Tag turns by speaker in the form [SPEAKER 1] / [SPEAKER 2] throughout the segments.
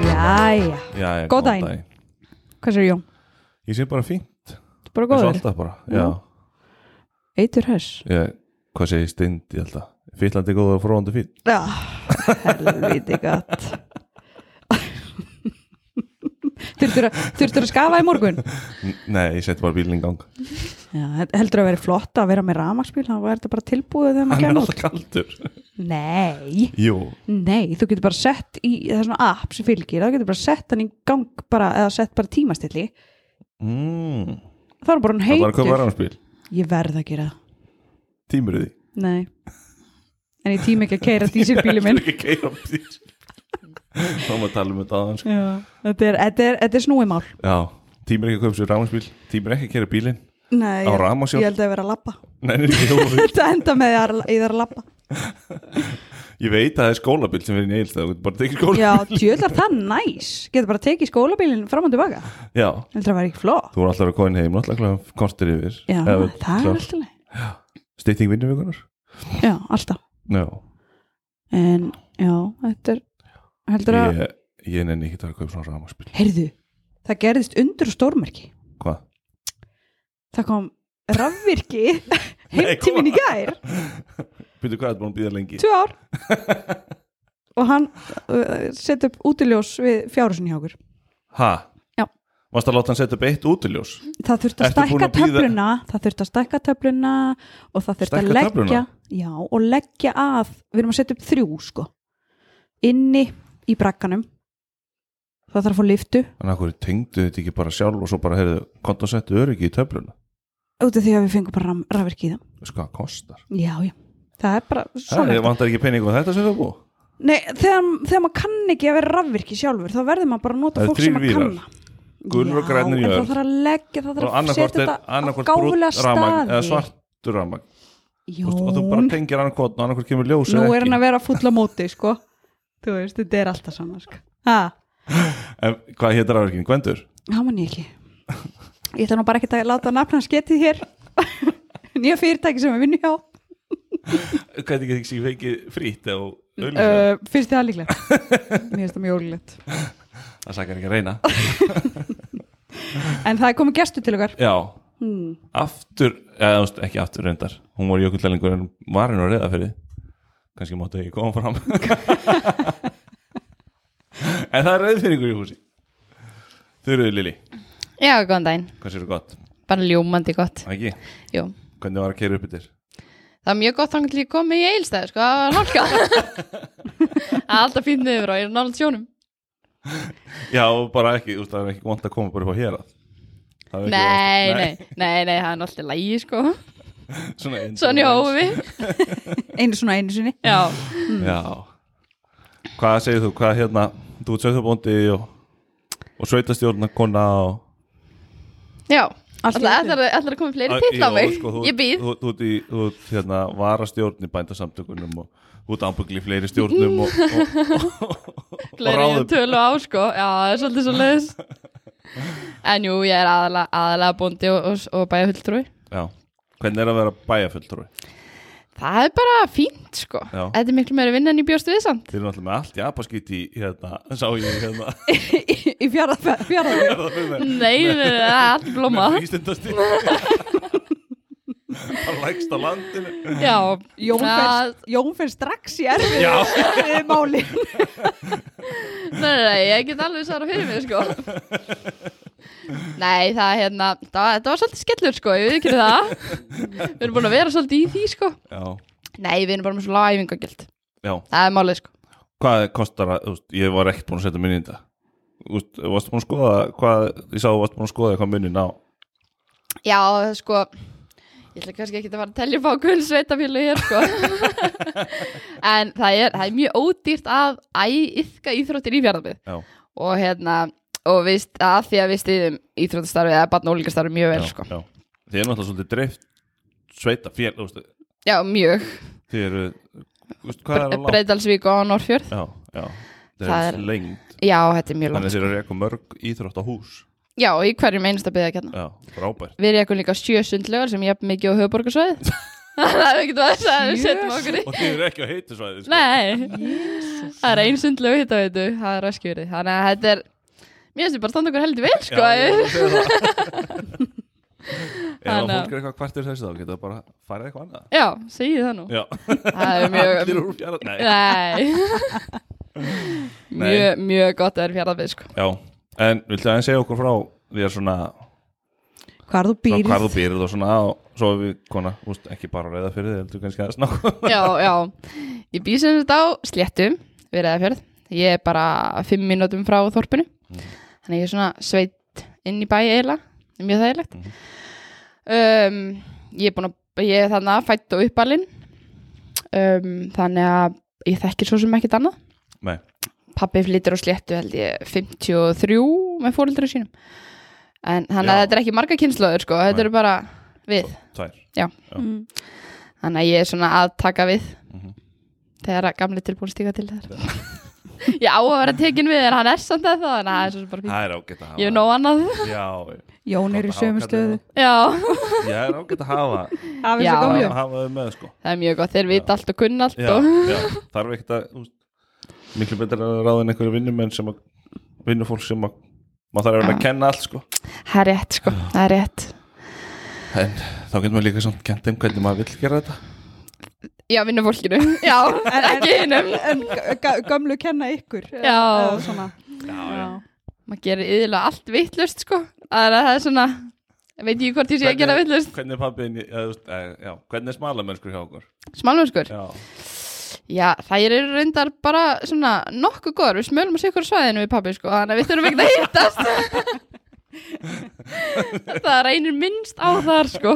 [SPEAKER 1] Jæja,
[SPEAKER 2] Jæja,
[SPEAKER 1] Góð daginn. hvað sér Jón?
[SPEAKER 2] Ég sé bara fínt,
[SPEAKER 1] Bara
[SPEAKER 2] eins og
[SPEAKER 1] góður?
[SPEAKER 2] alltaf bara
[SPEAKER 1] Já.
[SPEAKER 2] Já,
[SPEAKER 1] Eitur höss?
[SPEAKER 2] ég, hvað sé ég stindi alltaf Fýtlandi góður og fróðandi fín
[SPEAKER 1] Já, helviti gott Þurftur að, þurftur að skafa í morgun?
[SPEAKER 2] N- Nei, ég seti bara bílinn í gang
[SPEAKER 1] Já, heldur að vera flott að vera með rafmaksbíl, þá er þetta bara tilbúið þegar maður
[SPEAKER 2] Hann er
[SPEAKER 1] kemur út.
[SPEAKER 2] alltaf kaldur
[SPEAKER 1] Nei,
[SPEAKER 2] Jú,
[SPEAKER 1] nei, þú getur bara sett í, það er svona app sem fylgir, þá getur bara sett hann í gang bara, eða sett bara tímastilli,
[SPEAKER 2] mm.
[SPEAKER 1] þá er bara hann
[SPEAKER 2] það var að köpa
[SPEAKER 1] heitur.
[SPEAKER 2] rannspíl
[SPEAKER 1] Ég verð að gera það,
[SPEAKER 2] Tímur í því
[SPEAKER 1] nei. En ég tíma ekki að keira dísilbíli minn.
[SPEAKER 2] Ég er ekki að keyra bíl. Þá maður tala um þetta aðeins sko.
[SPEAKER 1] Já, þetta er, þetta er, þetta er snúið mál.
[SPEAKER 2] Já, tímur ekki að köpa sér rannspíl Tímur ekki að kera bílinn
[SPEAKER 1] Nei,
[SPEAKER 2] Á
[SPEAKER 1] ég,
[SPEAKER 2] rafmagnsjól?
[SPEAKER 1] ég held að vera að lappa.
[SPEAKER 2] Nei, nei, jú,
[SPEAKER 1] Þetta enda með því að ég þarf að lappa.
[SPEAKER 2] Ég veit að það er skólabíl sem verið í neilstæð Þú getur bara tekið skólabíl
[SPEAKER 1] Já, tjöðlar það næs. Getur bara tekið skólabílinn fram og tilbaka.
[SPEAKER 2] Já,
[SPEAKER 1] Heldur að vera ekki flott.
[SPEAKER 2] þú er alltaf að kóin heim Alltaf klukkan kortir yfir
[SPEAKER 1] Já,
[SPEAKER 2] Eða
[SPEAKER 1] það er
[SPEAKER 2] klukkan-
[SPEAKER 1] alltaf leið.
[SPEAKER 2] Stytting vinnuvíkunar
[SPEAKER 1] Já, alltaf.
[SPEAKER 2] Já,
[SPEAKER 1] En já, þetta er heldur að,
[SPEAKER 2] ég, ég nenni ekki að kaupa svona rafmagnsbíl
[SPEAKER 1] heyrðu, það gerðist undur og stórmerki.
[SPEAKER 2] Hvað?
[SPEAKER 1] Það kom rafvirki heim
[SPEAKER 2] Nei,
[SPEAKER 1] til mín í
[SPEAKER 2] koma.
[SPEAKER 1] gær,
[SPEAKER 2] Býtu hvað er búin að býða lengi?
[SPEAKER 1] tvö ár og hann uh, seti upp útiljós við fjárusin hjá okkur.
[SPEAKER 2] Ha?
[SPEAKER 1] Já.
[SPEAKER 2] Varst að láta hann setja upp eitt útiljós?
[SPEAKER 1] Það þurfti að
[SPEAKER 2] Ertu búin
[SPEAKER 1] stækka
[SPEAKER 2] að bíða-
[SPEAKER 1] töfluna, það þurfti að stækka töfluna og það þurfti að
[SPEAKER 2] Stækka
[SPEAKER 1] leggja,
[SPEAKER 2] töfluna?
[SPEAKER 1] já, og leggja að, við erum að setja upp þrjú sko, inni í brakkanum, það þarf að fá liftu
[SPEAKER 2] Þannig að hverju tengdu þetta ekki bara sjálf og svo bara heyrðu Kont að setja öryggi í töfluna
[SPEAKER 1] út af því að við fengum bara ram- rafvirki í það.
[SPEAKER 2] Þú veist hvað það kostar
[SPEAKER 1] Já, já. Það er bara
[SPEAKER 2] Það
[SPEAKER 1] svona.
[SPEAKER 2] vantar ekki penningu þetta sem það bú
[SPEAKER 1] Nei, þegar, þegar maður kann ekki að vera rafvirki sjálfur, þá verður maður bara að nota
[SPEAKER 2] Það eru
[SPEAKER 1] fólk sem
[SPEAKER 2] þrír
[SPEAKER 1] maður
[SPEAKER 2] vírar.
[SPEAKER 1] kann.
[SPEAKER 2] Gulur og grænir í
[SPEAKER 1] Já, en
[SPEAKER 2] jörð.
[SPEAKER 1] það þarf að leggja, það
[SPEAKER 2] Og
[SPEAKER 1] þarf að
[SPEAKER 2] annarkvort
[SPEAKER 1] setja
[SPEAKER 2] er
[SPEAKER 1] þetta á
[SPEAKER 2] annarkvort
[SPEAKER 1] gáfulega
[SPEAKER 2] brútt ramagn eða
[SPEAKER 1] staði.
[SPEAKER 2] svartur ramagn og þú bara
[SPEAKER 1] Jón,
[SPEAKER 2] tengir annarkvort og annarkvort kemur ljós
[SPEAKER 1] nú
[SPEAKER 2] eða
[SPEAKER 1] er
[SPEAKER 2] ekki.
[SPEAKER 1] hann að vera fulla móti, sko. Þú veist, þetta er alltaf saman, sko. Ha,
[SPEAKER 2] En hvað hétt rafverkin? Gwendur?
[SPEAKER 1] það man ég ekki. Ég ætla nú bara ekkert að láta nafna hans getið hér. Nýja fyrirtæki sem við vinnum hjá.
[SPEAKER 2] Hvað er ekki ekki fengið frýtt og
[SPEAKER 1] Uh, finnst þið það líklegt? Mér finnst það mjög ólíklegt.
[SPEAKER 2] Það sakar ekki að reyna
[SPEAKER 1] En það er komið gestu til okkar.
[SPEAKER 2] Já,
[SPEAKER 1] Hmm.
[SPEAKER 2] aftur, eða þú veist, ekki aftur reyndar Hún var jökullælingur en var henn að reyða fyrir Kannski máttu ekki koma fram En það er reyðfyrringur í húsi Þurruðu Lili,
[SPEAKER 3] Já, góðan daginn.
[SPEAKER 2] hvað séu gott?
[SPEAKER 3] Bara ljómandi gott.
[SPEAKER 2] Ekki?
[SPEAKER 3] Jú.
[SPEAKER 2] Hvernig var að keira upp yfir?
[SPEAKER 3] Það var mjög gott þannig til ég kom með í eilstæðu, sko. Það var hálka. Alltaf fínt niður og ég er náttúrulega sjónum.
[SPEAKER 2] Já, bara ekki, þú veist, það er ekki vant að koma bara upp á hér
[SPEAKER 3] Nei, nei, nei, nei, það er náttúrulega lægi, sko.
[SPEAKER 2] Svona, eins og
[SPEAKER 3] Svona í
[SPEAKER 2] eins.
[SPEAKER 3] hófi.
[SPEAKER 1] Einu svona, einu sinni.
[SPEAKER 3] Já.
[SPEAKER 2] Já Hvað segir þú, hvað hérna Þú ert sveitarbóndi og, og sveitastjórna kona og
[SPEAKER 3] Já.
[SPEAKER 1] Allt í
[SPEAKER 3] Alltaf
[SPEAKER 1] öllu.
[SPEAKER 3] ætlar ætlar að koma fleiri pitt á
[SPEAKER 2] Jú,
[SPEAKER 3] mig.
[SPEAKER 2] sko, þú,
[SPEAKER 3] Ég býð.
[SPEAKER 2] Þú, þú, þú, þú ert, hérna varastjórn í bændasamtökunum og þú ert ábyggli í fleiri stjórnum og, og,
[SPEAKER 3] Fleiri
[SPEAKER 2] ráðum.
[SPEAKER 3] en tölu á, sko. Já, það er svolítið svo leiðis. En jú, ég er aðalega, aðalega bóndi og, og, og bæja
[SPEAKER 2] Já, hvernig er að vera bæjarfulltrúi?
[SPEAKER 3] Það er bara fínt, sko.
[SPEAKER 2] Já.
[SPEAKER 3] Þetta er miklu meira vinna en ég bjóst við samt.
[SPEAKER 2] Þeir eru náttúrulega með allt japaskýtt í hérna, sá ég hérna
[SPEAKER 1] Í, í fjaraðfjörðu.
[SPEAKER 2] er það fyrir mig?
[SPEAKER 3] Nei, nei, nei, það er allt blómað.
[SPEAKER 2] Með frístundastíð Bara lægst á landinu
[SPEAKER 3] Já,
[SPEAKER 1] Jón
[SPEAKER 3] það-
[SPEAKER 1] fer, Jón fer strax í erfið
[SPEAKER 2] Já.
[SPEAKER 1] við máli
[SPEAKER 3] Nei, nei, nei, ég get alveg svara fyrir mig, sko Nei, það hérna það, Það var svolítið skellur, sko, ég veit ekki það Við erum búin að vera svolítið í því, sko
[SPEAKER 2] Já,
[SPEAKER 3] Nei, við erum bara með svo læfingagild
[SPEAKER 2] já
[SPEAKER 3] Það er málið, sko
[SPEAKER 2] Hvað kostar að, þú veist, ég var ekkert búin að setja minni í þetta Þú veist, varstu búin að skoða hvað, ég sá, þú varstu búin að skoða hvað minni ná
[SPEAKER 3] Já, sko Ég ætla kannski ekki að fara að telja upp á gull sveitafílu hér, sko En það er, það er mjög ódýrt að æ, yfka íþróttir í fjárðabið
[SPEAKER 2] Já,
[SPEAKER 3] Og hérna, og viðst, að því að við stiðum íþróttastarfið eða barn og úlíkastarfið mjög vel,
[SPEAKER 2] já,
[SPEAKER 3] sko
[SPEAKER 2] já. Þið er náttúrulega svolítið dreift sveita fél, þú veist,
[SPEAKER 3] Já, mjög
[SPEAKER 2] þið eru þú veist, hvað er að láta?
[SPEAKER 3] Breiðdalsvík og Norrfjörð
[SPEAKER 2] Já, já, það,
[SPEAKER 3] Það
[SPEAKER 2] er
[SPEAKER 3] er-
[SPEAKER 2] lengt
[SPEAKER 3] Já, þetta er mjög langt
[SPEAKER 2] Þannig þið eru að reka mörg íþrótt á hús
[SPEAKER 3] Já, í hverjum einasta byggjarnar
[SPEAKER 2] Já, frábært
[SPEAKER 3] Við rekum líka sjö sundlögar sem ég hef mikið á höfuborgarsvæði Það er ekkert að það við
[SPEAKER 1] Sjö
[SPEAKER 3] setjum okkur í
[SPEAKER 2] Og þið eru ekki á sko. heitu svæði
[SPEAKER 3] Nei, það er ein sundlög hitt á þetta Það er raskjöri Þannig að þetta er mér finnst þið bara standa okkur heldur vel sko
[SPEAKER 2] Já, ég segi það. Ef að
[SPEAKER 3] Þannig að-
[SPEAKER 2] fólk er eitthvað kvartir þessu þá getur það bara farið eitthvað annað
[SPEAKER 3] já, segi það nú
[SPEAKER 2] Já,
[SPEAKER 3] það er mjög
[SPEAKER 2] allir úr fjara Nei,
[SPEAKER 3] Nei Mjög, mjög gott að vera fjarað við sko.
[SPEAKER 2] já, en viltu aðeins segja okkur frá því að svona
[SPEAKER 1] Hvar þú
[SPEAKER 2] frá
[SPEAKER 1] býrð
[SPEAKER 2] hvar þú býrð og svona og svo er við kona, úst, ekki bara reyða fyrir þið heldur kannski aðeins nákvæm
[SPEAKER 3] Já, já Ég býð sem þetta á sléttum við Reyðafjörð Ég er bara fimm mínútum frá þorpinu
[SPEAKER 2] Mhm.
[SPEAKER 3] Þannig ég er svona sveitt inn í bæ eiginlega Það er Mjög þægilegt
[SPEAKER 2] Mhm.
[SPEAKER 3] um, Ég er búin að Ég er þannig að fætt og uppalinn um, Þannig að ég þekkir svo sem ekkert annað
[SPEAKER 2] Nei,
[SPEAKER 3] Pappi flyttir á sléttu held ég 53 með fóreldra sínum En þannig að
[SPEAKER 2] Já.
[SPEAKER 3] þetta er ekki marga kynslaður sko, þetta
[SPEAKER 2] Nei.
[SPEAKER 3] eru bara við
[SPEAKER 2] tvær
[SPEAKER 1] Mm.
[SPEAKER 3] Þannig að ég er svona að taka við
[SPEAKER 2] Mhm.
[SPEAKER 3] þegar að gamli tilbúin stíga til þeirra Ég á að vera tekin við en hann er samt að það, þannig að það er svo sem bara fínt
[SPEAKER 2] Það er ágætt að hafa
[SPEAKER 3] Ég er nóg annað
[SPEAKER 2] Já,
[SPEAKER 1] Jón er í
[SPEAKER 2] Hafa
[SPEAKER 1] sömu
[SPEAKER 2] kallið
[SPEAKER 1] stöðu
[SPEAKER 3] Já,
[SPEAKER 2] Já, það er ágætt að hafa
[SPEAKER 1] Hafið
[SPEAKER 3] Já.
[SPEAKER 1] svo
[SPEAKER 2] hafa,
[SPEAKER 1] gamlu
[SPEAKER 2] hafa þau með sko
[SPEAKER 3] það er mjög gott, þeir vita allt og kunna allt
[SPEAKER 2] Já,
[SPEAKER 3] og
[SPEAKER 2] já, þarf ekkert að þú veist, miklu betra að ráða en einhverju vinnumenn sem að vinnufólk sem að maður þarf að vera að kenna allt sko
[SPEAKER 3] það er rétt sko, það er rétt
[SPEAKER 2] en þá getur maður líka samt kent um hvernig maður vill gera þetta
[SPEAKER 3] Já, vinnu fólkinu, já, ekki hinnum
[SPEAKER 1] En ga- gamlu kenna ykkur
[SPEAKER 3] Já.
[SPEAKER 1] Eða svona.
[SPEAKER 2] já,
[SPEAKER 3] Maður gerir yðurlega allt vittlust sko, það er, það er svona veit ég hvort ég sé að gera vittlust
[SPEAKER 2] hvernig er pappiðin, já, þú veist, eh, já, hvernig er smalamennskur hjá okkur
[SPEAKER 3] Smalmörskur,
[SPEAKER 2] já,
[SPEAKER 3] já, þær eru reyndar bara svona nokkuð góður, við smölum að sé ykkur svæðinu við pappi sko, þannig að við þurfum ekki að hittast Það reynir minnst á þar sko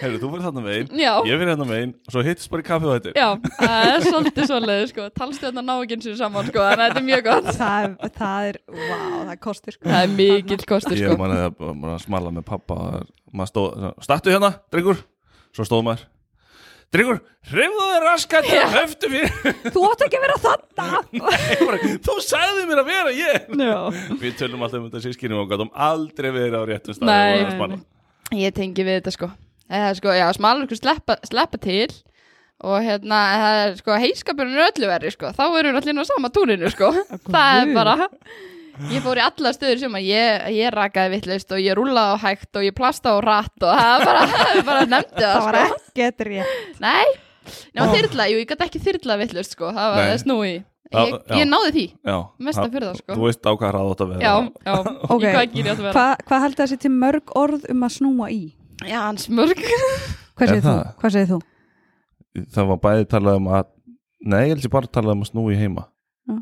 [SPEAKER 2] heyrðu, þú fyrir þarna megin
[SPEAKER 3] Já,
[SPEAKER 2] ég fyrir þarna megin, svo hittist bara í kaffi og þetta
[SPEAKER 3] já, það er svolítið svoleiði sko, talstjórna ná ekki eins og saman sko, þannig að þetta er mjög gott
[SPEAKER 1] það, er- það er, wow, það kostir sko.
[SPEAKER 3] Það er mikill kostur
[SPEAKER 2] ég
[SPEAKER 3] sko
[SPEAKER 2] manið að maður að smala með pappa maður stóð, startu hérna, drengur svo stóð maður drengur, hreyfðu þau raskat og höftu mér
[SPEAKER 1] Þú átt ekki að vera þarna
[SPEAKER 2] Ég bara, þú sagði mér að vera ég
[SPEAKER 1] Já.
[SPEAKER 2] við tölum alltaf um þetta sískinum og gætum aldrei verið á réttum stað
[SPEAKER 3] Nei.
[SPEAKER 2] nei,
[SPEAKER 3] Ég tengi við þetta sko Það er sko, já, smalmörskur sleppa, sleppa til og hérna, það er sko heiskapurinn er öllu verri sko, þá erum við allir nú á sama túninu sko, það er
[SPEAKER 1] guð.
[SPEAKER 3] bara ég fór í alla stöður sem að ég, ég rakaði vittlaust og ég rúlaði á hægt og ég plasta á rætt og það er bara, það er bara nefndi það
[SPEAKER 1] Það var
[SPEAKER 3] sko
[SPEAKER 1] ekkert rétt
[SPEAKER 3] Nei, nema
[SPEAKER 1] Ó.
[SPEAKER 3] þyrla, jú, ég gæti ekki þyrla vittlaust sko, það var
[SPEAKER 2] Nei.
[SPEAKER 3] þess nú í
[SPEAKER 2] Já,
[SPEAKER 3] ég,
[SPEAKER 2] já.
[SPEAKER 3] ég náði því,
[SPEAKER 2] já,
[SPEAKER 3] Mesta
[SPEAKER 2] það-
[SPEAKER 3] furða, sko.
[SPEAKER 2] þú veist á hvað hraða átt að
[SPEAKER 3] já,
[SPEAKER 2] vera
[SPEAKER 3] já
[SPEAKER 1] Ok.
[SPEAKER 3] í hvað gýr ég átt að vera,
[SPEAKER 1] Hva, Hvað heldur það sér til mörg orð um að snúa í?
[SPEAKER 3] já, hans mörg
[SPEAKER 1] Hvað
[SPEAKER 2] Er
[SPEAKER 1] segir þú?
[SPEAKER 2] það?
[SPEAKER 1] Hvað segir þú?
[SPEAKER 2] það var bæði talað um að nei, ég held ég bara talað um að snúi heima
[SPEAKER 1] Já.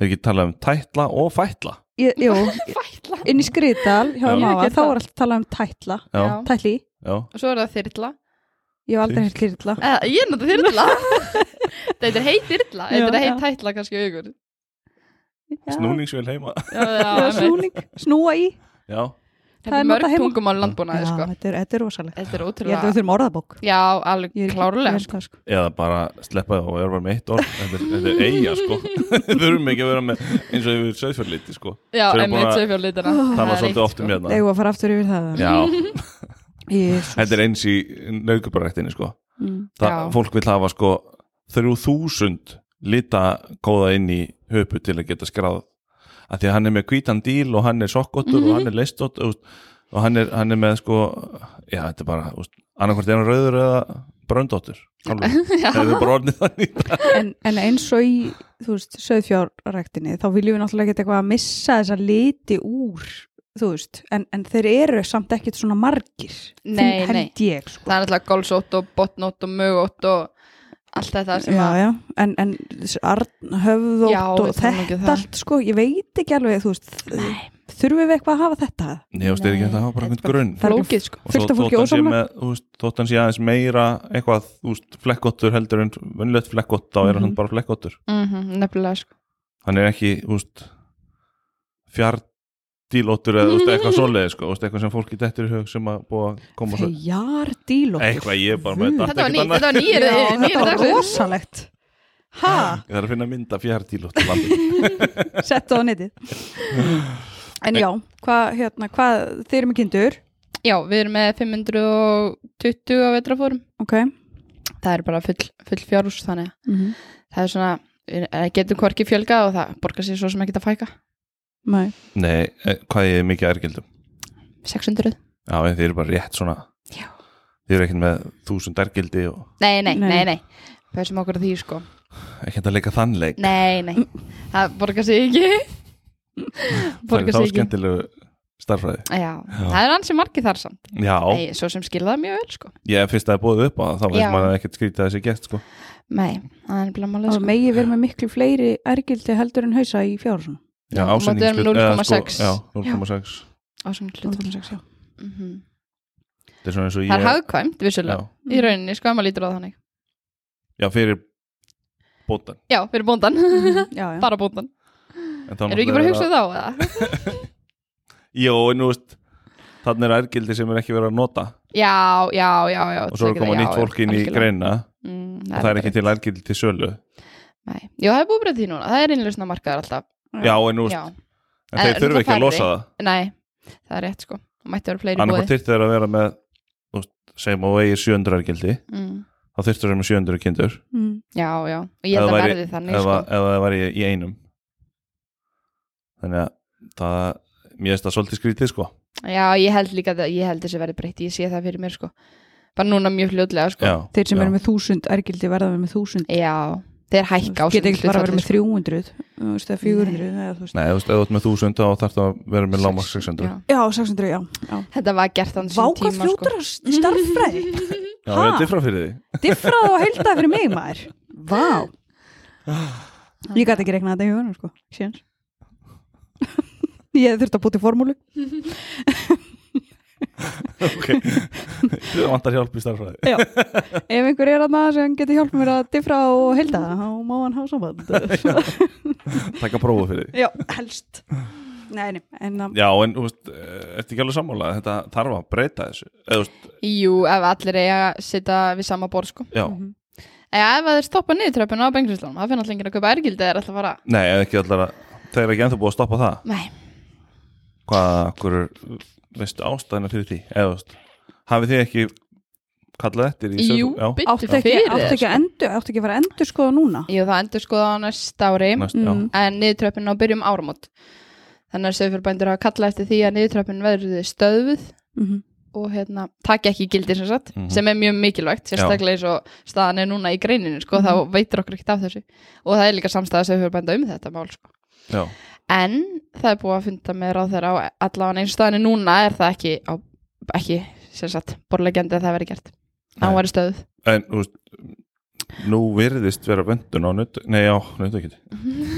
[SPEAKER 2] er ekki talað um tætla og fætla
[SPEAKER 1] Ég, jú,
[SPEAKER 3] fætla,
[SPEAKER 1] inn í Skriðdal hjá
[SPEAKER 2] Já.
[SPEAKER 1] máa,
[SPEAKER 3] Ég get
[SPEAKER 1] þá
[SPEAKER 3] það.
[SPEAKER 1] er alltaf talað um tætla
[SPEAKER 3] Já.
[SPEAKER 1] Tætli,
[SPEAKER 2] já,
[SPEAKER 3] og svo er það þyrla
[SPEAKER 1] ég hef aldrei hér tyrla
[SPEAKER 3] Eh, Ég er náttúrulega þyrla Þetta er heit þyrla
[SPEAKER 1] Já,
[SPEAKER 3] Þetta er
[SPEAKER 1] já.
[SPEAKER 3] heit tætla kannski augur
[SPEAKER 2] snúningsvél heima
[SPEAKER 3] Já, já,
[SPEAKER 1] Já,
[SPEAKER 3] einmitt.
[SPEAKER 1] snúning, snúa í
[SPEAKER 2] já,
[SPEAKER 1] það
[SPEAKER 3] Þetta
[SPEAKER 1] er
[SPEAKER 3] er mörg
[SPEAKER 1] notað heima.
[SPEAKER 3] tungumál
[SPEAKER 1] Já,
[SPEAKER 3] landbúnaði sko.
[SPEAKER 1] þetta er, þetta er rosalega
[SPEAKER 3] Þetta er
[SPEAKER 1] Ég held að
[SPEAKER 3] ótrúlega
[SPEAKER 1] við þurfum orðabók
[SPEAKER 3] Já,
[SPEAKER 1] Ég
[SPEAKER 3] alveg
[SPEAKER 1] er ekki- ég
[SPEAKER 3] klárlega
[SPEAKER 1] held
[SPEAKER 3] sko.
[SPEAKER 1] það, sko.
[SPEAKER 2] eða bara sleppa það og vera bara með eitt orð þetta er, þetta er eiga sko þurfum ekki að vera með eins og yfir söðfjörlíti sko
[SPEAKER 3] Já,
[SPEAKER 2] Þau eru búin
[SPEAKER 3] emmitt
[SPEAKER 2] að
[SPEAKER 3] sögfjörlítina
[SPEAKER 1] Ah.
[SPEAKER 2] tala svolítið oft um
[SPEAKER 3] sko.
[SPEAKER 2] hérna
[SPEAKER 1] Eigum við að fara aftur yfir það
[SPEAKER 2] já,
[SPEAKER 1] Jesús.
[SPEAKER 2] þetta er eins í naukubaræktinni sko
[SPEAKER 1] Mm.
[SPEAKER 2] það,
[SPEAKER 3] Já.
[SPEAKER 2] fólk vil hafa sko 3000 lita góða inn í höpu til að geta skráð að því að hann er með hvítan díl og hann er sokkottur og hann er leistott og, og hann, er, hann er með sko já, þetta er bara, úst, annarkvort er hann rauður eða bröndóttur það er bara orðnið þannig
[SPEAKER 1] en, en eins og í þú veist, söðfjárræktinni þá viljum við náttúrulega ekki eitthvað að missa þessa liti úr þú veist, en, en þeir eru samt ekkit svona margir Finn-
[SPEAKER 3] Nei, nei.
[SPEAKER 1] held ég sko.
[SPEAKER 3] Það er alltaf golsótt og botnótt og mögótt og allt þetta sem
[SPEAKER 1] já,
[SPEAKER 3] að
[SPEAKER 1] já. en, en þessi arn, höfðótt
[SPEAKER 3] Já,
[SPEAKER 1] og
[SPEAKER 3] það er nú ekki
[SPEAKER 1] þetta
[SPEAKER 3] það.
[SPEAKER 1] allt sko, ég veit ekki alveg þú veist, þurfum við eitthvað að hafa þetta
[SPEAKER 2] Nei, þú veist, er ekki hægt að hafa bara einhvern grunn
[SPEAKER 1] Það er
[SPEAKER 3] Flókið, sko.
[SPEAKER 2] Og
[SPEAKER 1] fullt af
[SPEAKER 2] þótt
[SPEAKER 1] fólki
[SPEAKER 2] hann sé
[SPEAKER 1] ósamlega
[SPEAKER 2] með, þú veist, þótt hann sé aðeins meira eitthvað, þú veist, flekkottur heldur en vunlegt flekkott, þá er hann
[SPEAKER 1] Mhm.
[SPEAKER 2] bara flekkottur
[SPEAKER 3] Mhm, Nefnilega sko.
[SPEAKER 2] hann er ekki úst, fjárdílóttur eða úst, eitthvað svoleiði sko, úst, eitthvað sem fólki dettur í hug sem að búa að koma svo
[SPEAKER 1] Heyjardílótt
[SPEAKER 2] eitthvað ég er bara með
[SPEAKER 1] Guð.
[SPEAKER 2] þetta,
[SPEAKER 3] Þetta var
[SPEAKER 2] ekkert annað.
[SPEAKER 3] nýr, þetta var
[SPEAKER 1] Já,
[SPEAKER 3] nýr
[SPEAKER 1] þetta var rosalegt ha,
[SPEAKER 2] ég þarf að finna mynda fjárdílóttur landi
[SPEAKER 1] settu á netið en já, hvað hérna, hvað, þeir eru með kindur
[SPEAKER 3] Já, við erum með 520 á vetrafórum
[SPEAKER 1] ok
[SPEAKER 3] Það er bara full, full fjárús þannig að
[SPEAKER 1] mm
[SPEAKER 3] það er svona, við eh, getum hvorki fjölga og það borgar sér svo sem ekki að fæka
[SPEAKER 1] Nei.
[SPEAKER 2] Nei, eh, hvað ég er mikið ærgildum
[SPEAKER 3] 600
[SPEAKER 2] Já, en þið eru bara rétt svona
[SPEAKER 3] Já.
[SPEAKER 2] Þið eru ekkert með þúsund ærgildi og
[SPEAKER 3] nei, nei,
[SPEAKER 1] Nei.
[SPEAKER 3] nei, nei, pössum okkur á því sko
[SPEAKER 2] ekkert að leika þannleik
[SPEAKER 3] nei, nei, það borgar sig ekki
[SPEAKER 2] Það
[SPEAKER 3] borgar
[SPEAKER 2] er þá
[SPEAKER 3] sig ekki
[SPEAKER 2] skemmtilegu starfræði
[SPEAKER 3] já, það er ansi margið þar samt
[SPEAKER 2] Já,
[SPEAKER 3] nei, svo sem skilða mjög vel sko
[SPEAKER 2] ég fyrst að það er búið upp á það þá
[SPEAKER 3] Já.
[SPEAKER 2] veist maður ekkert skrýta þessi gest sko.
[SPEAKER 3] nei, það er nefnilega málið
[SPEAKER 1] Það
[SPEAKER 3] sko
[SPEAKER 1] megi verið með miklu fleiri ergildi heldur en hausa í fjárhúsum.
[SPEAKER 2] Já,
[SPEAKER 3] Já,
[SPEAKER 2] ásetningshlut-
[SPEAKER 3] mótið er
[SPEAKER 2] eða, sko,
[SPEAKER 3] 0,6.
[SPEAKER 2] Já, 0,6
[SPEAKER 3] á svona hlut Mhm.
[SPEAKER 2] Það er svona eins og
[SPEAKER 3] það er
[SPEAKER 2] ég
[SPEAKER 3] hagkvæmt,
[SPEAKER 2] eh, Já,
[SPEAKER 3] vissulega í rauninni, sko, ef maður lítur á það þannig
[SPEAKER 2] já fyrir bótan
[SPEAKER 3] já, fyrir bóndan,
[SPEAKER 1] Mhm. Já, já.
[SPEAKER 3] bara bóndan erum við ekki bara að hugsa um þá eða?
[SPEAKER 2] Jó, en þú veist þannig er ærgildi sem er ekki verið að nota
[SPEAKER 3] já, já, já, já
[SPEAKER 2] og svo er
[SPEAKER 3] tekið
[SPEAKER 2] koma
[SPEAKER 3] það, já,
[SPEAKER 2] nýtt fólk inn í
[SPEAKER 3] algjörlega.
[SPEAKER 2] greina
[SPEAKER 3] Mm,
[SPEAKER 2] og það er ekki til ærgildi til sölu
[SPEAKER 3] Nei. Já, það er búið breytt því núna, það er innlýsna markaðar alltaf
[SPEAKER 2] Já, en þú veist,
[SPEAKER 3] Já,
[SPEAKER 2] en þeir
[SPEAKER 3] En
[SPEAKER 2] þurfa ekki að
[SPEAKER 3] færri.
[SPEAKER 2] losa það
[SPEAKER 3] nei, það er rétt sko Það mætti vera fleiri
[SPEAKER 2] annarkvæmt
[SPEAKER 3] búið
[SPEAKER 2] þyrfti þeir að vera með þú veist, segjum og eigir 700 ærgildi
[SPEAKER 3] mm.
[SPEAKER 2] þá þyrfti þeir að vera með 700 kindur
[SPEAKER 1] Mm.
[SPEAKER 3] Já, já, og
[SPEAKER 2] Ef
[SPEAKER 3] ég held
[SPEAKER 2] það
[SPEAKER 3] að
[SPEAKER 2] væri-
[SPEAKER 3] verði þannig
[SPEAKER 2] ef
[SPEAKER 3] sko
[SPEAKER 2] að- ef það var í, í einum þannig að það, mér finnst það svolítið skrítið sko
[SPEAKER 3] Já, ég held líka að ég held þessi verði breytt, ég sé það fyrir mér sko Bara núna mjög fljótlega sko
[SPEAKER 2] já,
[SPEAKER 1] Þeir sem
[SPEAKER 2] já.
[SPEAKER 1] eru með þúsund ergildi verða að vera með þúsund.
[SPEAKER 3] Já, þeir hækka á
[SPEAKER 1] Geta ekki bara að vera
[SPEAKER 3] hlutfalli,
[SPEAKER 1] með 300, þú veist, eða 400, eða þú veist.
[SPEAKER 2] Nei, þú veist, ef þú ert með 1000 þá þarf það að vera með lámar
[SPEAKER 3] Sex-
[SPEAKER 2] 600
[SPEAKER 3] já.
[SPEAKER 1] Já, 600, já. já.
[SPEAKER 3] Þetta var gert þannig
[SPEAKER 1] Váka fljótur að starffræði.
[SPEAKER 2] Já, það er
[SPEAKER 1] Ha?
[SPEAKER 2] diffra fyrir því
[SPEAKER 1] Diffrað og heiltað fyrir mig, maður. Vá. Ég gæti ekki regnað þetta í hugunum, sko. Sjens. Ég þurfti að búti formúlu.
[SPEAKER 2] Það vantar hjálp í starfræði
[SPEAKER 1] Já. Ef einhver er að maður sem getur hjálpað mér að diffra og heilta það, þá má hann hafa samband.
[SPEAKER 2] Takk að prófa fyrir því
[SPEAKER 1] Já, helst. Nei, nei, en um, það...
[SPEAKER 2] Já, en þú veist, eh, ertu ekki alveg sammála Þetta þarf að breyta þessu Eða, þú veist,
[SPEAKER 3] Jú, ef allir eiga að sitja við sama borð sko
[SPEAKER 2] Já,
[SPEAKER 3] Já, ef að þeir stoppa niður tröppuna á bengrislunum Það finna allir enginn að kaupa ergildi eða er alltaf að fara
[SPEAKER 2] nei, eða ekki allar að Þeir eru ekki ennþá búið að stoppa það
[SPEAKER 3] Nei,
[SPEAKER 2] Hvað, hver er, veistu, ástæðina fyrir því Eða, þú veist, hafið þið ekki kallað eftir í
[SPEAKER 3] jú,
[SPEAKER 2] já,
[SPEAKER 1] Áttu
[SPEAKER 3] byttu
[SPEAKER 1] ekki,
[SPEAKER 3] fyrir
[SPEAKER 1] áttu,
[SPEAKER 3] þér, sko.
[SPEAKER 1] ekki að endur, áttu ekki að fara að endur skoða núna?
[SPEAKER 3] Jú, það endur skoða á næsta ári
[SPEAKER 2] næst, já.
[SPEAKER 1] Mm.
[SPEAKER 3] en niðurtröppin á byrjum áramót þannig að sögfjörbændur hafa kallað eftir því að niðurtröppin verður stöðuð
[SPEAKER 1] Mm
[SPEAKER 3] og hérna, taki ekki gildi sem sagt
[SPEAKER 2] Mhm.
[SPEAKER 3] sem er mjög mikilvægt, sérstaklega eins og staðan er núna í greininu, sko,
[SPEAKER 2] Mhm.
[SPEAKER 3] þá veitir okkur ekkert af þessu og það er líka samstæða sögfjörbænda um þetta mál, sko.
[SPEAKER 2] já,
[SPEAKER 3] En það er búið að funda með ráð þeirra á allavega eins og staðan er núna er það ekki, á, ekki sem sagt, borlegjandi að það verði gert að hún
[SPEAKER 2] Nei.
[SPEAKER 3] verður stöðuð.
[SPEAKER 2] En, þú veist Nú virðist vera vöndun á nöt Nei, já, nautakjöti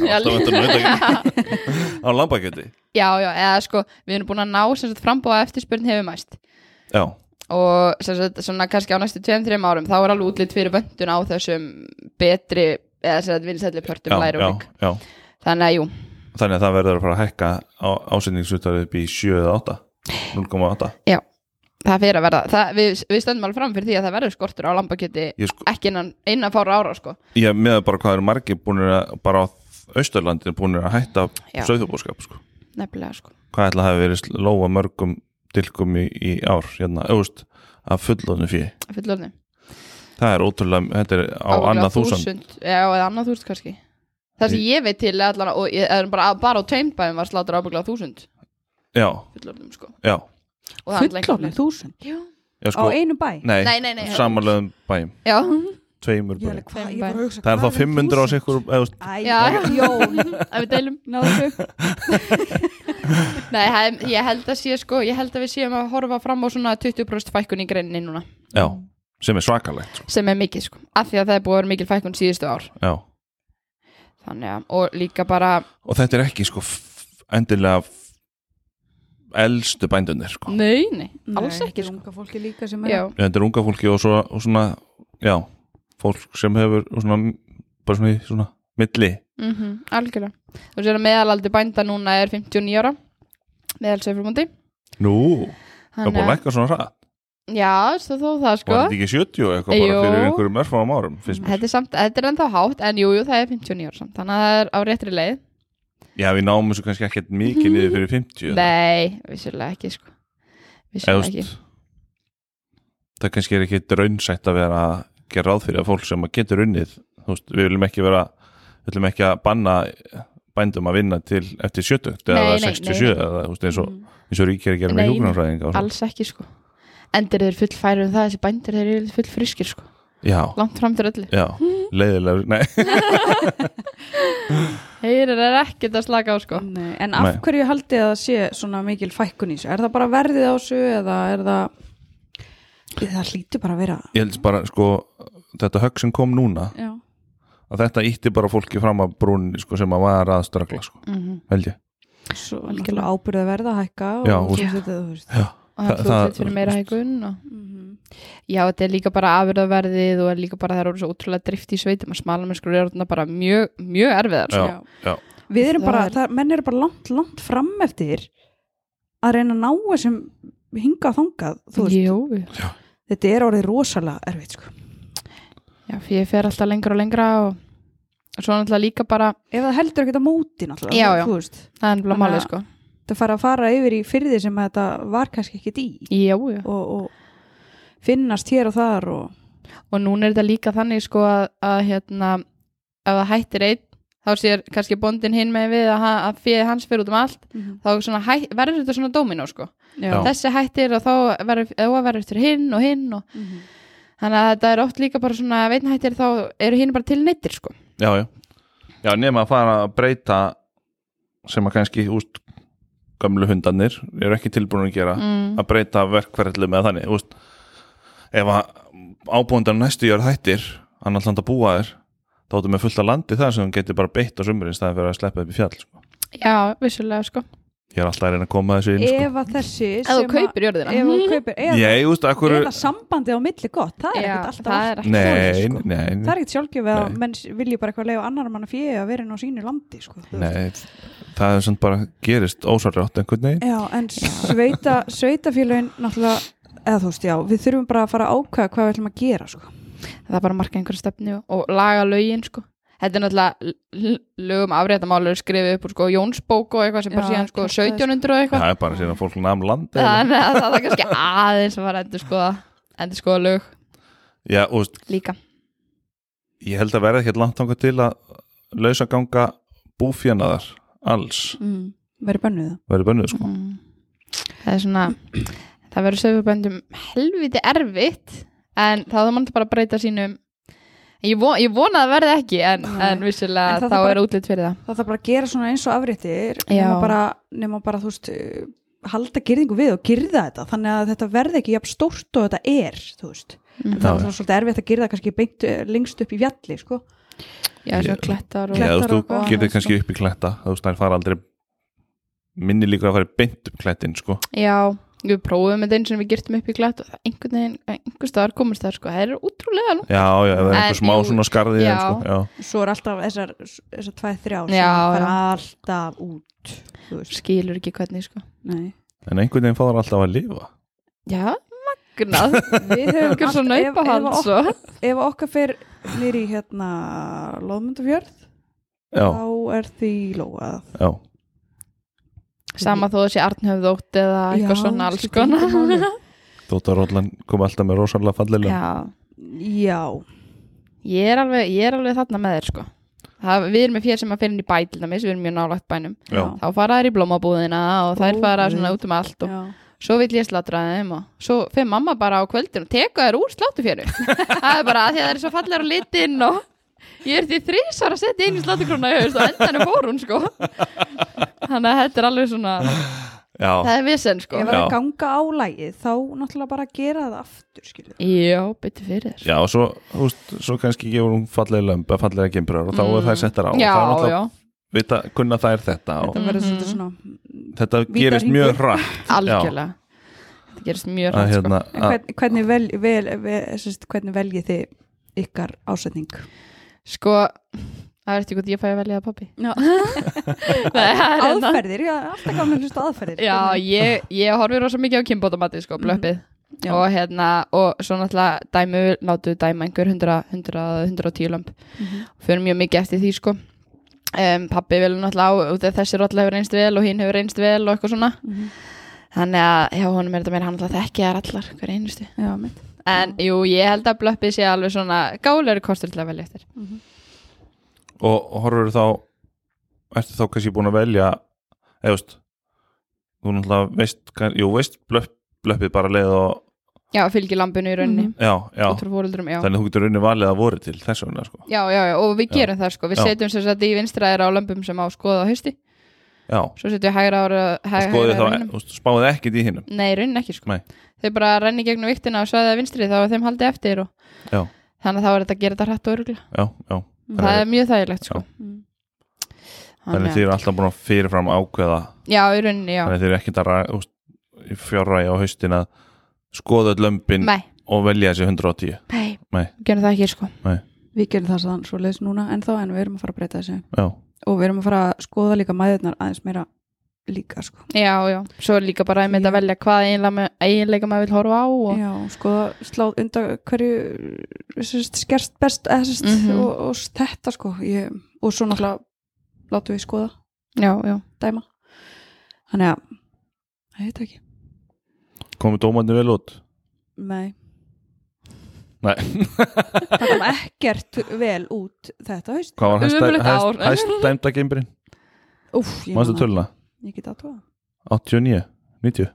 [SPEAKER 2] Alltaf vöndun á nautakjöti Á lambakjöti,
[SPEAKER 3] Já, já, eða sko, við erum búin að ná sem sagt frambóða eftirspurn hefur mæst
[SPEAKER 2] já
[SPEAKER 3] og sem sagt, svona kannski á næstu 2-3 árum þá er alveg útlitt fyrir vöndun á þessum betri eða sem sagt vinsætli pörtum
[SPEAKER 2] já,
[SPEAKER 3] læri og
[SPEAKER 2] já,
[SPEAKER 3] lík
[SPEAKER 2] já.
[SPEAKER 3] þannig að jú,
[SPEAKER 2] Þannig að það verður að fara að hækka á, ásetningsutar upp í 7 eða 8 0,8
[SPEAKER 3] það fyrir að verða það, við, við stöndum alveg fram fyrir því að það verður skortur á lambakjöti
[SPEAKER 2] Ég sko,
[SPEAKER 3] ekki innan, innan fára ára sko
[SPEAKER 2] ég meða bara hvað eru margir búinir að bara á Austurlandin búinir að hætta
[SPEAKER 3] Já.
[SPEAKER 2] söðubúskap sko.
[SPEAKER 3] nefnilega sko
[SPEAKER 2] Hvað ætla að hafa verið lóa mörgum tilkum í, í ár hérna, auðvist, af fullónu fyrir
[SPEAKER 3] fullorðin
[SPEAKER 2] Það er ótrúlega, þetta er á
[SPEAKER 3] Ábyggilega
[SPEAKER 2] annað þúsund
[SPEAKER 3] já, eða annað þúsund kannski það sem ég veit til er allan og ég, er bara, bara á teimbæðum var slátur ábygglega þúsund
[SPEAKER 2] Já,
[SPEAKER 3] fullorðum sko
[SPEAKER 2] já,
[SPEAKER 3] Og það er allan
[SPEAKER 1] Fullofnum
[SPEAKER 3] einhver-
[SPEAKER 1] þúsund
[SPEAKER 3] Já.
[SPEAKER 2] já
[SPEAKER 1] á
[SPEAKER 2] sko,
[SPEAKER 1] einu bæ?
[SPEAKER 2] nei,
[SPEAKER 3] nei, nei, nei
[SPEAKER 2] samanlegum bæjum,
[SPEAKER 3] já,
[SPEAKER 2] tveimur
[SPEAKER 1] Ég er alveg,
[SPEAKER 2] bæjum
[SPEAKER 1] hvað, ég var að hugsa,
[SPEAKER 2] Það er
[SPEAKER 1] hvað
[SPEAKER 2] þá 500 á sikkur, eða, þú veist,
[SPEAKER 1] Æ,
[SPEAKER 3] Já.
[SPEAKER 1] jón,
[SPEAKER 3] að við deilum
[SPEAKER 1] náðu þau
[SPEAKER 3] Nei, það er- ég held að sé sko, ég held að við séum að horfa fram á svona 20% fækkun í greininni núna
[SPEAKER 2] já, sem er svakalegt sko.
[SPEAKER 3] sem er mikið sko, af því að það er búið að vera mikil fækkun síðustu ár,
[SPEAKER 2] Já
[SPEAKER 3] þannig að og líka bara,
[SPEAKER 2] og þetta er ekki sko f- endilega f- elstu bændunir sko.
[SPEAKER 3] nei, nei, alls ekki
[SPEAKER 1] sko
[SPEAKER 3] sko
[SPEAKER 1] Unga fólki líka sem er
[SPEAKER 3] Já,
[SPEAKER 2] þetta er unga fólki og, svo, og svona já, fólk sem hefur og svona, bara svona, í svona milli
[SPEAKER 3] mm algjörlega Þú sér að meðalaldi bænda núna er 59 ára meðal sögfrumóndi
[SPEAKER 2] nú, það er búin að lækka svona rætt
[SPEAKER 3] Já, svo þó það sko
[SPEAKER 2] var þetta ekki 70 og eitthvað bara
[SPEAKER 3] Jú.
[SPEAKER 2] fyrir einhverjum örfáum árum finnst mér.
[SPEAKER 3] Þetta er, samt, þetta er ennþá hátt, en jújú, jú, það er 59 ára samt, þannig að það er á réttri leið
[SPEAKER 2] já, við náum þessu kannski ekkert mikið niður fyrir 50 eða-
[SPEAKER 3] Nei, vissulega ekki sko
[SPEAKER 2] eða,
[SPEAKER 3] Vissulega
[SPEAKER 2] þú
[SPEAKER 3] ekki
[SPEAKER 2] veist, það kannski er ekki draunsætt að vera að gera ráð fyrir að fólk sem getur unnið þú veist, við viljum ekki vera við viljum ekki að banna bændum að vinna til eftir 70 eða
[SPEAKER 3] Nei, nei,
[SPEAKER 2] 67
[SPEAKER 3] nei, nei.
[SPEAKER 2] eða þú veist eins og,
[SPEAKER 3] Mm,
[SPEAKER 2] eins og ríkir að gera með
[SPEAKER 3] Nei,
[SPEAKER 2] hjúgrunarfræðinga og svona.
[SPEAKER 3] alls ekki sko endur þeir full færi um það þessi bændur þeir eru full friskir sko
[SPEAKER 2] Já,
[SPEAKER 3] langt fram til öllu
[SPEAKER 2] já, leiðilegur Nei,
[SPEAKER 3] þeir eru ekkert að slaka á sko
[SPEAKER 1] Nei, en af
[SPEAKER 2] Nei.
[SPEAKER 1] hverju haldið að það sé svona mikil fækkun í þessu? Er það bara verðið á þessu eða er það það hlýtur bara að vera
[SPEAKER 2] ég held bara sko þetta högg sem kom núna
[SPEAKER 1] Já,
[SPEAKER 2] að þetta ítti bara fólki fram að brúninni sko, sem að var að ströggla sko,
[SPEAKER 3] mm -hmm.
[SPEAKER 2] held ég
[SPEAKER 1] svo náttúrulega ábyrða verða að hækka og
[SPEAKER 2] Já,
[SPEAKER 1] og
[SPEAKER 3] já.
[SPEAKER 1] þetta, þú veist
[SPEAKER 2] Já,
[SPEAKER 3] og
[SPEAKER 2] Það-
[SPEAKER 3] það er hlutfett
[SPEAKER 2] það-
[SPEAKER 3] fyrir meira hækun og
[SPEAKER 1] Mhm.
[SPEAKER 3] Já, þetta er líka bara afurðaverðið og er líka bara það eru svo útrúlega drift í sveitum að smalamennskur eru þarna bara mjög, mjög erfiðar sko.
[SPEAKER 2] já, já.
[SPEAKER 1] Við erum
[SPEAKER 3] Það
[SPEAKER 1] bara,
[SPEAKER 3] er-
[SPEAKER 1] það, menn eru bara langt, langt fram eftir að reyna að ná þessum hinga þangað, þú veist
[SPEAKER 3] Jú,
[SPEAKER 1] þetta er orðið rosalega erfitt sko.
[SPEAKER 3] já, fyrir ég fer alltaf lengra og lengra og, og svo náttúrulega líka bara
[SPEAKER 1] ef það heldur ekkert á móti náttúrulega
[SPEAKER 3] Já, já.
[SPEAKER 1] þú veist,
[SPEAKER 3] það er náttúrulega
[SPEAKER 1] Þannig
[SPEAKER 3] málið
[SPEAKER 1] að-
[SPEAKER 3] sko
[SPEAKER 1] það fara að fara yfir í fyrði sem að þetta var kannski ekkert í
[SPEAKER 3] Já, já,
[SPEAKER 1] og, og finnast hér og þar og
[SPEAKER 3] og núna er þetta líka þannig sko að, að hérna, ef það hættir einn þá sér kannski bóndin hinn með við að, ha- að fyrir hans fyrir út um allt þá svona, hæ, verður þetta svona dóminó sko
[SPEAKER 1] Já.
[SPEAKER 3] þessi hættir og þá verður, þá verður fyrir hinn og hinn og þannig að þetta er oft líka bara svona ef einn hættir þá eru hinn bara til neittir sko
[SPEAKER 2] já, já. já nema að fara að breyta sem að kannski úst, gömlu hundarnir eru ekki tilbúin að gera
[SPEAKER 3] mm.
[SPEAKER 2] að breyta verkferðlu með þannig úst, ef að ábúndar næstu jörð hættir annars land að búa þér þá áttu með fullt af landi þar sem þú getur bara beitt á sumurinn staðan fyrir að sleppa upp í fjall sko.
[SPEAKER 3] Já, vissulega sko
[SPEAKER 2] ég er alltaf að reyna að koma þessu inn sko.
[SPEAKER 1] ef að þessi
[SPEAKER 3] Ef þú
[SPEAKER 1] sem að-
[SPEAKER 3] kaupir jörðina Mhm.
[SPEAKER 1] ef þú kaupir eða,
[SPEAKER 2] ég, úst, akkur,
[SPEAKER 1] eða sambandið á milli gott það er
[SPEAKER 3] Já,
[SPEAKER 1] ekkert alltaf
[SPEAKER 3] það er
[SPEAKER 1] allt.
[SPEAKER 3] ekki
[SPEAKER 2] nei,
[SPEAKER 1] sko.
[SPEAKER 2] nei,
[SPEAKER 1] það
[SPEAKER 2] nei,
[SPEAKER 1] er ekkert sjálfgjöf að
[SPEAKER 2] Nei.
[SPEAKER 1] menn vilji bara eitthvað leiða annar mann að fjöða að vera inn á sínu landi sko, þú veist.
[SPEAKER 2] nei það er sem bara gerist ósvarjátt einhvern veginn
[SPEAKER 1] Já, en sveita, sveitafélögin náttúrulega, eða þú veist, já, við þurfum bara að fara að ákvæða hvað við ætlum að gera, sko.
[SPEAKER 3] Það er bara að marka einhverja stefni og, og laga lögin sko Þetta er náttúrulega l- um l- lögum afréttamálu skrifið upp úr sko Jónsbók og eitthvað sem bara
[SPEAKER 1] Já,
[SPEAKER 3] síðan sko
[SPEAKER 1] kjaftaði, sko.
[SPEAKER 3] 1700 og eitthvað
[SPEAKER 2] það er bara síðan að fólk um nam land
[SPEAKER 3] Þannig að það er kannski aðeins að fara að endur skoða endur skoða lög
[SPEAKER 2] já, úst,
[SPEAKER 3] líka
[SPEAKER 2] ég held að verða ekkert langt þangað til að lausa ganga búfjanaðar alls
[SPEAKER 1] Mm.
[SPEAKER 3] Mhm.
[SPEAKER 1] Verið bönnuð það.
[SPEAKER 2] verður bönnuð sko
[SPEAKER 3] mm. Það er svona það verður sögurbændum helviti erfitt en þá þá mann bara að breyta sínum Ég, von, ég vona að það verði ekki en,
[SPEAKER 1] Nei.
[SPEAKER 3] en vissulega
[SPEAKER 1] Ah. En það
[SPEAKER 3] þá
[SPEAKER 1] þarf bara-
[SPEAKER 3] er útlitt fyrir það
[SPEAKER 1] Það þarf bara að gera svona eins og afréttir,
[SPEAKER 3] Já.
[SPEAKER 1] nema bara, nema bara, þú veist, eh, halda gyrðingu við og gyrða þetta, þannig að þetta verði ekki jafn stórt og þetta er, þú veist.
[SPEAKER 3] Mhm.
[SPEAKER 1] En
[SPEAKER 2] Já,
[SPEAKER 1] það er
[SPEAKER 2] já.
[SPEAKER 1] svona svolítið erfitt að gyrða kannski beint eh, lengst upp í fjalli, sko.
[SPEAKER 3] Já, svo
[SPEAKER 2] Ég-
[SPEAKER 3] klettar og
[SPEAKER 2] Já, þú veist,
[SPEAKER 1] Klettar og
[SPEAKER 2] þú
[SPEAKER 1] eitthvað
[SPEAKER 2] getur
[SPEAKER 1] annað,
[SPEAKER 2] kannski upp í kletta þú veist, það fara aldrei minni líka að fara beint upp klettin sko
[SPEAKER 3] Já, við prófum þetta einu sem við girtum upp í glatt og það einhvern veginn, einhver staðar komast það sko, það er útrúlega langt.
[SPEAKER 2] já, já, ef það er
[SPEAKER 3] En
[SPEAKER 2] einhver smá
[SPEAKER 3] jú,
[SPEAKER 2] svona skarði
[SPEAKER 3] já.
[SPEAKER 2] sko. já.
[SPEAKER 1] Svo er alltaf þessar, þessar tvæð, þrjá, sem
[SPEAKER 3] Já,
[SPEAKER 1] fara
[SPEAKER 3] já.
[SPEAKER 1] alltaf út, þú veist.
[SPEAKER 3] skilur ekki hvernig sko.
[SPEAKER 1] Nei.
[SPEAKER 2] en einhvern veginn fá það alltaf að lifa
[SPEAKER 3] Já, magnað.
[SPEAKER 1] Við höfum
[SPEAKER 3] Einhver svo
[SPEAKER 1] allt- ef- ef
[SPEAKER 3] naupahald
[SPEAKER 1] okkur-
[SPEAKER 3] svo.
[SPEAKER 1] ef okkar fer nýri í hérna Lóðmundafjörð
[SPEAKER 2] já,
[SPEAKER 1] þá er því lóað
[SPEAKER 2] já,
[SPEAKER 3] Sama þó þessi Arnhöfð ótt eða eitthvað svona alls konar.
[SPEAKER 2] þóttaróllan kom alltaf með rosalega fallilega
[SPEAKER 3] Já,
[SPEAKER 1] Já,
[SPEAKER 3] ég er alveg, ég er alveg þarna með þér sko. Það, við erum með fér sem að fyrir inn í bæ til dæmis, við erum mjög nálægt bænum.
[SPEAKER 2] já,
[SPEAKER 1] já.
[SPEAKER 3] Þá fara þær í blómabúðina og þær
[SPEAKER 1] Ó,
[SPEAKER 3] fara
[SPEAKER 1] guð.
[SPEAKER 3] svona út um allt og
[SPEAKER 1] já.
[SPEAKER 3] svo vill ég slatra þeim og svo fyrir mamma bara á kvöldin og teka þær úr slátufjöru það er bara að því að það er svo fallar á litinn og ég er því þrísar að setja einu slátukrona í haust og endanum fór hún sko þannig að þetta er alveg svona það
[SPEAKER 2] já.
[SPEAKER 3] er vesen sko
[SPEAKER 1] Ef það er
[SPEAKER 2] Já.
[SPEAKER 1] að ganga álægið þá náttúrulega bara gera það aftur skilur.
[SPEAKER 3] já, byttu fyrir þér
[SPEAKER 2] Já, og svo, þú veist, svo kannski gefur hún fallega lömba, fallega gimbrar og þá er
[SPEAKER 3] Mm.
[SPEAKER 2] það settar á og
[SPEAKER 3] já,
[SPEAKER 2] það er náttúrulega
[SPEAKER 3] já,
[SPEAKER 2] vita, kunna það er þetta og
[SPEAKER 1] Þetta verður
[SPEAKER 3] Mhm.
[SPEAKER 1] svolítið svona
[SPEAKER 2] þetta
[SPEAKER 1] Vítahringur.
[SPEAKER 2] gerist mjög hratt
[SPEAKER 3] algjörlega þetta gerist mjög
[SPEAKER 2] að
[SPEAKER 3] rætt sko
[SPEAKER 2] hérna
[SPEAKER 1] En
[SPEAKER 2] að,
[SPEAKER 1] hvern, hvernig, vel, vel, vel, sérst, hvernig veljið þið ykkar ásetning?
[SPEAKER 3] sko, það er eftir hvort ég fæ að velja að pappi
[SPEAKER 1] Já.
[SPEAKER 3] Nei, það er hérna-
[SPEAKER 1] Aðferðir, já, alltaf gaman að hlusta á aðferðir
[SPEAKER 3] Já,
[SPEAKER 1] Hvernig-
[SPEAKER 3] ég, ég horfi rosa mikið á kimbótamati sko, blöppið
[SPEAKER 1] Já.
[SPEAKER 3] og hérna, og svo náttúrulega dæmu, látu dæma einhver 100, 100, 110 lömp
[SPEAKER 1] Mhm.
[SPEAKER 3] fyrir mjög mikið eftir því sko um, pappi vel náttúrulega á, út af þessi rolla hefur reynst vel og hinn hefur reynst vel og eitthvað svona
[SPEAKER 1] Mhm.
[SPEAKER 3] þannig að hjá honum er þetta meira hann náttúrulega þekki þær allar, hver einustu
[SPEAKER 1] Já, mitt
[SPEAKER 3] en jú, ég held að blöppið sé alveg svona gálegur kostur til að velja eftir
[SPEAKER 2] og, og horfur þá ertu þá kannski búin að velja eða þú veist þú náttúrulega veist, kann- jú veist blöpp, blöppið bara leið og
[SPEAKER 3] já, fylgi lambinu í rauninni
[SPEAKER 1] Mhm.
[SPEAKER 2] já, já,
[SPEAKER 3] út frá fóreldrum, já.
[SPEAKER 2] þannig að þú getur rauninni valið að voru til þess vegna sko,
[SPEAKER 3] já, já, já, og við
[SPEAKER 2] Já.
[SPEAKER 3] gerum það sko við
[SPEAKER 2] Já.
[SPEAKER 3] setjum sem sagt í vinstraðir á lömbum sem á skoða á hausti,
[SPEAKER 2] já
[SPEAKER 3] svo setjum við hægra ára
[SPEAKER 2] og
[SPEAKER 3] hægra
[SPEAKER 2] skoðið
[SPEAKER 3] á
[SPEAKER 2] þá,
[SPEAKER 3] hinnum,
[SPEAKER 2] þú veist, spáðið ekkit í hinnum
[SPEAKER 3] nei, í rauninni ekki sko
[SPEAKER 2] Nei.
[SPEAKER 3] þau bara renni gegnum viktina og svæðið að vinstri þá er þeim haldið eftir og
[SPEAKER 2] Já.
[SPEAKER 3] þannig að þá er þetta að gera þetta hrætt og örugla
[SPEAKER 2] já, já,
[SPEAKER 3] það er mjög þægilegt sko
[SPEAKER 1] Mm.
[SPEAKER 2] þannig að þið eru alltaf búin að fyrirfram ákveða
[SPEAKER 3] já, í rauninni, já,
[SPEAKER 2] þannig að þið eru ekkit að ræ- þú veist, í fjárræja á haustin að skoða öll lömbin
[SPEAKER 3] nei,
[SPEAKER 2] og velja þessi 110
[SPEAKER 3] nei,
[SPEAKER 2] Nei.
[SPEAKER 3] við gerum það ekki sko
[SPEAKER 1] Við gerum það sann svo leys núna en þá en við erum að fara að breyta þessu
[SPEAKER 2] já,
[SPEAKER 1] og við erum að fara að skoða líka mæðurnar aðeins meira líka sko.
[SPEAKER 3] já, já, svo er líka bara einmitt
[SPEAKER 1] Já.
[SPEAKER 3] að velja hvað eiginlega með- eiginleika maður vil horfa á og
[SPEAKER 1] Já, skoða sláð undan hverju sérst, skerst best eða, sérst,
[SPEAKER 3] Mhm.
[SPEAKER 1] og, og þetta sko ég, og svo náttúrulega látum við skoða
[SPEAKER 3] já, já,
[SPEAKER 1] dæma þannig að, það heit ekki
[SPEAKER 2] komið dómandi vel út
[SPEAKER 1] Nei,
[SPEAKER 2] Nei.
[SPEAKER 1] það kom ekkert vel út þetta haust
[SPEAKER 2] hvað var
[SPEAKER 3] Ömurlegt ár.
[SPEAKER 2] hæst- hæst dæmda geimbrinn
[SPEAKER 1] Úf, ég,
[SPEAKER 2] mannstu
[SPEAKER 1] man það.
[SPEAKER 2] töluna,
[SPEAKER 1] ég get aðtóa
[SPEAKER 2] 89, 90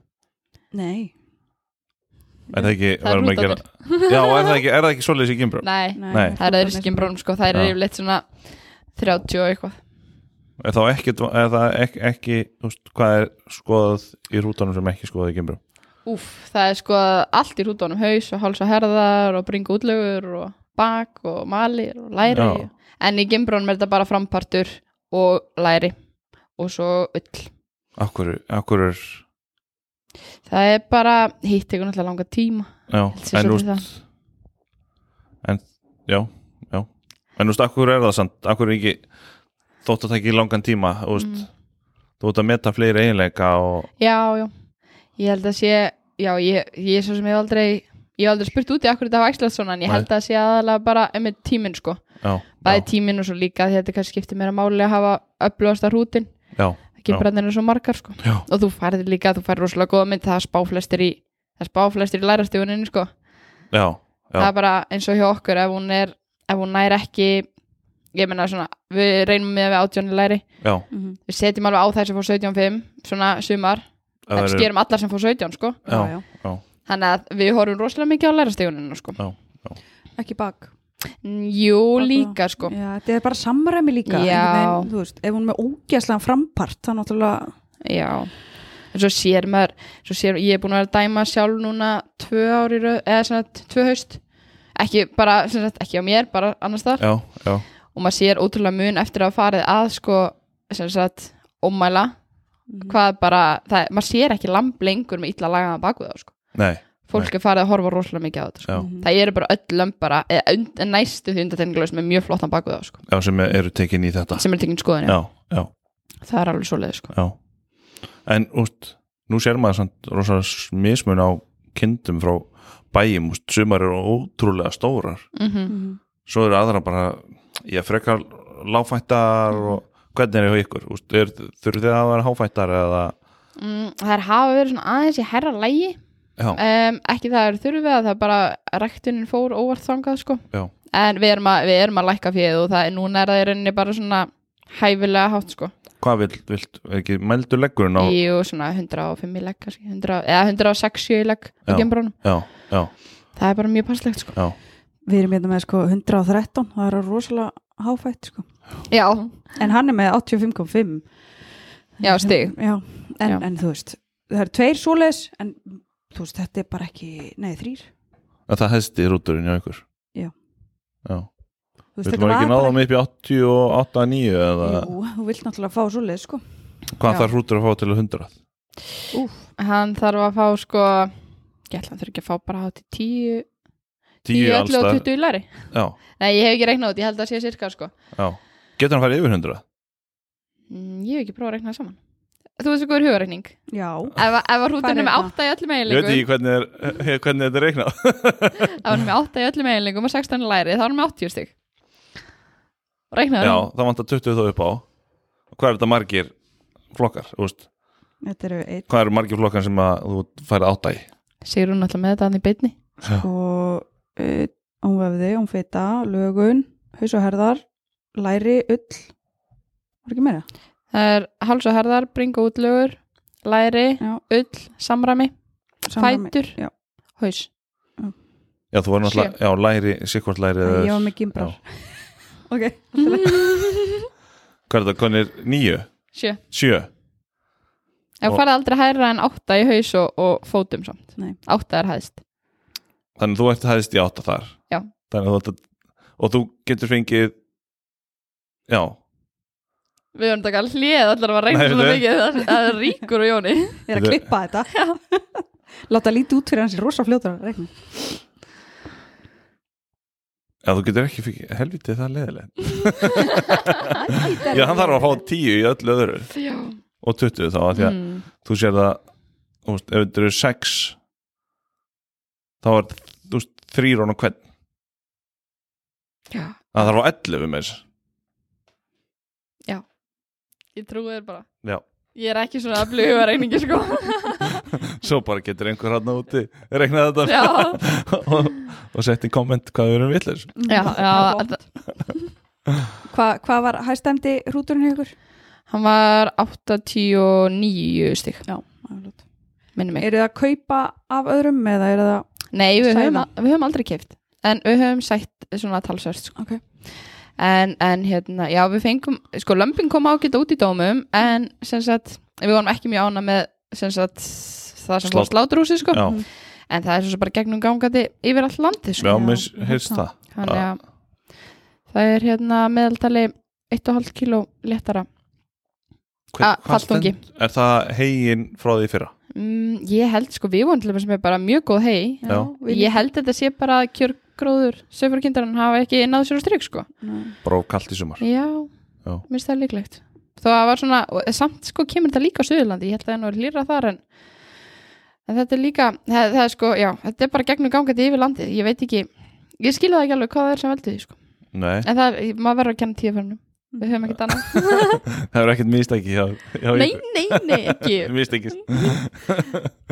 [SPEAKER 1] Nei,
[SPEAKER 2] er það ekki,
[SPEAKER 3] það
[SPEAKER 2] verðum
[SPEAKER 3] er
[SPEAKER 2] að gera
[SPEAKER 3] rútatir
[SPEAKER 2] já, er það ekki, er það ekki svoleiðis í geimbrinn
[SPEAKER 3] nei,
[SPEAKER 2] Nei.
[SPEAKER 3] það er öðru skimbrón sko, það er
[SPEAKER 2] Já.
[SPEAKER 3] yfirleitt svona 30 og eitthvað
[SPEAKER 2] er þá ekki, er það ekki, ekki þú veist, hvað er skoðað í rútanum sem ekki skoðað í geimbrinn
[SPEAKER 3] Úf, það er sko allt í rútunum haus og háls og herðar og bringu útlögur og bak og malir og læri
[SPEAKER 2] Já.
[SPEAKER 3] en í gimbrónum er þetta bara frampartur og læri og svo ull
[SPEAKER 2] akkur, akkur er
[SPEAKER 3] það er bara, hitt tekur náttúrulega langa tíma
[SPEAKER 2] já,
[SPEAKER 3] Held sé
[SPEAKER 2] en þú
[SPEAKER 3] svolítið
[SPEAKER 2] veist en, já, já en þú veist, akkur er það samt akkur er ekki, þótt að það ekki langan tíma þú veist,
[SPEAKER 3] Mm.
[SPEAKER 2] þú veist að meta fleiri eiginleika og
[SPEAKER 3] já, já, ég held að sé já, ég, ég er svo sem ég hef aldrei ég hef aldrei spurt út í akkur þetta hafa æxlast svona en ég
[SPEAKER 2] Nei.
[SPEAKER 3] held að sé aðalega bara með tíminn sko,
[SPEAKER 2] já,
[SPEAKER 3] bæði
[SPEAKER 2] já,
[SPEAKER 3] tíminn og svo líka því að þetta kannski skiptir meira máli að hafa upplöðasta hrútin,
[SPEAKER 2] já, Já.
[SPEAKER 3] gimbrónir er svo margar sko
[SPEAKER 2] já,
[SPEAKER 3] og þú færði líka, þú færði rosalega góða mynd það spá flestir í, það spá flestir í lærastífuninni sko,
[SPEAKER 2] já, Já.
[SPEAKER 3] það er bara eins og hjá okkur ef hún er, ef hún nær ekki ég meina svona, við reynum með við átjónu læri,
[SPEAKER 2] já
[SPEAKER 1] mm -hmm.
[SPEAKER 3] við setjum alveg á þær sem fór 17.5, svona sumar
[SPEAKER 2] ef það
[SPEAKER 3] en
[SPEAKER 2] eru-
[SPEAKER 3] skerum allar sem fór 17 sko
[SPEAKER 2] já,
[SPEAKER 1] já.
[SPEAKER 3] þannig að við horfum rosalega mikið á lærastífuninu sko,
[SPEAKER 1] ekki bak
[SPEAKER 3] Mm, jú
[SPEAKER 1] Bara-
[SPEAKER 3] líka sko
[SPEAKER 1] Já, þetta er bara samræmi líka
[SPEAKER 3] Já.
[SPEAKER 1] einhvern veginn, þú veist, ef hún er með ógeðslega frampart þá náttúrulega
[SPEAKER 3] Já, en svo sér maður svo sér, ég er búin að vera að dæma sjálf núna tvö ári, eða svona tvö haust ekki bara, sem sagt, ekki á mér bara annars þar
[SPEAKER 2] já, já,
[SPEAKER 3] og maður sér ótrúlega mun eftir að hafa farið að sko, sem sagt, ómæla hvað bara, það, maður sér ekki lamb lengur með illa lagaðan baku það sko.
[SPEAKER 2] nei
[SPEAKER 3] fólk er farið að horfa rosalega mikið á þetta sko.
[SPEAKER 2] já,
[SPEAKER 1] Mhm.
[SPEAKER 3] það eru bara öll lömb bara, eða und, næstu því undatenglaus með mjög flottan baku það sko,
[SPEAKER 2] já, sem eru tekin í þetta
[SPEAKER 3] sem er tekinn skoðin
[SPEAKER 2] já, já,
[SPEAKER 3] það er alveg svoleið sko.
[SPEAKER 2] já en úst, nú sér maður samt rosa mismun á kindum frá bæjum, úst, sumar eru ótrúlega stórar
[SPEAKER 3] mm
[SPEAKER 1] Mhm.
[SPEAKER 2] svo eru aðra bara ég frekar láfættar og hvernig er það hjá ykkur, úst, er, þurfið þið að vera háfættar eða,
[SPEAKER 3] mm, það er hafa verið svona aðeins í herra lægi
[SPEAKER 2] já,
[SPEAKER 3] um, ekki það er þurfið að það er bara rektunin fór óvart þangað sko.
[SPEAKER 2] Já.
[SPEAKER 3] en við erum, að, við erum að lækka fjöð og það er núna er það í rauninni bara svona hæfilega hátt sko.
[SPEAKER 2] hvað vilt, vilt er ekki meldu leggurinn á,
[SPEAKER 3] í og svona 105 í legg kannski, 100, eða 160 í legg á
[SPEAKER 2] Já.
[SPEAKER 3] gembrónum,
[SPEAKER 2] já, já,
[SPEAKER 3] það er bara mjög passlegt sko.
[SPEAKER 2] já
[SPEAKER 1] við erum hérna með sko 113 það er rosalega háfætt sko
[SPEAKER 3] já,
[SPEAKER 1] en hann er með 85,5
[SPEAKER 3] já stig
[SPEAKER 1] já. En,
[SPEAKER 3] Já.
[SPEAKER 1] en þú veist, það eru tveir svoleiðis en þú veist, þetta er bara ekki nei, þrýr
[SPEAKER 2] að það hefst í rúturinn hjá ykkur
[SPEAKER 1] Já.
[SPEAKER 2] já,
[SPEAKER 1] þú
[SPEAKER 2] við vilt maður ekki náða mig upp í 88 að 9 eða
[SPEAKER 1] Jú, þú vilt náttúrulega fá svoleiðis sko
[SPEAKER 2] Hvað
[SPEAKER 3] Já.
[SPEAKER 2] þarf hrútur að fá til 100?
[SPEAKER 3] hann þarf að fá sko ég ætla að þurfa ekki að fá bara hátt í 10
[SPEAKER 2] 10
[SPEAKER 3] 11 og
[SPEAKER 2] allstað
[SPEAKER 3] 20 í læri
[SPEAKER 2] já,
[SPEAKER 3] nei, ég hef ekki reiknað út, ég held að það sé cirka sko.
[SPEAKER 2] já. Getur hann að fara yfir 100?
[SPEAKER 3] Mm, ég hef ekki prófað að reikna það saman þú veist ekki hvað er hugareikning
[SPEAKER 1] já,
[SPEAKER 3] ef, ef að
[SPEAKER 1] Hvað er
[SPEAKER 3] rútan er með
[SPEAKER 1] þetta?
[SPEAKER 3] 8 í öllum
[SPEAKER 2] Ég veit
[SPEAKER 3] eiginleikum
[SPEAKER 2] ekki hvernig, er, hvernig þetta er reiknað
[SPEAKER 3] ef hann er með 8 í öllum eiginleikum og 16 í læri þá er hann með 80 stig reiknaður
[SPEAKER 2] Já, það vantar 20 þó upp á Hvað er þetta margir flokkar? þú veist?
[SPEAKER 1] þetta eru eitt
[SPEAKER 2] Hvað eru margir flokkar sem að þú færi átta í?
[SPEAKER 3] Sigrún alltaf með þetta hann í beinni
[SPEAKER 1] og uh, ómvefði, ómfita, lögun haus og herðar, læri, ull var ekki meira
[SPEAKER 3] það er háls og herðar, bringa útlögur læri,
[SPEAKER 1] Já.
[SPEAKER 3] ull, samrami
[SPEAKER 1] Samræmi-
[SPEAKER 3] fætur,
[SPEAKER 1] já.
[SPEAKER 3] haus
[SPEAKER 2] Já, þú var náttúrulega, já, læri, sikkvort læri
[SPEAKER 1] Æ,
[SPEAKER 2] eða-
[SPEAKER 1] ég var með gimbrar
[SPEAKER 2] Já.
[SPEAKER 1] ok,
[SPEAKER 2] Hvað er þetta, hvernig er nýju?
[SPEAKER 3] sjö,
[SPEAKER 2] Sjö?
[SPEAKER 3] ef
[SPEAKER 2] Og-
[SPEAKER 3] farið aldrei hærra en átta í haus og, og fótum samt
[SPEAKER 1] Nei.
[SPEAKER 3] átta er hæðst,
[SPEAKER 2] Þannig að þú ert hæðist í átta þar
[SPEAKER 3] Já.
[SPEAKER 2] Þannig að þú ert að, og þú getur fengið Já,
[SPEAKER 3] við vorum taka hlið allar að reyna
[SPEAKER 2] Nei,
[SPEAKER 3] svona
[SPEAKER 2] nei.
[SPEAKER 3] mikið það- það er ríkur og Jóni
[SPEAKER 1] ég er að
[SPEAKER 2] Þetta-
[SPEAKER 1] klippa þetta láta lítið út fyrir hans í rosa fljótur að reikna.
[SPEAKER 2] já þú getur ekki fengið Helviti það er leðileg Já, hann þarf að fá tíu í öllu öðru
[SPEAKER 3] já,
[SPEAKER 2] og 20 þá, af því að
[SPEAKER 3] mm.
[SPEAKER 2] þú sér það þú veist, ef þetta eru 6 þá er þú veist, þrýr án og hvern
[SPEAKER 3] já.
[SPEAKER 2] það þarf á 11 með þess
[SPEAKER 3] ég trúi þér bara
[SPEAKER 2] Já.
[SPEAKER 3] ég er ekki svona að blu hugarreiningi sko
[SPEAKER 2] svo bara getur einhver hann úti reiknað
[SPEAKER 3] já,
[SPEAKER 2] þetta og, og sett í komment hvað við erum villir
[SPEAKER 3] já,
[SPEAKER 1] Það
[SPEAKER 3] já
[SPEAKER 1] var flott. Hva- hvað var hæstæmdi hrúturinn hjá ykkur?
[SPEAKER 3] hann var 89 stík
[SPEAKER 1] já,
[SPEAKER 3] minnum mig
[SPEAKER 1] eru það að kaupa af öðrum eða eru það
[SPEAKER 3] Nei, við höfum,
[SPEAKER 1] Sæla.
[SPEAKER 3] við höfum aldrei keift En við höfum sætt svona talsvörst sko.
[SPEAKER 1] Ok.
[SPEAKER 3] en, en hérna, já við fengum Sko, lömpin kom ágætt út í dómum En sem sagt, við vorum ekki mjög ána með Sem sagt, það sem
[SPEAKER 2] Slát-
[SPEAKER 3] var sláturhúsi sko.
[SPEAKER 2] já,
[SPEAKER 3] En það er svo sem bara gegnum gangandi Yfir allt
[SPEAKER 2] já,
[SPEAKER 3] landið sko.
[SPEAKER 2] mér heyrst það
[SPEAKER 3] Þannig að það er hérna meðaltali 1,5 kíló léttara
[SPEAKER 2] Hver-
[SPEAKER 3] Ah, fallþungi.
[SPEAKER 2] stend- er það hegin frá því í fyrra
[SPEAKER 3] mm, Ég held, sko, við vorum til þess með bara mjög góð hei
[SPEAKER 2] Já.
[SPEAKER 1] við
[SPEAKER 3] Ég held þetta sé bara að kjörgróður Söfurkindarinn hafa ekki náð sér á strik sko.
[SPEAKER 1] Nei.
[SPEAKER 2] bara of kalt í sumar
[SPEAKER 3] Já,
[SPEAKER 2] Já.
[SPEAKER 3] minnst það líklegt Þó að það var svona, og samt sko kemur þetta líka á Suðurlandi, ég held að það nú er hlýra þar en, en þetta er líka það, það er sko, já, þetta er bara gegnum gangandi yfir landið, ég veit ekki ég skilja það ekki alveg hvað það er sem veldi því sko
[SPEAKER 2] nei,
[SPEAKER 3] en það, er, maður verður að kenna tíðaförnum við höfum ekkert annað,
[SPEAKER 2] það er ekkert mistæki hjá, hjá
[SPEAKER 3] nei, nei, nei, ekki
[SPEAKER 2] mistæki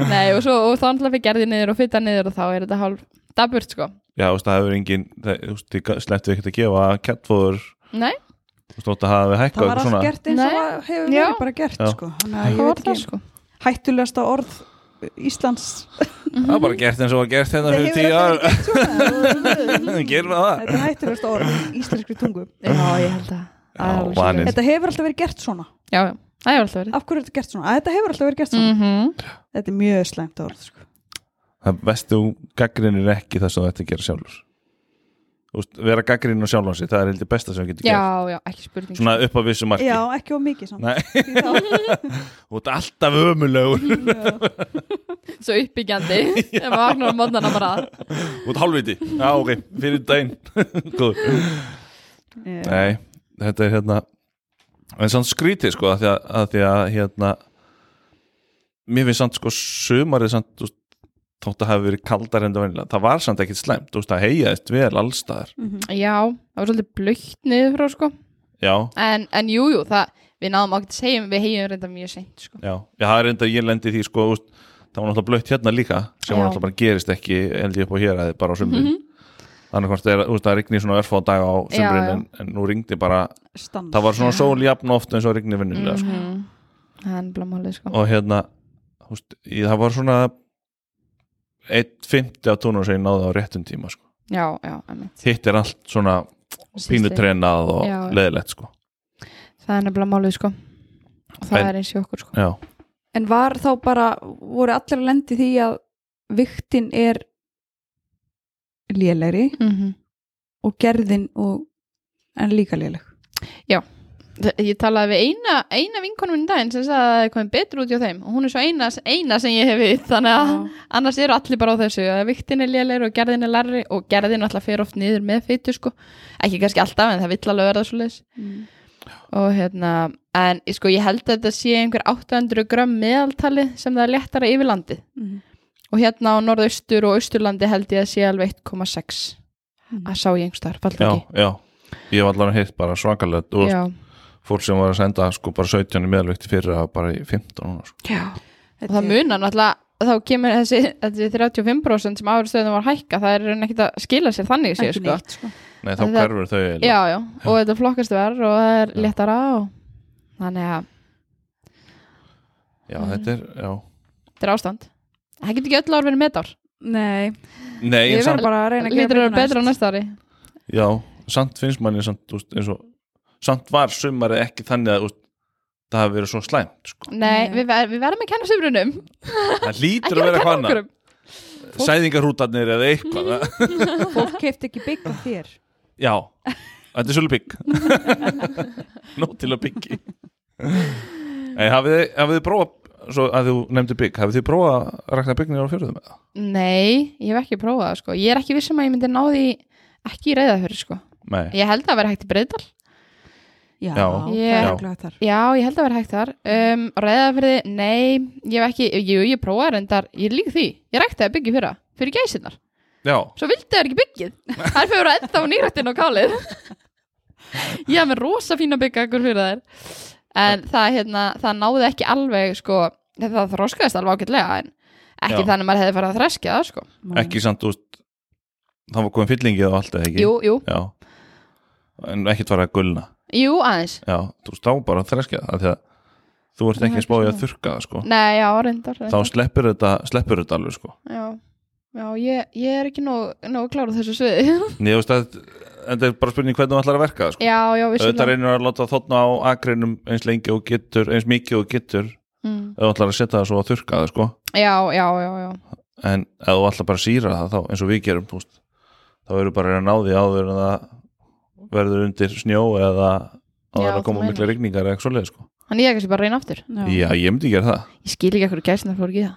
[SPEAKER 3] nei, og, svo, og þá náttúrulega við gerði niður og fyrta niður og þá er þetta hálf daburt sko
[SPEAKER 2] já, þú veist, það hefur engin það- þú veist, þið slepptið ekkert að gefa kettfóður
[SPEAKER 3] Nei.
[SPEAKER 2] þú veist, þótt að hafa
[SPEAKER 1] það var
[SPEAKER 2] hækkað eitthvað
[SPEAKER 1] allt
[SPEAKER 2] svona.
[SPEAKER 1] gert eins og
[SPEAKER 3] Nei.
[SPEAKER 1] það hefur
[SPEAKER 3] Já.
[SPEAKER 1] verið bara gert
[SPEAKER 2] Já.
[SPEAKER 1] sko. þannig að ég
[SPEAKER 3] hvað var
[SPEAKER 1] veit
[SPEAKER 3] það
[SPEAKER 1] ekki
[SPEAKER 3] sko
[SPEAKER 1] hættulegasta orð Íslands
[SPEAKER 2] það var bara gert eins og var gert hérna fyrir tíu
[SPEAKER 1] alltaf
[SPEAKER 2] ár
[SPEAKER 1] verið gert svona
[SPEAKER 2] gerum við það
[SPEAKER 1] þetta er hættulegasta orð í íslenskri tungu
[SPEAKER 3] já, ég held að það er
[SPEAKER 2] Já,
[SPEAKER 3] alveg
[SPEAKER 2] vaninn.
[SPEAKER 3] svoleiðis.
[SPEAKER 1] þetta hefur alltaf verið gert svona
[SPEAKER 3] já, já, það er alltaf verið
[SPEAKER 1] af hverju er þetta gert svona? Að þetta hefur alltaf verið gert svona
[SPEAKER 3] Mhm.
[SPEAKER 1] þetta er mjög slæmt orð sko.
[SPEAKER 2] það vestu gaggrinir ekki það sem þetta gera sjálfur Þú veist, vera gaggrinir á sjálfansi það er heldur besta sem þú getur gert
[SPEAKER 3] já, já, ekki spurning
[SPEAKER 2] svona upp á vissu marki
[SPEAKER 1] já, ekki of mikið samt
[SPEAKER 2] Nei.
[SPEAKER 1] Því þá-
[SPEAKER 2] þú ert alltaf ömulegur
[SPEAKER 1] Já.
[SPEAKER 3] svo uppbyggjandi ef maður vaknar á mótnana bara
[SPEAKER 2] þú ert halvviti já ok fyrir daginn góð
[SPEAKER 1] Já.
[SPEAKER 2] nei þetta er hérna en samt skrítið sko að því að, að, því að hérna mér finnst samt sko sumarið samt þú veist, þótt að hafa verið kaldar en það venilega það var samt ekkit slæmt þú veist það heiaðist vel allstaðar
[SPEAKER 1] Mhm.
[SPEAKER 3] já, það var svolítið blökt niður frá sko
[SPEAKER 2] já
[SPEAKER 3] en, en jú, jú, það, við náðum ákveð að segja við hegjum reynda mjög seint sko
[SPEAKER 2] Já, já það er enda ég lendi í því sko, úst, það var náttúrulega blött hérna líka sem var
[SPEAKER 3] Já.
[SPEAKER 2] náttúrulega bara gerist ekki held ég upp á hér að bara á sömrin mm -hmm. þannig hvort er, úst, það rigni svona örfá dag á
[SPEAKER 3] Mhm. Já,
[SPEAKER 2] sömrin
[SPEAKER 3] já.
[SPEAKER 2] en, en nú rigndi bara
[SPEAKER 1] Stans.
[SPEAKER 2] það var svona sól jafn oft eins og rigni vinnulega sko.
[SPEAKER 3] Mhm. það er bara málið sko
[SPEAKER 2] og hérna úst, í, það var svona 1.50 af tónum sem ég náði á réttum tíma sko.
[SPEAKER 3] já, já, emmi
[SPEAKER 2] hitt er allt svona pínutrenað og
[SPEAKER 3] Já, já.
[SPEAKER 2] leðilegt sko.
[SPEAKER 3] það er nefnilega málið sko og það
[SPEAKER 2] En-
[SPEAKER 3] er eins í okkur sko
[SPEAKER 2] já,
[SPEAKER 1] en var þá bara voru allir að lendi því að viktin er lélegri
[SPEAKER 3] Mhm.
[SPEAKER 1] og gerðin og en líka léleg
[SPEAKER 3] Það- Ég talaði við eina, eina vinkonum minn í daginn sem sagði að það er komið betur út hjá þeim og hún er svo eina, eina sem ég hef við þannig að annars eru allir bara á þessu að viktin er lélegri og gerðin er larri og gerðin alltaf fer oft niður með fytu sko ekki kannski alltaf en það vill alveg verða svo
[SPEAKER 1] Mm.
[SPEAKER 3] og hérna en sko ég held að þetta sé einhver 800 grömm meðaltali sem það er léttara yfir landið
[SPEAKER 1] Mhm.
[SPEAKER 3] og hérna á norðaustur og austurlandi held ég að sé alveg 1,6
[SPEAKER 1] Mhm.
[SPEAKER 3] að sá ég einhverstaðar, falla
[SPEAKER 2] já,
[SPEAKER 3] ekki
[SPEAKER 2] já ég var allavega hitt bara svakalegt og
[SPEAKER 3] já,
[SPEAKER 2] fólk sem var að senda sko bara 17 í meðalvökti fyrir að bara í 15 núna sko.
[SPEAKER 3] já og það munar náttúrulega þá kemur þessi, þessi 35% sem áriðstöðum var hækka, það er í raun ekkert að skila sér þannig sér
[SPEAKER 1] ekki
[SPEAKER 3] sko
[SPEAKER 1] neitt sko.
[SPEAKER 2] Nei, þá
[SPEAKER 3] Það-
[SPEAKER 2] hverfur þau eiginlega.
[SPEAKER 3] já, já, og þetta flokkast verð og það er léttara og þannig að
[SPEAKER 2] já,
[SPEAKER 3] Mm.
[SPEAKER 2] þetta er, já
[SPEAKER 3] þetta er ástand það getur ekki öll ár verið metár
[SPEAKER 1] Nei,
[SPEAKER 2] Nei,
[SPEAKER 1] ég
[SPEAKER 2] en
[SPEAKER 1] verð
[SPEAKER 2] samt,
[SPEAKER 1] bara að reyna að
[SPEAKER 3] lítur að
[SPEAKER 1] gera
[SPEAKER 3] vera betra á næsta ári
[SPEAKER 2] já, samt finnst manni samt, þú veist, eins og samt var sumarið ekki þannig að þú veist, það hafi verið svo slæmt, sko
[SPEAKER 3] nei,
[SPEAKER 1] Nei.
[SPEAKER 3] við, ver, við verðum að kenna sömrunum
[SPEAKER 2] það lítur
[SPEAKER 3] ekki
[SPEAKER 2] að vera
[SPEAKER 3] að kenna
[SPEAKER 2] hvaðna
[SPEAKER 3] okkurum
[SPEAKER 2] sæðingarhútarnir eða eitthvað það-
[SPEAKER 1] Fólk keift ekki bygg af þér
[SPEAKER 2] já, þetta er svolítið bygg nóg til að byggi Nei, hafið þið- hafið þið prófað svo að þú nefndi bygg, hafið þið prófað að rækna byggnir á fjörðum eða?
[SPEAKER 3] um- nei, ég hef ekki prófað það, sko. ég er ekki vissum að ég myndi ná því ekki í reyðafjörð sko.
[SPEAKER 2] Nei,
[SPEAKER 3] ég held að vera hægt í breyðdal
[SPEAKER 1] Já,
[SPEAKER 2] Já.
[SPEAKER 1] það
[SPEAKER 3] Já.
[SPEAKER 1] er okkur hægt þar
[SPEAKER 3] Já, ég held að vera hægt þar um, Ræðafyrði, nei, ég hef ekki Jú, ég prófaði reyndar, ég lík því Ég ræktaði að byggja fyrra, fyrir gæsinnar
[SPEAKER 2] já,
[SPEAKER 3] Svo vildi það ekki byggið Það er fyrir að enda á nýrættin og kálið Ég hef með rosa fína byggja ykkur fyrir þær En það, hérna, það náði ekki alveg sko, Það þroskaðist alveg ágætlega En ekki
[SPEAKER 2] Já.
[SPEAKER 3] þannig að maður hefði farið að þreskja það sko.
[SPEAKER 2] ekki samt þú veist, það var komin fyllingi og allt eða ekki
[SPEAKER 3] Jú, jú,
[SPEAKER 2] já, en ekkert var að gulna
[SPEAKER 3] jú, aðeins
[SPEAKER 2] já, þú stá bara að þreskja það af því að þú ert
[SPEAKER 3] Já,
[SPEAKER 2] ekki
[SPEAKER 3] ekki
[SPEAKER 2] spáðið að
[SPEAKER 3] svona.
[SPEAKER 2] þurrka það sko
[SPEAKER 3] Nei, já, reyndar,
[SPEAKER 2] þá
[SPEAKER 3] reyndar.
[SPEAKER 2] sleppur þetta, sleppur þetta alveg sko
[SPEAKER 3] Já, já ég, ég er ekki nóg, nóg klára þessu sviði
[SPEAKER 2] Nei, þú veist að þetta er bara spurning hvernig þú ætlar að verka það sko
[SPEAKER 3] Já, já,
[SPEAKER 2] auðvitað
[SPEAKER 3] vissulega
[SPEAKER 2] reynir að láta þóttna á akrinum eins lengi og getur, eins mikið og getur ef
[SPEAKER 3] mm.
[SPEAKER 2] þú ætlar að setja það svo að þurrka það sko
[SPEAKER 3] Já, já, já, já.
[SPEAKER 2] en ef þú ætlar bara að síra það þá eins og við gerum, þú veist þá verður bara að reyna að ná því áður en það verður undir snjó eða áður
[SPEAKER 3] Já,
[SPEAKER 2] en að
[SPEAKER 3] þú
[SPEAKER 2] koma
[SPEAKER 3] meinar.
[SPEAKER 2] mikla rigningar eða eitthvað svoleið sko
[SPEAKER 3] Þannig ég er kannski bara að reyna aftur.
[SPEAKER 2] Já, ég myndi gera það
[SPEAKER 3] Ég skil ekki ekkur gæsina fór ekki í það.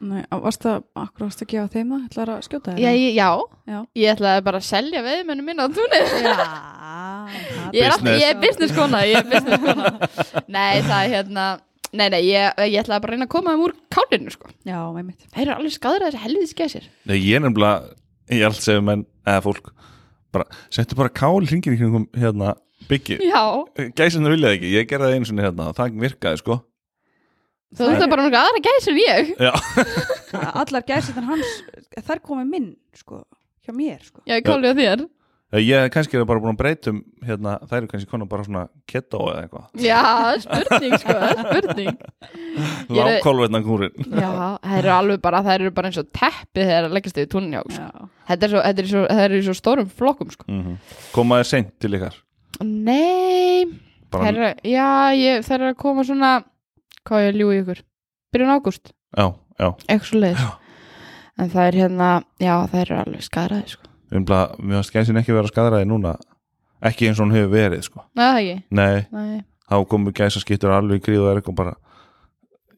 [SPEAKER 1] Nei, á- varstu að, akkur varstu að gefa þeim það? Ætlar að skjóta þeim?
[SPEAKER 3] Já, ég, já.
[SPEAKER 1] Já.
[SPEAKER 3] ég ætlaði bara að selja veðmennu minna á túnið.
[SPEAKER 1] Já,
[SPEAKER 3] Ég er, alltaf,
[SPEAKER 2] Business.
[SPEAKER 3] ég er business kona, ég er business kona. nei, það er hérna, nei, nei, ég, ég ætlaði bara að reyna að koma þeim úr kálinu, sko.
[SPEAKER 1] Já, með mitt
[SPEAKER 3] Þeir eru alveg skadraði þessi helviðis gæsir.
[SPEAKER 2] Nei, ég er nefnilega, ég er allt segja menn eða fólk, bara, settu bara kál hringir í kringum hérna byggi
[SPEAKER 3] Já.
[SPEAKER 2] gæsinu viljaði ekki, ég gerði það einu sinni hérna það virkaði sko
[SPEAKER 3] Þú veist það bara nokkuð aðra gæsir en ég.
[SPEAKER 2] Já,
[SPEAKER 1] Allar gæsirnar hans, þær komið minn, sko, hjá mér, sko
[SPEAKER 3] Já, ég kálið á þér.
[SPEAKER 2] ég kannski er bara búin að breyta um hérna, það eru kannski konar bara svona keto eða eitthvað,
[SPEAKER 3] Já, spurning, sko, spurning. Ég er-
[SPEAKER 2] lágkólvetna kúrin
[SPEAKER 3] Já, það eru alveg bara, það eru bara eins og teppið þegar að leggjast yfir túninu, sko.
[SPEAKER 1] Já,
[SPEAKER 3] Þetta er svo, þetta er svo, það eru í svo stórum flokkum, sko.
[SPEAKER 2] mm -hmm. komaði seint til ykkar
[SPEAKER 3] Nei,
[SPEAKER 2] bara,
[SPEAKER 3] þeir, eru- já, ég, þeir eru að koma svona hvað á ég að ljúi ykkur byrjun ágúst,
[SPEAKER 2] já, já,
[SPEAKER 3] eitthvað svo leiðis en það er hérna, já það eru alveg skaraði sko.
[SPEAKER 2] umla, mér varst gæsin ekki vera skadraði núna, ekki eins og hún hefur verið sko,
[SPEAKER 3] Nei, það ekki
[SPEAKER 2] nei
[SPEAKER 3] Nei.
[SPEAKER 2] þá komu gæsaskittur alveg í gríð og er eitthvað bara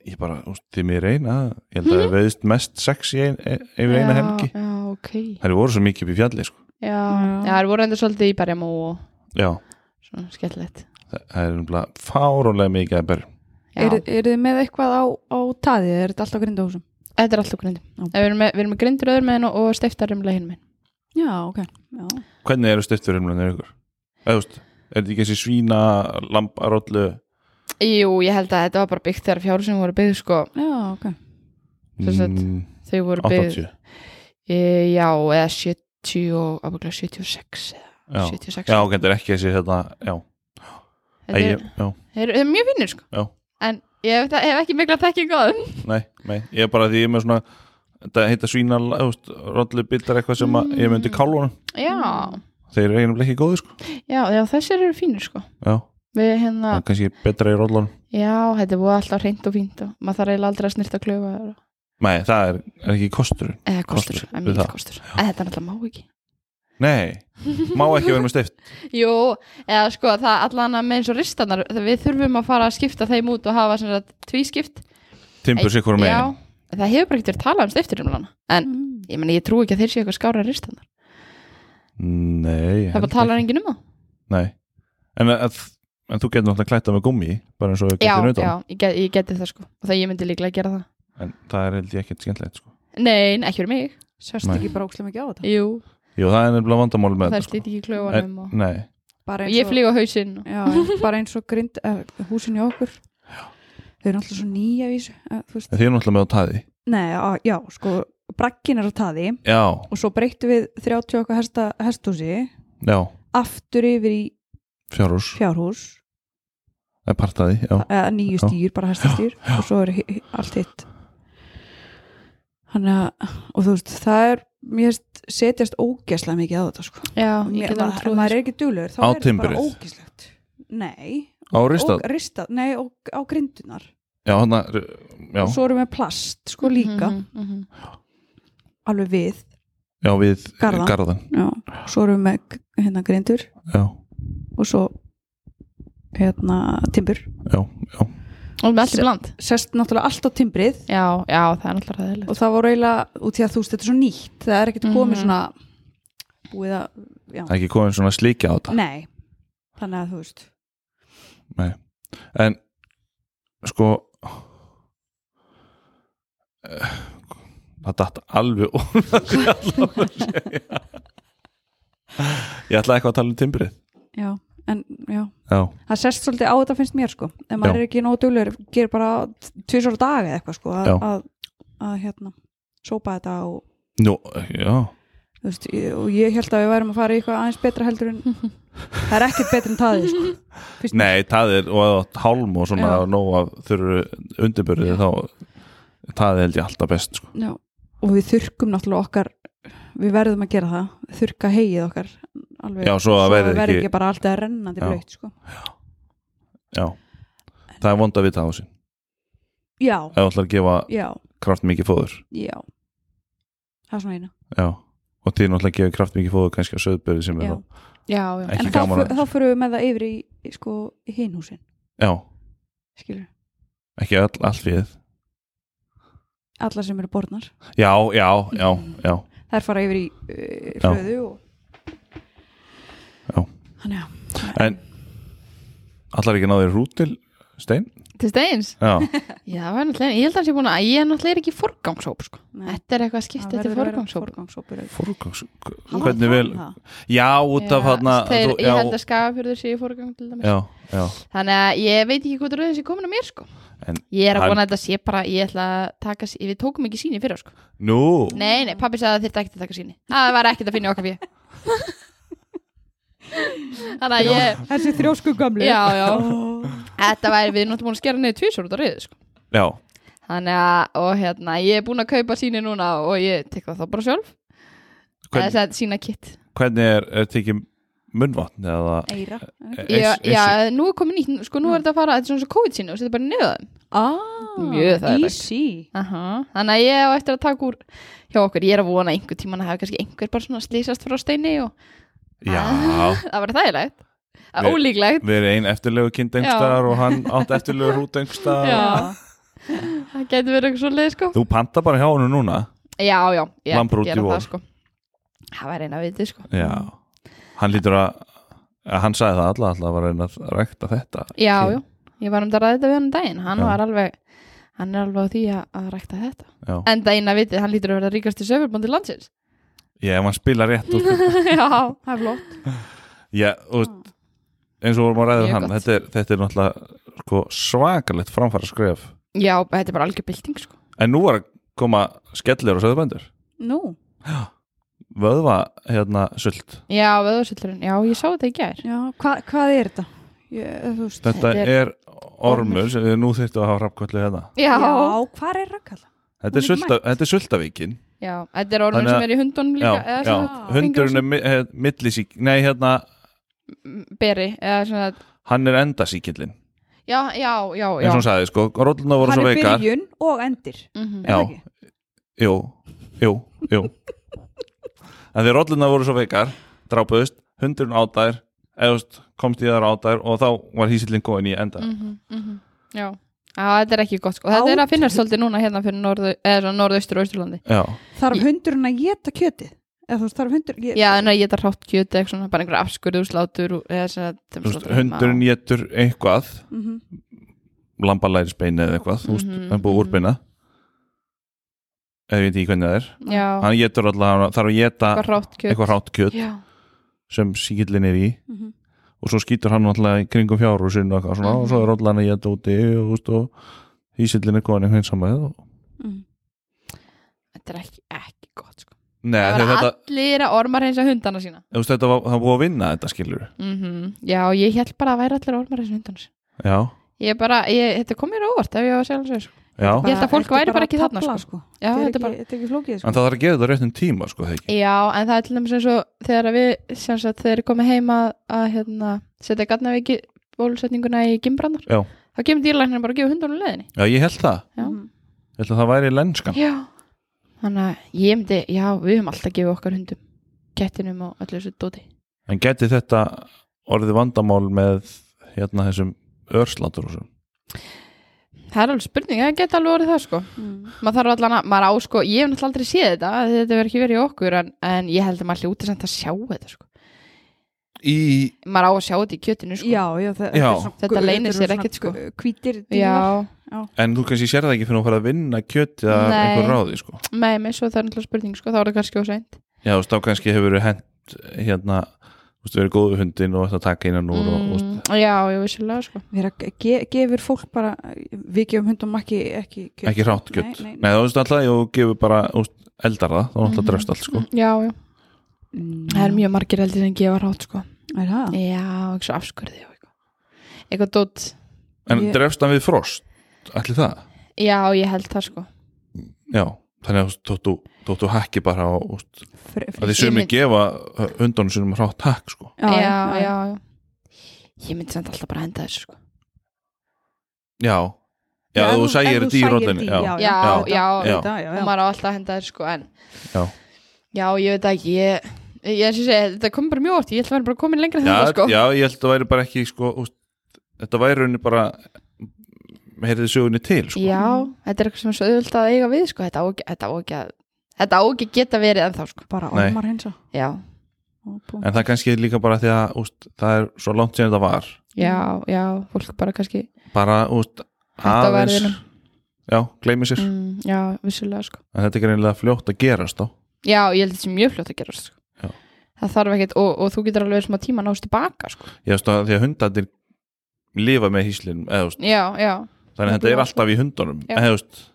[SPEAKER 2] ég bara, úst, því mér reyna ég held að það veiðist mest sex í ein, e- yfir eina
[SPEAKER 3] Mhm. já,
[SPEAKER 2] helgi
[SPEAKER 3] Já, ok Já,
[SPEAKER 2] það eru voru svo mikið upp í fjalli sko.
[SPEAKER 1] Já.
[SPEAKER 3] já það eru voru enda svolítið í berjamó og
[SPEAKER 2] já,
[SPEAKER 3] svona skellilegt
[SPEAKER 2] það það er umlega fárónlega mikið að berjum
[SPEAKER 3] Já,
[SPEAKER 1] eru eru þið með eitthvað á, á taðið? Er þetta alltaf grindahúsum?
[SPEAKER 3] þetta er alltaf grindum
[SPEAKER 1] Já.
[SPEAKER 3] Við erum með, við erum með grindur öðrum meðin og, og steiftar um leginn minn
[SPEAKER 1] Já, ok Já,
[SPEAKER 2] hvernig eru styrtur umlega ykkur eða, úst, er þetta ekki þessi svína lambarollu
[SPEAKER 3] Jú, ég held að þetta var bara byggt þegar fjáru sem voru byggð sko,
[SPEAKER 1] já ok
[SPEAKER 3] Sem sagt,
[SPEAKER 2] Mm,
[SPEAKER 3] þau voru byggð
[SPEAKER 2] 80
[SPEAKER 3] e, Já, eða 70 og ábygglega 76 eða
[SPEAKER 2] já.
[SPEAKER 3] 76
[SPEAKER 2] já, ok, þetta er ekki þessi þetta, já,
[SPEAKER 3] Þetta
[SPEAKER 2] Æ,
[SPEAKER 3] er-
[SPEAKER 2] ég, já.
[SPEAKER 3] Þeir eru þeir eru mjög finnir sko
[SPEAKER 2] Já.
[SPEAKER 3] En ég hef, hef ekki mikla þekking á þeim
[SPEAKER 2] Nei, nei, ég er bara því ég er með svona þetta heita svína rollu bildar eitthvað sem að ég
[SPEAKER 3] Mm.
[SPEAKER 2] myndi kálunum
[SPEAKER 3] Já,
[SPEAKER 2] þeir eru eiginlega ekki góði sko
[SPEAKER 3] já, já þessir eru fínir sko
[SPEAKER 2] já
[SPEAKER 3] Við
[SPEAKER 2] það
[SPEAKER 3] hérna,
[SPEAKER 2] er kannski betra í rollunum
[SPEAKER 3] já, þetta er búið alltaf hreint og fínt og maður þarf eiginlega aldrei að snirta klöfa og-
[SPEAKER 2] Nei, það er, er ekki kostur
[SPEAKER 3] eða kostur,
[SPEAKER 2] Kostur,
[SPEAKER 3] eða
[SPEAKER 2] við
[SPEAKER 3] mikill
[SPEAKER 2] það.
[SPEAKER 3] kostur en þetta er alltaf má ekki
[SPEAKER 2] Nei, má ekki vera með stift
[SPEAKER 3] Jú, eða sko það allan að með eins og ristanar við þurfum að fara að skipta þeim út og hafa sem sagt tvískipt
[SPEAKER 2] Timbur sikkur með
[SPEAKER 3] Já, það hefur bara ekkert verið talað um stiftur um lana en
[SPEAKER 1] Mm.
[SPEAKER 3] ég meni, ég trú ekki að þeir séu eitthvað skára ristanar
[SPEAKER 2] Nei, ég
[SPEAKER 3] það
[SPEAKER 2] held
[SPEAKER 3] bara talar enginn um það
[SPEAKER 2] ekki. Nei, en, að, en þú getur náttúrulega klæta með gummi bara eins og við getum
[SPEAKER 3] Já,
[SPEAKER 2] nautan
[SPEAKER 3] já, ég, get, ég geti það sko og það ég myndi líklega gera það
[SPEAKER 2] En það er held ég ekkert skemmtilegt sko.
[SPEAKER 3] Nei, ekki fyrir mig
[SPEAKER 1] Sérst
[SPEAKER 2] Nei.
[SPEAKER 1] ekki bara ókslega mikið á þetta
[SPEAKER 3] Jú,
[SPEAKER 2] Jú, það er nefnilega vandamál með
[SPEAKER 3] það er
[SPEAKER 2] þetta sko.
[SPEAKER 3] slítið í klöfunum og...
[SPEAKER 2] Nei,
[SPEAKER 1] Bara
[SPEAKER 3] og
[SPEAKER 1] eins
[SPEAKER 3] ég
[SPEAKER 1] og-
[SPEAKER 3] flýg á hausinn og...
[SPEAKER 1] Já, en bara eins og grind, uh, húsin í okkur Þau eru alltaf svo nýja vísu uh, þú veist
[SPEAKER 2] en þið er náttúrulega með á taði
[SPEAKER 1] Nei, á, já, sko, brakkin er á taði
[SPEAKER 2] Já,
[SPEAKER 1] og svo breyttu við 30 okkar hesta, hestúsi
[SPEAKER 2] já,
[SPEAKER 1] aftur yfir í
[SPEAKER 2] fjárhús
[SPEAKER 1] fjárhús
[SPEAKER 2] Það er part af því, já
[SPEAKER 1] eða nýju stýr, bara hestastýr og svo er hi- hi- allt hitt þannig að og þú veist, það er, mér finnst setjast ógeslega mikið á þetta sko
[SPEAKER 3] já, ég
[SPEAKER 1] mér,
[SPEAKER 3] get alveg
[SPEAKER 1] maður,
[SPEAKER 3] trúið
[SPEAKER 1] maður
[SPEAKER 3] því,
[SPEAKER 1] er ekki duglegur, þá
[SPEAKER 2] Á
[SPEAKER 1] er þetta bara
[SPEAKER 2] timbrið.
[SPEAKER 1] ógeslegt nei,
[SPEAKER 2] Á ristað,
[SPEAKER 1] og ristað nei, og, á grindunar
[SPEAKER 2] já, hann já,
[SPEAKER 1] og svo erum við plast sko líka,
[SPEAKER 3] Mhm, mhm.
[SPEAKER 1] alveg við
[SPEAKER 2] já, við
[SPEAKER 1] Garðan.
[SPEAKER 2] garðan
[SPEAKER 1] já. svo erum við með g- hérna grindur
[SPEAKER 2] Já,
[SPEAKER 1] og svo hérna timbur
[SPEAKER 2] já, já,
[SPEAKER 3] og með allt í bland
[SPEAKER 1] sest náttúrulega allt á timbrið
[SPEAKER 3] já, já, það er náttúrulega ræðilegt
[SPEAKER 1] og það voru eiginlega út í að þú veist þetta er svo nýtt það er ekkert komið
[SPEAKER 3] Mhm.
[SPEAKER 1] svona búið að, já,
[SPEAKER 2] það er ekki komin svona slíkja á þetta
[SPEAKER 1] nei þannig að þú veist
[SPEAKER 2] en sko eh, það datt alveg úr það sem ég ætlaði að segja. ég ætlaði eitthvað að tala um timbrið
[SPEAKER 1] já, en já,
[SPEAKER 2] já,
[SPEAKER 1] það sest svolítið á þetta finnst mér sko ef maður
[SPEAKER 2] Já.
[SPEAKER 1] er ekki nóg duglur, gerir bara tvisar á dag eða eitthvað sko að,
[SPEAKER 2] Já.
[SPEAKER 1] að, að hérna, sópa þetta og
[SPEAKER 2] nú, já
[SPEAKER 1] þú veist, ég- og ég held að við værum að fara í eitthvað aðeins betra heldur en það er ekkert betra en taðið sko Fyrst mér.
[SPEAKER 2] nei, það er, og að hálm og svona
[SPEAKER 1] Já.
[SPEAKER 2] og nóg af þurru undirbörði þá, það held ég alltaf best sko.
[SPEAKER 1] Já, og við þurkum náttúrulega okkar við verðum að gera það, þurka heið okkar alveg,
[SPEAKER 2] já, svo að verði
[SPEAKER 1] verði
[SPEAKER 2] ekki
[SPEAKER 1] ekki bara alltaf rennandi
[SPEAKER 2] Já.
[SPEAKER 1] blöyt sko.
[SPEAKER 2] já, það er vond að vita á þessu
[SPEAKER 1] já,
[SPEAKER 2] ef þú ætlar að gefa
[SPEAKER 1] já,
[SPEAKER 2] kraft mikið fóður
[SPEAKER 1] já það er svona eina
[SPEAKER 2] já, og þið náttúrulega gefið kraft mikið fóður kannski á söðbörði sem er
[SPEAKER 1] Já.
[SPEAKER 2] þá-
[SPEAKER 3] já, já,
[SPEAKER 2] Ekki
[SPEAKER 1] en þá,
[SPEAKER 2] gaman að-
[SPEAKER 1] fyr- þá fyrir við með það yfir í, í sko, í hinhúsin,
[SPEAKER 2] já,
[SPEAKER 1] skilur
[SPEAKER 2] ekki all, all við
[SPEAKER 1] alla sem eru borðnar,
[SPEAKER 2] Já, já, já, já
[SPEAKER 1] þær fara yfir í uh,
[SPEAKER 2] Já.
[SPEAKER 1] fröðu og
[SPEAKER 2] Já.
[SPEAKER 1] Þannig, já.
[SPEAKER 2] En allar ekki náður hrút til stein?
[SPEAKER 3] til steins
[SPEAKER 2] Já,
[SPEAKER 3] já, það var náttúrulega, ég held að það sé búin að ég er náttúrulega ekki forgangshóp sko.
[SPEAKER 1] Nei,
[SPEAKER 3] þetta er eitthvað
[SPEAKER 1] það
[SPEAKER 3] skipt þetta
[SPEAKER 1] verður
[SPEAKER 3] er
[SPEAKER 1] að vera
[SPEAKER 3] forgangshóp
[SPEAKER 1] forgangshópur auðvitað.
[SPEAKER 2] fórgangs
[SPEAKER 1] Hann var
[SPEAKER 2] Hvernig
[SPEAKER 1] að
[SPEAKER 2] vel
[SPEAKER 1] tala um það.
[SPEAKER 2] Já, út af
[SPEAKER 3] Já,
[SPEAKER 2] hana
[SPEAKER 3] þeir,
[SPEAKER 2] þú-
[SPEAKER 3] ég
[SPEAKER 2] já,
[SPEAKER 3] held að skafafjörður sé í forgang til dæmis
[SPEAKER 2] já, já,
[SPEAKER 3] þannig að ég veit ekki hvort rauðin sé komin að mér sko.
[SPEAKER 2] En
[SPEAKER 3] ég er að
[SPEAKER 2] hann-
[SPEAKER 3] vona að þetta sé bara ég ætla að taka, s- við tókum ekki síni fyrir sko.
[SPEAKER 2] nú
[SPEAKER 3] nei, nei, pappi sagði að þetta ekki að taka síni það var ekkert að finna í okkar fyrir þannig að ég
[SPEAKER 1] Þessi þrjósku gamli
[SPEAKER 3] já, já,
[SPEAKER 1] Ó.
[SPEAKER 3] þetta væri við náttúrulega búin að skera niður tvísor út af rauði sko.
[SPEAKER 2] Já,
[SPEAKER 3] þannig að, og hérna, ég er búin að kaupa síni núna og ég tek það þá bara sjálf
[SPEAKER 2] Hvern,
[SPEAKER 3] það er sína kitt
[SPEAKER 2] hvernig er, er tekið munnvatn eða
[SPEAKER 1] Eira
[SPEAKER 3] Já,
[SPEAKER 2] eins- eins-
[SPEAKER 3] já, nú er komið nýtt, sko nú er þetta að fara, þetta er svona svo COVID síni og setja bara nöðum
[SPEAKER 1] ah,
[SPEAKER 3] Mjög þægilegt.
[SPEAKER 1] Easy
[SPEAKER 3] Þannig að ég á eftir að taka úr hjá okkur, ég er að vona einhver tíman að hafa kannski einhver bara svona slýsast frá steini og
[SPEAKER 2] Já,
[SPEAKER 3] það var þægilegt, Að
[SPEAKER 2] Við-
[SPEAKER 3] ólíklegt
[SPEAKER 2] við erum ein eftirlegu kind einhverstaðar og hann átt eftirlegu hrút einhverstaðar
[SPEAKER 3] Já. það getur verið eitthvað svo leið sko
[SPEAKER 2] Þú panta bara hjá hennu núna
[SPEAKER 3] Já, já, ég ætla
[SPEAKER 2] Lambrúti
[SPEAKER 3] að gera
[SPEAKER 2] vor.
[SPEAKER 3] það sko Það var eina vitið sko
[SPEAKER 2] Já, hann lítur að að Hann sagði það alla, alla var að reyna að rækta þetta
[SPEAKER 3] Já,
[SPEAKER 2] Kyn.
[SPEAKER 3] já, ég var um þetta að ræða þetta við hann um daginn hann
[SPEAKER 2] Já.
[SPEAKER 3] var alveg, hann er alveg á því að, að rækta þetta
[SPEAKER 2] Já.
[SPEAKER 3] En það eina vitið, hann lítur að verða ríkast í söfurbóndi landsins
[SPEAKER 2] Já, ef hann spila rétt og,
[SPEAKER 3] Já,
[SPEAKER 1] Það er flott
[SPEAKER 2] Já, og eins og vorum að ræða um
[SPEAKER 3] Mjög
[SPEAKER 2] hann
[SPEAKER 3] gott.
[SPEAKER 2] þetta er, þetta er náttúrulega sko, svakalegt framfæra skref
[SPEAKER 3] já, þetta er bara algjör bylting sko
[SPEAKER 2] en nú var að koma skellir og söðbændur
[SPEAKER 1] Nú
[SPEAKER 2] vöðva hérna sult
[SPEAKER 3] Já, vöðvarsöllurinn, já, ég sá þetta í gær
[SPEAKER 1] Já, hva, hvað er þetta? Ég, þú veist
[SPEAKER 2] þetta
[SPEAKER 3] Þetta
[SPEAKER 2] er ormur sem við nú þyrftum að hafa rafkvöldu hérna
[SPEAKER 3] Já,
[SPEAKER 1] Já,
[SPEAKER 3] já,
[SPEAKER 1] hvað er rakkalla?
[SPEAKER 2] þetta er,
[SPEAKER 1] Hún er
[SPEAKER 2] sulta, þetta er sultavíkin
[SPEAKER 3] þetta er orðin
[SPEAKER 2] Þannig að-
[SPEAKER 3] sem er í hundunum
[SPEAKER 2] já,
[SPEAKER 3] líka eða
[SPEAKER 2] já,
[SPEAKER 3] svona-
[SPEAKER 2] hundurinn er mi- eh, millisík nei hérna,
[SPEAKER 3] Beri, eða svona
[SPEAKER 2] hann er endasíkillin
[SPEAKER 3] Já, já, já, já
[SPEAKER 2] eins og hún sagði sko, rótluna voru
[SPEAKER 1] Hann
[SPEAKER 2] svo
[SPEAKER 1] er
[SPEAKER 2] veikar
[SPEAKER 1] byrjun og endir
[SPEAKER 3] Mhm.
[SPEAKER 1] er það
[SPEAKER 2] Já,
[SPEAKER 1] ekki?
[SPEAKER 2] jú, jú, jú En því rolluna voru svo veikar drápuðust, hundurinn átær eðust, komst í þar átær og þá var hísillin góðin í enda
[SPEAKER 3] Mhm, mhm, Já, Á, þetta er ekki gott sko Þetta er að finnast svolítið núna hérna fyrir norðu, eða svona norðaustur og austurlandi
[SPEAKER 2] Já,
[SPEAKER 1] Þarf hundurinn að geta kjötið? Eða þú veist, þarf hundur ég,
[SPEAKER 3] Já, en að geta hrátt kjöt eða eitthvað svona, bara einhver afskurðu slátur og- eða svona, þeim
[SPEAKER 2] þú veist,
[SPEAKER 3] slátur heima
[SPEAKER 2] hundurinn getur eitthvað,
[SPEAKER 1] Mhm.
[SPEAKER 2] lambalærisbeini eða eitthvað, þú veist,
[SPEAKER 3] Mhm,
[SPEAKER 2] hann er búið
[SPEAKER 3] mhm.
[SPEAKER 2] úrbeina eða ég veit ekki hvernig það er
[SPEAKER 3] og- Já,
[SPEAKER 2] hann getur alltaf, þarf að geta
[SPEAKER 3] eitthvað hrátt kjöt
[SPEAKER 2] eitthvað hrátt kjöt
[SPEAKER 3] Já,
[SPEAKER 2] sem síkillin er í
[SPEAKER 1] Mhm.
[SPEAKER 2] og svo skýtur hann alltaf í kringum fjárur sinn og, eitthvað svona,
[SPEAKER 3] Mhm.
[SPEAKER 2] og svo er rollan að geta úti og, þú veist, og hísillin er góðin einhvern saman og
[SPEAKER 1] Mhm.
[SPEAKER 3] þetta er ekki, ekki gott sko
[SPEAKER 2] Nei,
[SPEAKER 3] Það
[SPEAKER 2] þegar
[SPEAKER 3] var
[SPEAKER 2] þetta,
[SPEAKER 3] allir að ormar eins og hundana sína
[SPEAKER 2] þú veist, þetta var, það var búið að vinna þetta skilur
[SPEAKER 3] Mhm. Já, ég held bara að væri allir ormar eins og hundana sína
[SPEAKER 2] já,
[SPEAKER 3] Ég er bara, ég, þetta kom mér á óvart ef ég var sjálfsögur sko.
[SPEAKER 2] já
[SPEAKER 3] Ég held að fólk
[SPEAKER 1] Ertu
[SPEAKER 3] væri bara ekki
[SPEAKER 1] að
[SPEAKER 3] þarna,
[SPEAKER 1] tafla, sko.
[SPEAKER 3] Já,
[SPEAKER 1] Þetta er
[SPEAKER 3] þetta er
[SPEAKER 1] ekki-
[SPEAKER 3] bara
[SPEAKER 1] þetta er ekki flókið sko.
[SPEAKER 2] en það þarf að gera þetta á réttum tíma sko, þegar ekki
[SPEAKER 3] Já, en það er til dæmis eins og þegar við, sem sagt, þegar ég komið heima að hérna, setja gatnaveiki bólusetninguna í gimbrannar
[SPEAKER 2] Já.
[SPEAKER 3] þá kemur dýrlæknir bara að gefa hundunum leðinni
[SPEAKER 2] já, ég held það,
[SPEAKER 3] Já.
[SPEAKER 1] Mhm.
[SPEAKER 2] ég held að það væri lenskan
[SPEAKER 3] Já, þannig að ég myndi, já, við höfum alltaf gefið okkar hundum kettinum og allir þessu dóti
[SPEAKER 2] en geti þetta orðið vandamál með hérna þessum örslátur og svo
[SPEAKER 3] Það er alveg spurning, það geta alveg orðið það sko
[SPEAKER 1] Mm.
[SPEAKER 3] maður þarf allan að, maður á sko, ég hef náttúrulega aldrei séð þetta, þetta verður ekki verið í okkur en, en ég held að maður hljóti samt að sjá þetta sko.
[SPEAKER 2] í,
[SPEAKER 3] maður á að sjá þetta í kjötinu sko.
[SPEAKER 1] Já, já, þe- þetta,
[SPEAKER 2] Já.
[SPEAKER 1] er svona-
[SPEAKER 3] Þetta leynir
[SPEAKER 1] eru
[SPEAKER 3] sér
[SPEAKER 1] svona
[SPEAKER 3] ekkit, sko.
[SPEAKER 1] gu- Hvítir dílar.
[SPEAKER 3] Já,
[SPEAKER 2] en þú kannski sér það ekki fyrir að fara að vinna kjötið að
[SPEAKER 3] Nei.
[SPEAKER 2] einhver ráði sko.
[SPEAKER 3] með mig, svo það er náttúrulega spurning sko, þá er það kannski ósveint
[SPEAKER 2] já, þú veist, þá kannski hefur verið hent hérna, þú veist, verið góðu hundin og þetta taka innan
[SPEAKER 1] Mm,
[SPEAKER 2] úr
[SPEAKER 3] Mm.
[SPEAKER 2] og, og,
[SPEAKER 3] Já, já, vissulega sko.
[SPEAKER 1] Við erum að ge- gefur fólk bara, við gefum hundum ekki, ekki kjöt.
[SPEAKER 2] ekki rátt kjött
[SPEAKER 1] Nei,
[SPEAKER 2] nei,
[SPEAKER 1] nei,
[SPEAKER 2] þú veist alltaf, jú, gefur bara þú veist, eldar það, þá náttúrulega
[SPEAKER 3] Mhm.
[SPEAKER 2] drefst allt sko.
[SPEAKER 3] Já, já,
[SPEAKER 1] Mm.
[SPEAKER 3] það er mjög margir heldur sem gefa rátt sko.
[SPEAKER 1] Er það?
[SPEAKER 3] Já, eitthvað afskurði og eitthvað Eitthvað dótt,
[SPEAKER 2] en
[SPEAKER 1] Ég-
[SPEAKER 2] drefst hann við frost, allir það
[SPEAKER 3] já, ég held það sko.
[SPEAKER 2] já, þannig að þú veist, þótt þú- þótt þú hakki bara á, þú veist,
[SPEAKER 1] Fr- fr-
[SPEAKER 2] að því sumi
[SPEAKER 3] mynd-
[SPEAKER 2] gefa hundunum sinum rátt hakk sko.
[SPEAKER 1] Já,
[SPEAKER 3] já, já, já Ég myndi samt alltaf bara henda þessu sko.
[SPEAKER 2] já, já,
[SPEAKER 1] ef
[SPEAKER 2] þú
[SPEAKER 1] ef þú
[SPEAKER 2] sægir þetta í rótinni
[SPEAKER 1] dýr,
[SPEAKER 2] já,
[SPEAKER 1] já,
[SPEAKER 3] Já,
[SPEAKER 1] auðvitað,
[SPEAKER 3] já,
[SPEAKER 1] auðvitað, já,
[SPEAKER 3] og
[SPEAKER 1] já.
[SPEAKER 3] maður á alltaf að henda þessu sko, en
[SPEAKER 2] Já.
[SPEAKER 3] Já, ég veit ekki ég, ég, eins og ég segi, þetta kom bara mjög orð ég ætla að vera bara komin lengra
[SPEAKER 2] já,
[SPEAKER 3] þetta sko.
[SPEAKER 2] já, ég held að það væri bara ekki sko, þú veist, þetta væri rauninni bara heyrðið sögunni til sko.
[SPEAKER 3] já, þetta er eitthvað sem er svo auðvöld að eiga við sko. þetta á ekki- þetta á ekki að þetta á ekki að geta verið ennþá sko.
[SPEAKER 1] Bara
[SPEAKER 2] Nei.
[SPEAKER 1] ormar hinsa.
[SPEAKER 3] já,
[SPEAKER 2] en það er kannski líka bara því að úst, það er svo langt sem þetta var
[SPEAKER 3] já, já, fólk bara kannski
[SPEAKER 2] bara úst,
[SPEAKER 3] Hætt á
[SPEAKER 2] aðeins
[SPEAKER 3] verðinum.
[SPEAKER 2] já, gleymi sér,
[SPEAKER 3] mm, já, vissulega sko.
[SPEAKER 2] en þetta er greinilega fljótt að gerast þá
[SPEAKER 3] já, ég held þetta sé mjög fljótt að gera sko.
[SPEAKER 2] Já.
[SPEAKER 3] það þarf ekkert, og, og þú getur alveg smá tíma að nást tilbaka sko.
[SPEAKER 2] ég veist að því að hundarnir lifa með hýslinum eða, úst,
[SPEAKER 3] já, já,
[SPEAKER 2] þannig að þetta er alltaf í hundunum
[SPEAKER 3] Já.
[SPEAKER 2] eða, úst,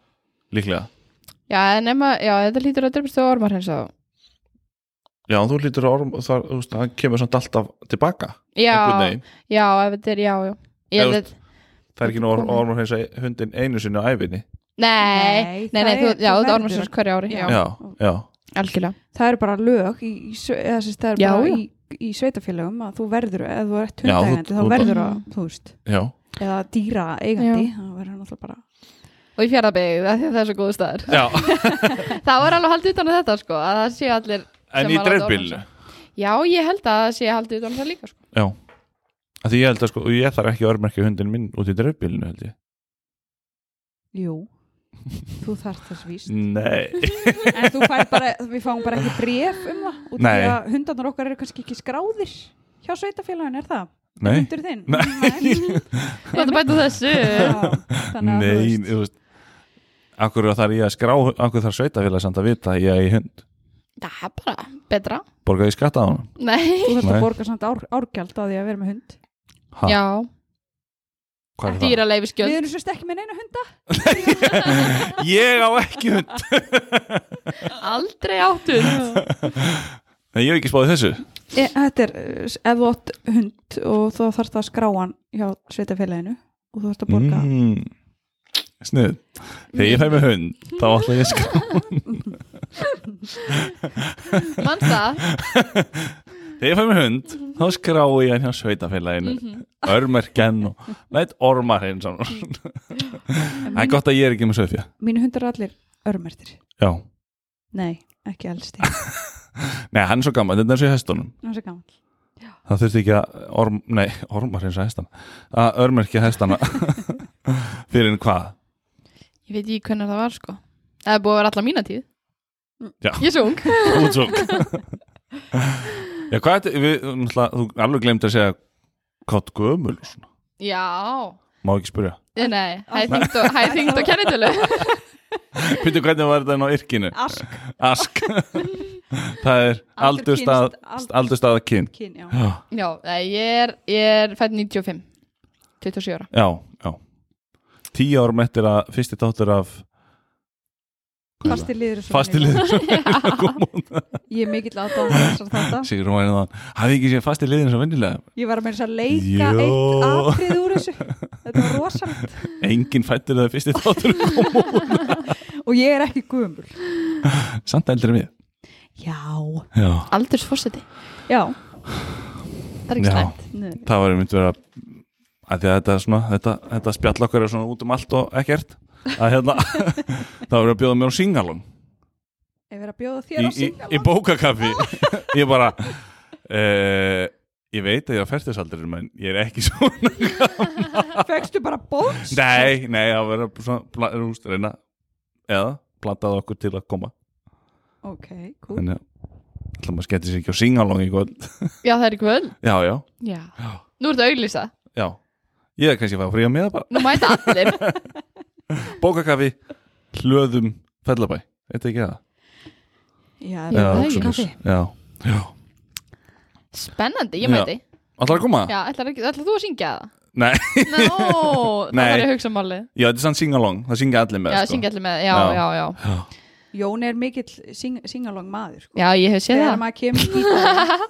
[SPEAKER 2] líklega
[SPEAKER 3] já, en nema, já, þetta lítur að drefstu ormar hins að
[SPEAKER 2] já, þú lítur að orm, það, úst, það kemur samt alltaf tilbaka einhvern
[SPEAKER 3] já,
[SPEAKER 2] veginn.
[SPEAKER 3] já, ef þetta er, já, já Ég
[SPEAKER 2] Ef
[SPEAKER 3] held að-
[SPEAKER 2] það er ekki nú
[SPEAKER 3] Þetta er
[SPEAKER 2] orm
[SPEAKER 3] komið.
[SPEAKER 2] ormur hins að hundin einu sinni á æfinni
[SPEAKER 3] Nei,
[SPEAKER 1] Nei,
[SPEAKER 3] nei,
[SPEAKER 1] það
[SPEAKER 3] nei, þú,
[SPEAKER 1] er- þú
[SPEAKER 3] já, þetta sko.
[SPEAKER 1] verður.
[SPEAKER 3] ormarsins hverju ári, já,
[SPEAKER 2] já, já,
[SPEAKER 3] algjörlega.
[SPEAKER 1] Það eru bara lög í, í, sve- eða, sérst, það er
[SPEAKER 3] Já,
[SPEAKER 1] bara
[SPEAKER 3] já.
[SPEAKER 1] í, í sveitafélagum að þú verður, ef þú ert
[SPEAKER 2] Já, þú-
[SPEAKER 1] hundægandi, þá
[SPEAKER 2] þú-
[SPEAKER 1] verður að,
[SPEAKER 3] Mm.
[SPEAKER 1] þú veist,
[SPEAKER 2] já,
[SPEAKER 1] eða dýra eigandi, þá verður náttúrulega bara
[SPEAKER 3] Og í fjaraðbyggð, því að það er svo góðu staður.
[SPEAKER 2] já.
[SPEAKER 3] það var alveg haldið utan á þetta, sko, að það sé allir... sem
[SPEAKER 2] en í
[SPEAKER 3] að láta
[SPEAKER 2] dreifbílinu
[SPEAKER 3] ormarsins. Já, ég held að það sé haldið utan á það líka, sko.
[SPEAKER 2] já, að því ég held að sko og ég þarf ekki að örmerkja hundin minn út í dreifbílinu held ég
[SPEAKER 1] Jú, þú þarf þess víst
[SPEAKER 2] nei,
[SPEAKER 1] En þú fær bara, við fáum bara ekki bref um það út af
[SPEAKER 2] Nei.
[SPEAKER 1] því að hundarnar okkar eru kannski ekki skráðir hjá sveitafélagin, er það?
[SPEAKER 2] nei
[SPEAKER 1] Hundur þinn?
[SPEAKER 2] Nei.
[SPEAKER 3] Þú ætti að bæta þessu.
[SPEAKER 2] Nei, þú veist Akkur þarf ég að skrá, akkur þarf sveitafélag samt að vita að ég er í hund
[SPEAKER 3] það er bara betra.
[SPEAKER 2] Borgaði skatta á hann
[SPEAKER 3] Nei.
[SPEAKER 1] Þú þarfst
[SPEAKER 2] Nei.
[SPEAKER 1] að borga samt ár, árgjald á því að vera með hund
[SPEAKER 2] Ha,
[SPEAKER 3] Já,
[SPEAKER 2] hvað er það?
[SPEAKER 3] dýraleifi
[SPEAKER 1] Við
[SPEAKER 3] skjöld.
[SPEAKER 1] erum sérst ekki með neina hunda
[SPEAKER 2] Ég á ekki hund
[SPEAKER 3] Aldrei áttuð.
[SPEAKER 2] Nei, ég hef ekki spáði þessu
[SPEAKER 1] e, Þetta er, eh, ef þú átt hund og þú þarfst að skrá hann hjá sveitafélaginu og þú þarfst að borga
[SPEAKER 2] mm, Snið Þegar ég fæ með hund, þá ætla ég að skrá
[SPEAKER 3] Manns það?
[SPEAKER 2] Þegar ég fæ með hund, þá skrá ég hann hjá sveitafélaginu
[SPEAKER 3] Mhm.
[SPEAKER 2] Örmerken og Læt ormar hinn saman Það er gott að ég er ekki með söfja
[SPEAKER 1] Mínu hundar eru allir örmertir
[SPEAKER 2] Já,
[SPEAKER 1] Nei, ekki elsti
[SPEAKER 2] nei, hann er svo gaman, þetta er svo í hestunum
[SPEAKER 1] Hann er svo gamall.
[SPEAKER 2] það þurfti ekki að orm, nei, ormar eins að hestana að örmerkja hestana fyrir en hvað
[SPEAKER 3] Ég veit ekki hvernig það var, sko. Það er búið að vera alla mína tíð.
[SPEAKER 2] Já.
[SPEAKER 3] Ég er svo ung.
[SPEAKER 2] útsók já, hvað þetta, við, náttúrulega, þú alveg glemt að segja hvað þetta gömul og svona,
[SPEAKER 3] Já.
[SPEAKER 2] má ekki spyrja
[SPEAKER 3] Eh, Nei, hæðþyngd og, hæðþyngd og kennitölu.
[SPEAKER 2] Pyndu hvernig var þetta nú yrkinu?
[SPEAKER 1] Ask,
[SPEAKER 2] Ask Það er aldur stað
[SPEAKER 1] kynst,
[SPEAKER 2] aldur stað að kyn
[SPEAKER 1] Kyn, já.
[SPEAKER 2] Já,
[SPEAKER 3] Já, nei, ég er, ég er fætt 95, 27 ára.
[SPEAKER 2] já, já Tíu árum eftir að fyrsti tóttur af
[SPEAKER 1] Fasti liður er svo
[SPEAKER 2] fasti
[SPEAKER 1] mikilvægur.
[SPEAKER 2] liður sem venjulega kom út.
[SPEAKER 1] Ég er mikill aðdáðan þessar þetta
[SPEAKER 2] Sigrún var einhvern veginn hafði ekki séð fasti liðin sem vennilega
[SPEAKER 1] Ég var að meira þess að leika
[SPEAKER 2] Jó.
[SPEAKER 1] eitt atrið úr þessu Þetta var rosalegt
[SPEAKER 2] enginn fættur þegar fyrsti þáttur kom út.
[SPEAKER 1] Og ég er ekki guðumul
[SPEAKER 2] samt eldri en við
[SPEAKER 1] Já,
[SPEAKER 2] já,
[SPEAKER 3] Aldurs fórseti,
[SPEAKER 1] já
[SPEAKER 3] það er ekki
[SPEAKER 2] Já.
[SPEAKER 3] slæmt
[SPEAKER 1] Nei.
[SPEAKER 2] það var myndi vera að því að þetta, er svona, þetta, þetta spjall okkar er svona út um allt og ekkert að hérna það var að bjóða mér á singalong
[SPEAKER 1] Ég verið að bjóða
[SPEAKER 2] í,
[SPEAKER 1] þér á
[SPEAKER 2] í, í
[SPEAKER 1] singalang
[SPEAKER 2] bókakaffi ég bara uh, ég veit að ég er á færtisaldurinn menn ég er ekki svona
[SPEAKER 1] Fekstu bara bóks
[SPEAKER 2] nei, nei, það var að svona pla- rúst, reyna eða plantaði okkur til að koma
[SPEAKER 1] Ok, cool
[SPEAKER 2] þannig að ætla maður skemmti sér ekki á singalong í kvöld
[SPEAKER 3] Já, það er í kvöld
[SPEAKER 2] já, já,
[SPEAKER 3] Já.
[SPEAKER 2] Já.
[SPEAKER 3] Nú er þetta auglýsa,
[SPEAKER 2] já ég er kannski að fá frí að miða bara
[SPEAKER 3] nú mæta allir
[SPEAKER 2] bókakafi, hlöðum, fellabæ eitthvað ekki það
[SPEAKER 1] Já,
[SPEAKER 3] Já,
[SPEAKER 1] það er
[SPEAKER 3] hugsa
[SPEAKER 1] kaffi.
[SPEAKER 2] hugsunus. já, já
[SPEAKER 3] Spennandi, ég
[SPEAKER 2] Já.
[SPEAKER 3] mæti
[SPEAKER 2] Ætlar að koma?
[SPEAKER 3] Já, ætlar, ekki, ætlar þú að syngja það?
[SPEAKER 2] Nei,
[SPEAKER 3] Nó, það
[SPEAKER 2] Nei.
[SPEAKER 3] var ég að hugsa um málið
[SPEAKER 2] já, þetta er sann singalong, það syngja allir með
[SPEAKER 3] Já,
[SPEAKER 2] sko.
[SPEAKER 3] syngja allir með, já,
[SPEAKER 2] Já.
[SPEAKER 3] já, já
[SPEAKER 1] Jón er mikill singalang maður sko.
[SPEAKER 3] Já, ég hef séð
[SPEAKER 1] Þegar
[SPEAKER 3] það
[SPEAKER 1] maður kemur í það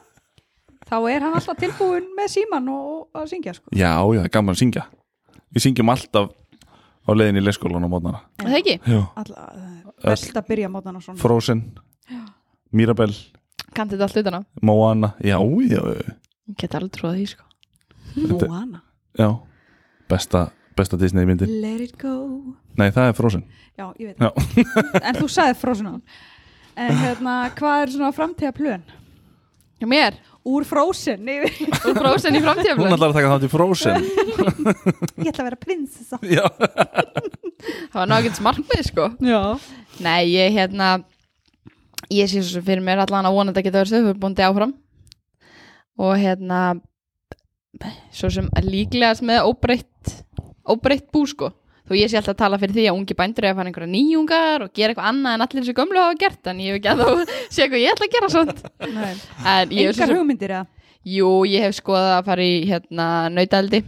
[SPEAKER 1] Þá er hann alltaf tilbúin með síman og, og að syngja sko.
[SPEAKER 2] Já, já, það er gaman að syngja Við syngjum alltaf á leiðin í leikskólan á mótnana
[SPEAKER 3] Er Það ekki,
[SPEAKER 2] Já
[SPEAKER 1] Alla, það er Best að byrja mótana svona
[SPEAKER 2] Frozen, Mirabel,
[SPEAKER 3] kannti þetta allt utan á
[SPEAKER 2] Moana Já, já, já,
[SPEAKER 3] Ég get alveg trúið því, sko
[SPEAKER 2] þetta-
[SPEAKER 1] Moana
[SPEAKER 2] já. Besta, besta Disney myndir
[SPEAKER 1] Let it go
[SPEAKER 2] Nei, það er Frozen
[SPEAKER 1] Já, ég veit
[SPEAKER 2] Já.
[SPEAKER 1] En þú sagði Frozen á En hérna, hvað er svona framtíða plön?
[SPEAKER 3] Já, mér,
[SPEAKER 1] Úr Frozen yfir
[SPEAKER 3] þú frósin í
[SPEAKER 2] Hún
[SPEAKER 3] framtíðaflöð
[SPEAKER 2] ætlar að taka þátt í Frozen
[SPEAKER 1] Ég ætla að vera prinsessa
[SPEAKER 2] Já,
[SPEAKER 3] Það var nákvæmt markmið, sko
[SPEAKER 1] Já
[SPEAKER 3] Nei, ég hérna ég sé svo sem fyrir mér allan að vonandi að geta verið stöðfubóndi áfram og hérna svo sem líklegast með óbreytt óbreytt bú sko þó ég sé alltaf að tala fyrir því að ungi bændur er að fara einhverja nýjungar og gera eitthvað annað en allir þessu gömlu hafa gert en ég hef ekki að þá sé hvað ég ætla að gera svont
[SPEAKER 1] Nei.
[SPEAKER 3] en ég hef svo
[SPEAKER 1] Engar
[SPEAKER 3] sem,
[SPEAKER 1] hugmyndir eða
[SPEAKER 3] jú, ég hef skoðað að fara í hérna nautaldi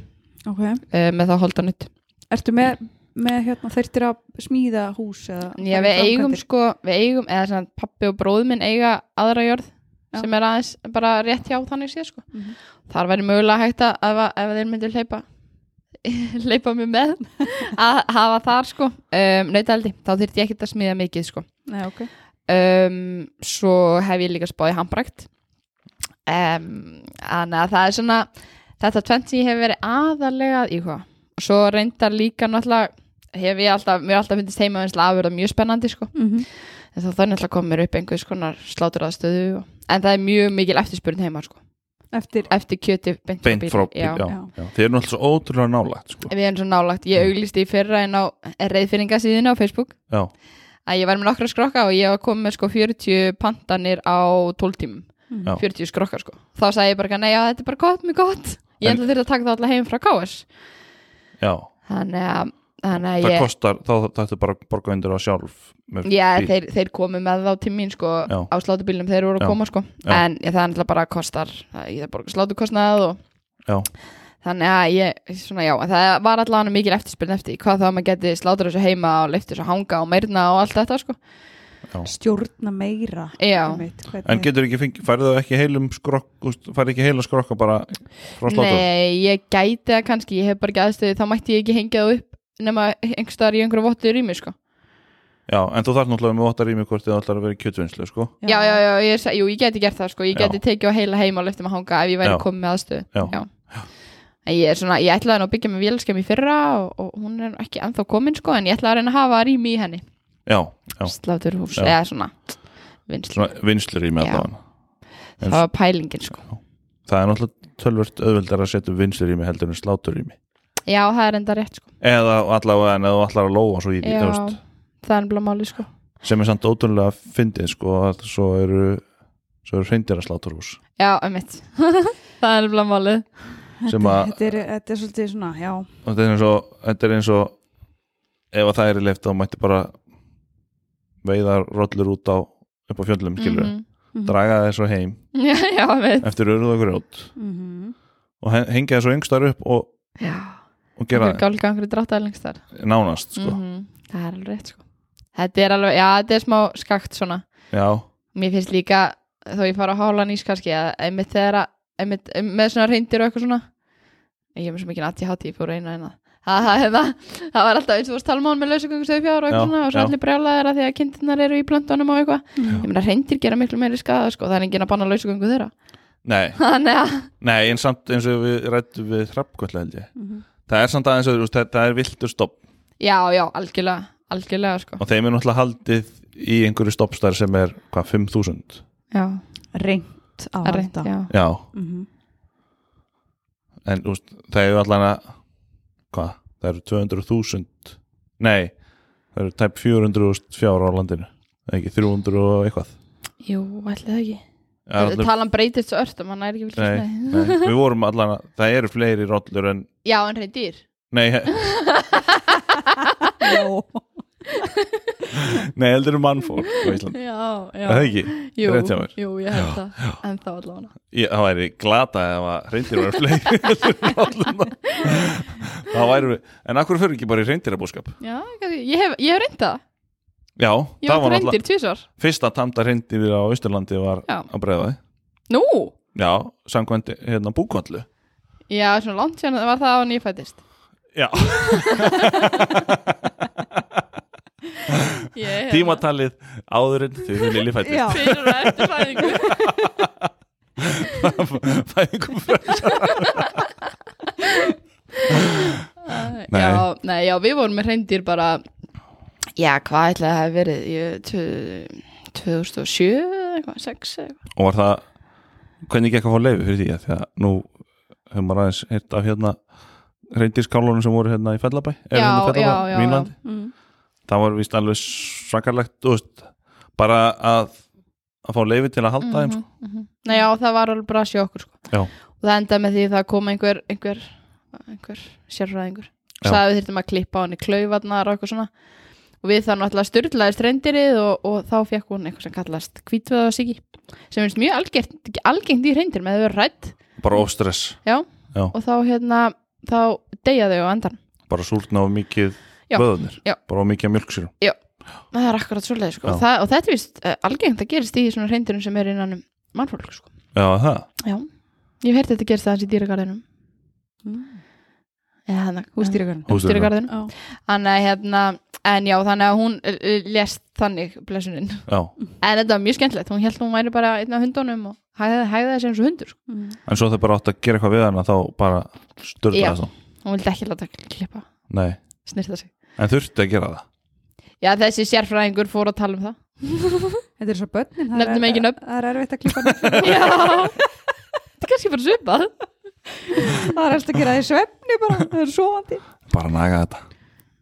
[SPEAKER 1] Ok
[SPEAKER 3] uh, með það holdanutt
[SPEAKER 1] Ertu með, með hérna, þeirtir að smíða hús eða
[SPEAKER 3] Já, við eigum sko, við eigum, eða svona pappi og bróð minn eiga aðra jörð
[SPEAKER 1] Já.
[SPEAKER 3] sem er aðeins bara rétt hjá þannig séð sko.
[SPEAKER 1] Mhm.
[SPEAKER 3] Þar væri mögulega hægt að ef, að- ef þeir myndir hleypa hleypa mér með að hafa þar sko um, nautaldi, þá þyrfti ég ekkert að smíða mikið sko.
[SPEAKER 1] Nei, ok
[SPEAKER 3] Um, svo hef ég líka spáði handbrækt um, Þannig að það er svona þetta tvent sem ég hef verið aðalega í hvað Svo reyndar líka náttúrulega hef ég alltaf, mér alltaf finnst heimavinsla afurða mjög spennandi sko
[SPEAKER 1] mm
[SPEAKER 3] en þá þannig alltaf komið mér upp einhvers konar sláturaðstöðu og... en það er mjög mikil eftirspurn heima sko.
[SPEAKER 1] Eftir
[SPEAKER 3] eftir kjöti beint,
[SPEAKER 2] beint frá
[SPEAKER 3] já.
[SPEAKER 2] já, já. Þið eru náttúrulega svo ótrúlega nálægt sko.
[SPEAKER 3] við erum svo nálagt, ég auglýsti í fyrra en á reyðfinningasíðinu á Facebook
[SPEAKER 2] Já,
[SPEAKER 3] að ég var með nokkra skrokka og ég var komið með sko 40 pantanir á 12 tímum
[SPEAKER 1] Mm.
[SPEAKER 2] Já.
[SPEAKER 3] 40 skrokkar sko, þá sagði ég bara eitthvað, nei já þetta er bara gott, mjög gott ég
[SPEAKER 2] En-
[SPEAKER 3] ætla þurft að taka það alltaf heim frá KS
[SPEAKER 2] já
[SPEAKER 3] þannig að, þannig að
[SPEAKER 2] Það
[SPEAKER 3] ég
[SPEAKER 2] kostar, þá þetta bara að borga undir á sjálf með
[SPEAKER 3] Já,
[SPEAKER 2] bíl.
[SPEAKER 3] þeir, þeir komu með þá til mín sko,
[SPEAKER 2] Já.
[SPEAKER 3] á slátubílnum þeir voru að
[SPEAKER 2] Já.
[SPEAKER 3] koma sko.
[SPEAKER 2] Já.
[SPEAKER 3] en ég, það er náttúrulega bara kostar það- ég þarf borga slátukostnað og
[SPEAKER 2] Já.
[SPEAKER 3] þannig að ég, svona já en það var allavega mikil eftirspiln eftir því, hvað þá að maður geti slátur þessu heima og leiftur þessu hanga og meirna og allt þetta sko
[SPEAKER 1] stjórna meira
[SPEAKER 3] Já.
[SPEAKER 1] einmitt, hvernig-
[SPEAKER 2] En getur ekki fengið, færðu ekki heilum skrokk, úst, færðu ekki heila skrokka bara frá sláttur?
[SPEAKER 3] Nei, ég gæti það kannski, ég hef bara ekki aðstöði þá mætti ég ekki hengja það upp nema einhverstaðar í einhverju vottu rými sko.
[SPEAKER 2] Já, en þú þarf náttúrulega með votta rými hvort þið ætlar að vera í kjötvinnslu, sko.
[SPEAKER 3] já, já, já, ég, er sa- jú, ég gæti gert það sko. ég
[SPEAKER 2] Já.
[SPEAKER 3] gæti tekið á heila heima og leiftum að hanga ef ég væri
[SPEAKER 2] Já.
[SPEAKER 3] komið með aðstöðu
[SPEAKER 2] Já.
[SPEAKER 3] En ég er svona, ég ætlaði nú að byggja með vélskjum í fyrra og, og hún er ekki ennþá komin sko en ég ætlaði að reyna að hafa rými í henni
[SPEAKER 2] Já, já.
[SPEAKER 3] slátur hús,
[SPEAKER 2] Já.
[SPEAKER 3] eða svona vinslu,
[SPEAKER 2] Svona vinslu rými
[SPEAKER 3] Já.
[SPEAKER 2] allavega. En
[SPEAKER 3] það var pælingin sko
[SPEAKER 2] það er náttúrulega tölvört auðveldar að setja vinslu rými heldur en slátur rými.
[SPEAKER 3] Já, það er enda rétt sko
[SPEAKER 2] Eða allavega en eða þú ætlar að lóa svo í því,
[SPEAKER 3] Já.
[SPEAKER 2] þú veist.
[SPEAKER 3] Það er bara máli sko
[SPEAKER 2] Sem er samt ótrúlega fyndið, sko, að svo eru, svo eru hreindir að slátur hús.
[SPEAKER 3] Já, um mitt Það er bara máli
[SPEAKER 2] sem
[SPEAKER 1] þetta,
[SPEAKER 2] að-
[SPEAKER 1] þetta, er, þetta er svolítið svona, já
[SPEAKER 2] Og þetta er eins og, þetta er eins og, ef að það er í leift þá mætti bara veiða rollur út á, upp á fjöllum, skilur draga þeir svo heim
[SPEAKER 3] Mhm. Já, já, um mitt
[SPEAKER 2] eftir urð og grjót
[SPEAKER 1] mm
[SPEAKER 2] og hen- hengja þeir svo yngstar upp og,
[SPEAKER 3] Já,
[SPEAKER 2] og
[SPEAKER 3] það
[SPEAKER 2] gera
[SPEAKER 3] er gálgangur dráttaði lengst þar
[SPEAKER 2] nánast sko.
[SPEAKER 3] Mhm. Það er alveg rétt sko Þetta er alveg, já, þetta er smá skakt svona.
[SPEAKER 2] já,
[SPEAKER 3] Mér finnst líka, þó ég fara að hála nýs kannski, að einmitt þegar að, einmitt, em- með svona reyndir og eitthvað svona, ég hef mér svo mikið aðtíð hátíð, ég fór að eina eina. Ha, ha, hérna, það var alltaf eins og þú varst talmón með lausugöngu stöðfjár og
[SPEAKER 2] Já,
[SPEAKER 3] eitthvað svona og svo
[SPEAKER 2] já.
[SPEAKER 3] allir brjálaðir að því að kindurnar eru í plöntunum og eitthvað.
[SPEAKER 1] Já.
[SPEAKER 3] Ég meina, reyndir gera miklu meiri skada, sko, það er enginn að banna lausugöngu þeirra.
[SPEAKER 2] nei
[SPEAKER 3] Þannig að,
[SPEAKER 2] nei, en samt eins og við rættum við hrappkvöldlega held ég
[SPEAKER 1] Mhm.
[SPEAKER 2] það er samt aðeins, öðru, þú veist, það, það er viltur stopp
[SPEAKER 3] já, já, algjörlega, algjörlega, sko.
[SPEAKER 2] og þeim er náttúrulega haldið í einhverju stoppstar sem er, hvað, 5000
[SPEAKER 3] Já,
[SPEAKER 1] reynt á
[SPEAKER 3] reynd,
[SPEAKER 1] þetta
[SPEAKER 3] já.
[SPEAKER 2] já,
[SPEAKER 1] mm -hmm.
[SPEAKER 2] en þú veist, það eru allan að hvað, það eru 200.000 nei, það eru tæp 400.000 fjár á landinu Það er ekki 300 og eitthvað
[SPEAKER 3] Jú, ætli það ekki.
[SPEAKER 2] Það er allir-
[SPEAKER 3] Talan breytist svo ört og mann er ekki vilt
[SPEAKER 2] nei,
[SPEAKER 3] hlusta.
[SPEAKER 2] nei, við vorum allan að það eru fleiri rollur en
[SPEAKER 3] Já, en reyndir.
[SPEAKER 2] nei, nei heldur um mannfólk á Íslandi,
[SPEAKER 3] Já,
[SPEAKER 2] Er
[SPEAKER 3] já.
[SPEAKER 2] það ekki
[SPEAKER 3] Jú,
[SPEAKER 2] rétt hjá mér.
[SPEAKER 3] jú, ég held það. En þá allavega.
[SPEAKER 2] Ég, það væri glata ef að reyndir var fleiri heldur en rollurnar. það væri en akkur fyrir ekki bara í reyndirabúskap
[SPEAKER 3] Já, kannski, ég hef, ég hef reynd það.
[SPEAKER 2] já,
[SPEAKER 3] Ég
[SPEAKER 2] það
[SPEAKER 3] hef
[SPEAKER 2] var
[SPEAKER 3] reyndir
[SPEAKER 2] náttúrulega
[SPEAKER 3] tvísvar.
[SPEAKER 2] fyrsta tamta reyndir á Íslandi var
[SPEAKER 3] Já.
[SPEAKER 2] að breyða
[SPEAKER 3] Nú,
[SPEAKER 2] Já, samkvæmt hérna búkollu
[SPEAKER 3] já, svona langt sérna var það á nýfættist.
[SPEAKER 2] Já,
[SPEAKER 3] Ég,
[SPEAKER 2] tímatalið áður en þau lili
[SPEAKER 1] Já.
[SPEAKER 2] fættist
[SPEAKER 3] Fyrir og eftir fæðingu.
[SPEAKER 2] Fæðingum frá Nei.
[SPEAKER 3] Já, nei, já, við vorum með reyndir bara, já, hvað ætlaði það hef verið? Ég, tvö- 2007 eða eitthvað, 6 eitthvað.
[SPEAKER 2] Og var það, hvernig gekk að fá leifi fyrir því að því að nú hefur maður aðeins heyrt af hérna reyndirskálunum sem voru hérna í Fellabæ er
[SPEAKER 3] Já,
[SPEAKER 2] hérna í Fellabæ,
[SPEAKER 3] já, já, já.
[SPEAKER 2] Vínlandi.
[SPEAKER 3] Mhm.
[SPEAKER 1] Mm.
[SPEAKER 2] Það var víst alveg svakarlegt þú veist, bara að að fá leifi til að halda þeim
[SPEAKER 3] Mhm.
[SPEAKER 2] sko.
[SPEAKER 3] Nei, já, það var alveg brasi okkur sko.
[SPEAKER 2] Já.
[SPEAKER 3] og það endaði með því að það kom einhver einhver, einhver sérfræðingur
[SPEAKER 2] Já.
[SPEAKER 3] sagði að við þyrftum að klippa á henni klaufarnar og eitthvað svona og við það náttúrulega styrlaðist reyndirið og, og þá fekk hún eitthvað sem kallast kvítveðasíki sem finnst mjög algengt, algengt í reyndir með að vera rætt
[SPEAKER 2] bara ofstress,
[SPEAKER 3] og þá hérna þá deyja þau á endan
[SPEAKER 2] bara súrna og mikið
[SPEAKER 3] Já,
[SPEAKER 2] vöðunir,
[SPEAKER 3] já.
[SPEAKER 2] bara of mikið mjölksýrum
[SPEAKER 3] það er akkurat svolítið sko.
[SPEAKER 2] Já.
[SPEAKER 3] og, það, og þetta er vist uh, algengt að gerist í svona reyndirum sem er innan um mannfólk sko.
[SPEAKER 2] Já, það,
[SPEAKER 3] já, ég hef heyrt þetta gerist aðeins í dýragarðinum
[SPEAKER 1] Mm.
[SPEAKER 3] eða hérna, hana,
[SPEAKER 1] hústýragarn
[SPEAKER 3] hústýragarðinum
[SPEAKER 1] Já.
[SPEAKER 3] Þannig að hérna, en já, þannig að hún uh, uh, lést þannig blessuninn.
[SPEAKER 2] já
[SPEAKER 3] En þetta var mjög skemmtilegt, hún held hún væri bara einn af hundunum og hægði hægði þessi eins og hundur. sko.
[SPEAKER 1] Mm.
[SPEAKER 2] En svo það bara átt að gera eitthvað við hana þá bara
[SPEAKER 3] Já.
[SPEAKER 2] störðlaðist hún.
[SPEAKER 3] Hún vildi ekki láta klippa,
[SPEAKER 2] Nei,
[SPEAKER 3] snirta sig.
[SPEAKER 2] en þurfti að gera það.
[SPEAKER 3] Já, þessi sérfræðingur fór að tala um það.
[SPEAKER 1] Þetta er svo börnin það
[SPEAKER 3] Nefnum
[SPEAKER 1] er-
[SPEAKER 3] engin nöfn.
[SPEAKER 1] Það er erfitt að klippa nöfn
[SPEAKER 3] já, þetta er kannski bara svipað.
[SPEAKER 1] Það er erfitt að gera því svefni bara Það er svovandi
[SPEAKER 2] Bara naga þetta.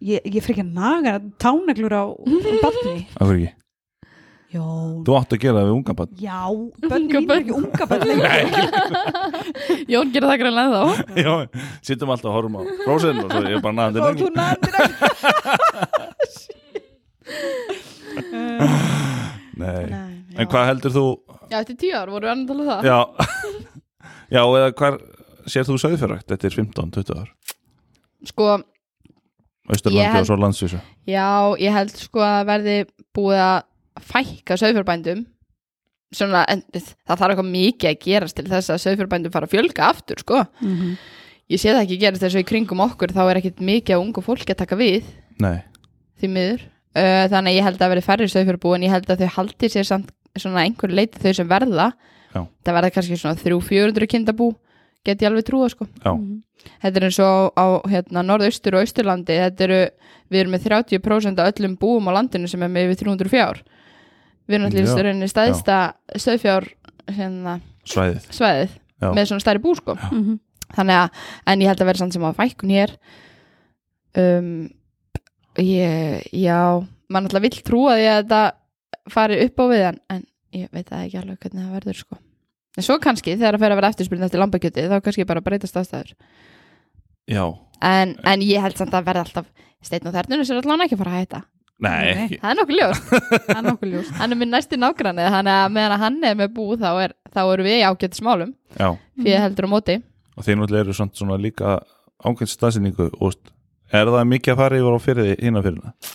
[SPEAKER 1] Ég, ég fyrir ekki að naga táneglur á barni
[SPEAKER 2] Af hverju ekki?
[SPEAKER 1] Jón
[SPEAKER 2] Þú átt að gera það við unga bann.
[SPEAKER 1] Já, börnin
[SPEAKER 3] Unga
[SPEAKER 1] mín er ekki unga börn lengur.
[SPEAKER 3] Jón gerir það greinlega þá.
[SPEAKER 2] Já, sittum alltaf að horfum á frósin og svo ég bara naga
[SPEAKER 1] Og
[SPEAKER 2] þetta.
[SPEAKER 1] þú nagandi nagandi
[SPEAKER 2] Nei.
[SPEAKER 3] Nei,
[SPEAKER 2] En hvað heldur þú?
[SPEAKER 3] Já, eftir tíu ár voru við annað talað um það.
[SPEAKER 2] Já, já eða hvað sér þú sögðfjörrækt? Þetta er 15-20 ár.
[SPEAKER 3] Sko, Ég
[SPEAKER 2] Östurlandi
[SPEAKER 3] held-
[SPEAKER 2] og svo landsvísu.
[SPEAKER 3] Já, ég held sko að verði búið að fækka sauðfjárbændum svona, en það þarf eitthvað mikið að gerast til þess að sauðfjárbændum fara að fjölga aftur, sko.
[SPEAKER 1] Mm-hmm.
[SPEAKER 3] Ég sé það ekki gerast þess að í kringum okkur þá er ekkit mikið að ungu fólki að taka við,
[SPEAKER 2] Nei,
[SPEAKER 3] því miður. Uh, þannig að ég held að verði færri sauðfjárbú en ég held að þau haldi sér samt svona einhver leiti þau sem verða.
[SPEAKER 2] Já.
[SPEAKER 3] Það verða kannski svona 300-400 kindabú, get ég alveg trúa, sko.
[SPEAKER 2] já,
[SPEAKER 3] Þetta er eins og á hérna, norðaustur og austurlandi, þetta eru, við erum með 30% af öllum búum á landinu sem er með yfir 300 fjár. Við erum allir í
[SPEAKER 2] Já,
[SPEAKER 3] stöðunni stæðsta stöðfjár hérna,
[SPEAKER 2] svæðið.
[SPEAKER 3] svæðið
[SPEAKER 2] Já.
[SPEAKER 3] með svona stærri bú sko.
[SPEAKER 1] Mhm.
[SPEAKER 3] Þannig að, en ég held að vera samt sem á fækkun hér. Um, ég, já, mann alltaf vill trúa því að þetta fari upp á við en, en ég veit það ekki alveg hvernig það verður sko. En svo kannski þegar það fer að vera eftirspyrn eftir lambakjöti þá kannski bara breytast aðstæður
[SPEAKER 2] Já,
[SPEAKER 3] en, en ég held samt að verða alltaf steinn og þernunus er allan ekki að fara að hætta
[SPEAKER 2] nei,
[SPEAKER 1] Nei.
[SPEAKER 2] ekki.
[SPEAKER 3] það er nokkuð ljós,
[SPEAKER 1] Það er nokkuð ljós
[SPEAKER 3] hann er minn næsti nágranni þannig að meðan að hann er með bú þá, er, þá eru við í ágætt smálum
[SPEAKER 2] Já,
[SPEAKER 1] Mhm.
[SPEAKER 3] fyrir heldur á móti
[SPEAKER 2] og þeir náttúrulega eru samt svona líka ágænt staðsynningu og er það mikið að fara yfir á fyrir því hinna fyrir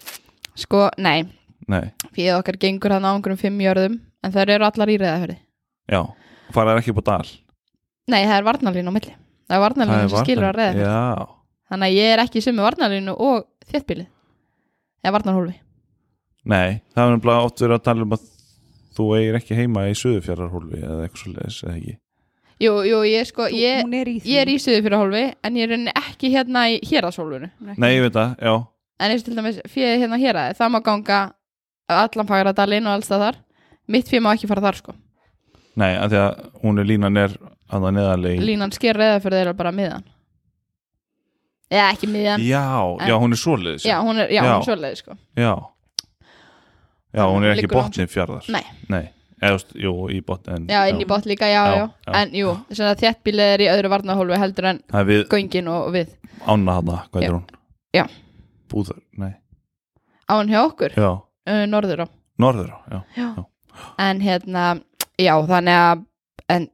[SPEAKER 3] sko, nei,
[SPEAKER 2] nei,
[SPEAKER 3] Fíð okkar gengur hann á einhverjum fimm jörðum en þær eru allar í reyðafjörði.
[SPEAKER 2] já faraðar ekki upp á dal
[SPEAKER 3] Nei, það er varnarlínu á milli. Það er varnarlínu sem skilur að reyðafjörði.
[SPEAKER 2] já,
[SPEAKER 3] Þannig að ég er ekki í sömu varnarlínu og þéttbílið. Eða varnarhólfi.
[SPEAKER 2] nei, það er nefnilega oft verið að tala um að þú eigir ekki heima í suðufjörðarhólfi eða eitthvað svo leis, eða ekki
[SPEAKER 3] Jú, jú, ég er sko,
[SPEAKER 1] Þú-
[SPEAKER 3] ég,
[SPEAKER 1] hún er í því
[SPEAKER 3] ég er í söðu fyrir hólfi en ég er í rauninni ekki hérna í hérasólfinu.
[SPEAKER 1] Hún er ekki-
[SPEAKER 2] nei, ég veit það, já,
[SPEAKER 3] En eins og til dæmis fjöði hérna hér að það má ganga allan fagradalinn og alls það þar. Mitt fjöð má ekki fara þar sko.
[SPEAKER 2] nei, af því að hún er línan er að það neðarlegi
[SPEAKER 3] Línan sker reyða fyrir þeirra bara miðan. Eða ekki miðan.
[SPEAKER 2] já, já, hún er svoleiðis
[SPEAKER 3] Já, hún er, já,
[SPEAKER 2] Já.
[SPEAKER 3] hún er svoleiði sko.
[SPEAKER 2] já, já hún er ekki
[SPEAKER 3] Liggur langt-
[SPEAKER 2] botnin fjörðar
[SPEAKER 3] Nei.
[SPEAKER 2] nei, eða, þú veist, jú, í botn
[SPEAKER 3] Já, inn í bótt líka, já,
[SPEAKER 2] Já,
[SPEAKER 3] já.
[SPEAKER 2] já.
[SPEAKER 3] En jú, þéttbílið er í öðru varnarhólfi heldur en
[SPEAKER 2] það er við
[SPEAKER 3] göngin og, og við.
[SPEAKER 2] Anna hana, hvað
[SPEAKER 3] Já.
[SPEAKER 2] heitir hún?
[SPEAKER 3] Já.
[SPEAKER 2] Búður, nei,
[SPEAKER 3] Á hann hjá okkur,
[SPEAKER 2] já,
[SPEAKER 3] uh, norður á.
[SPEAKER 2] norður á, já
[SPEAKER 3] en hérna, já þannig að en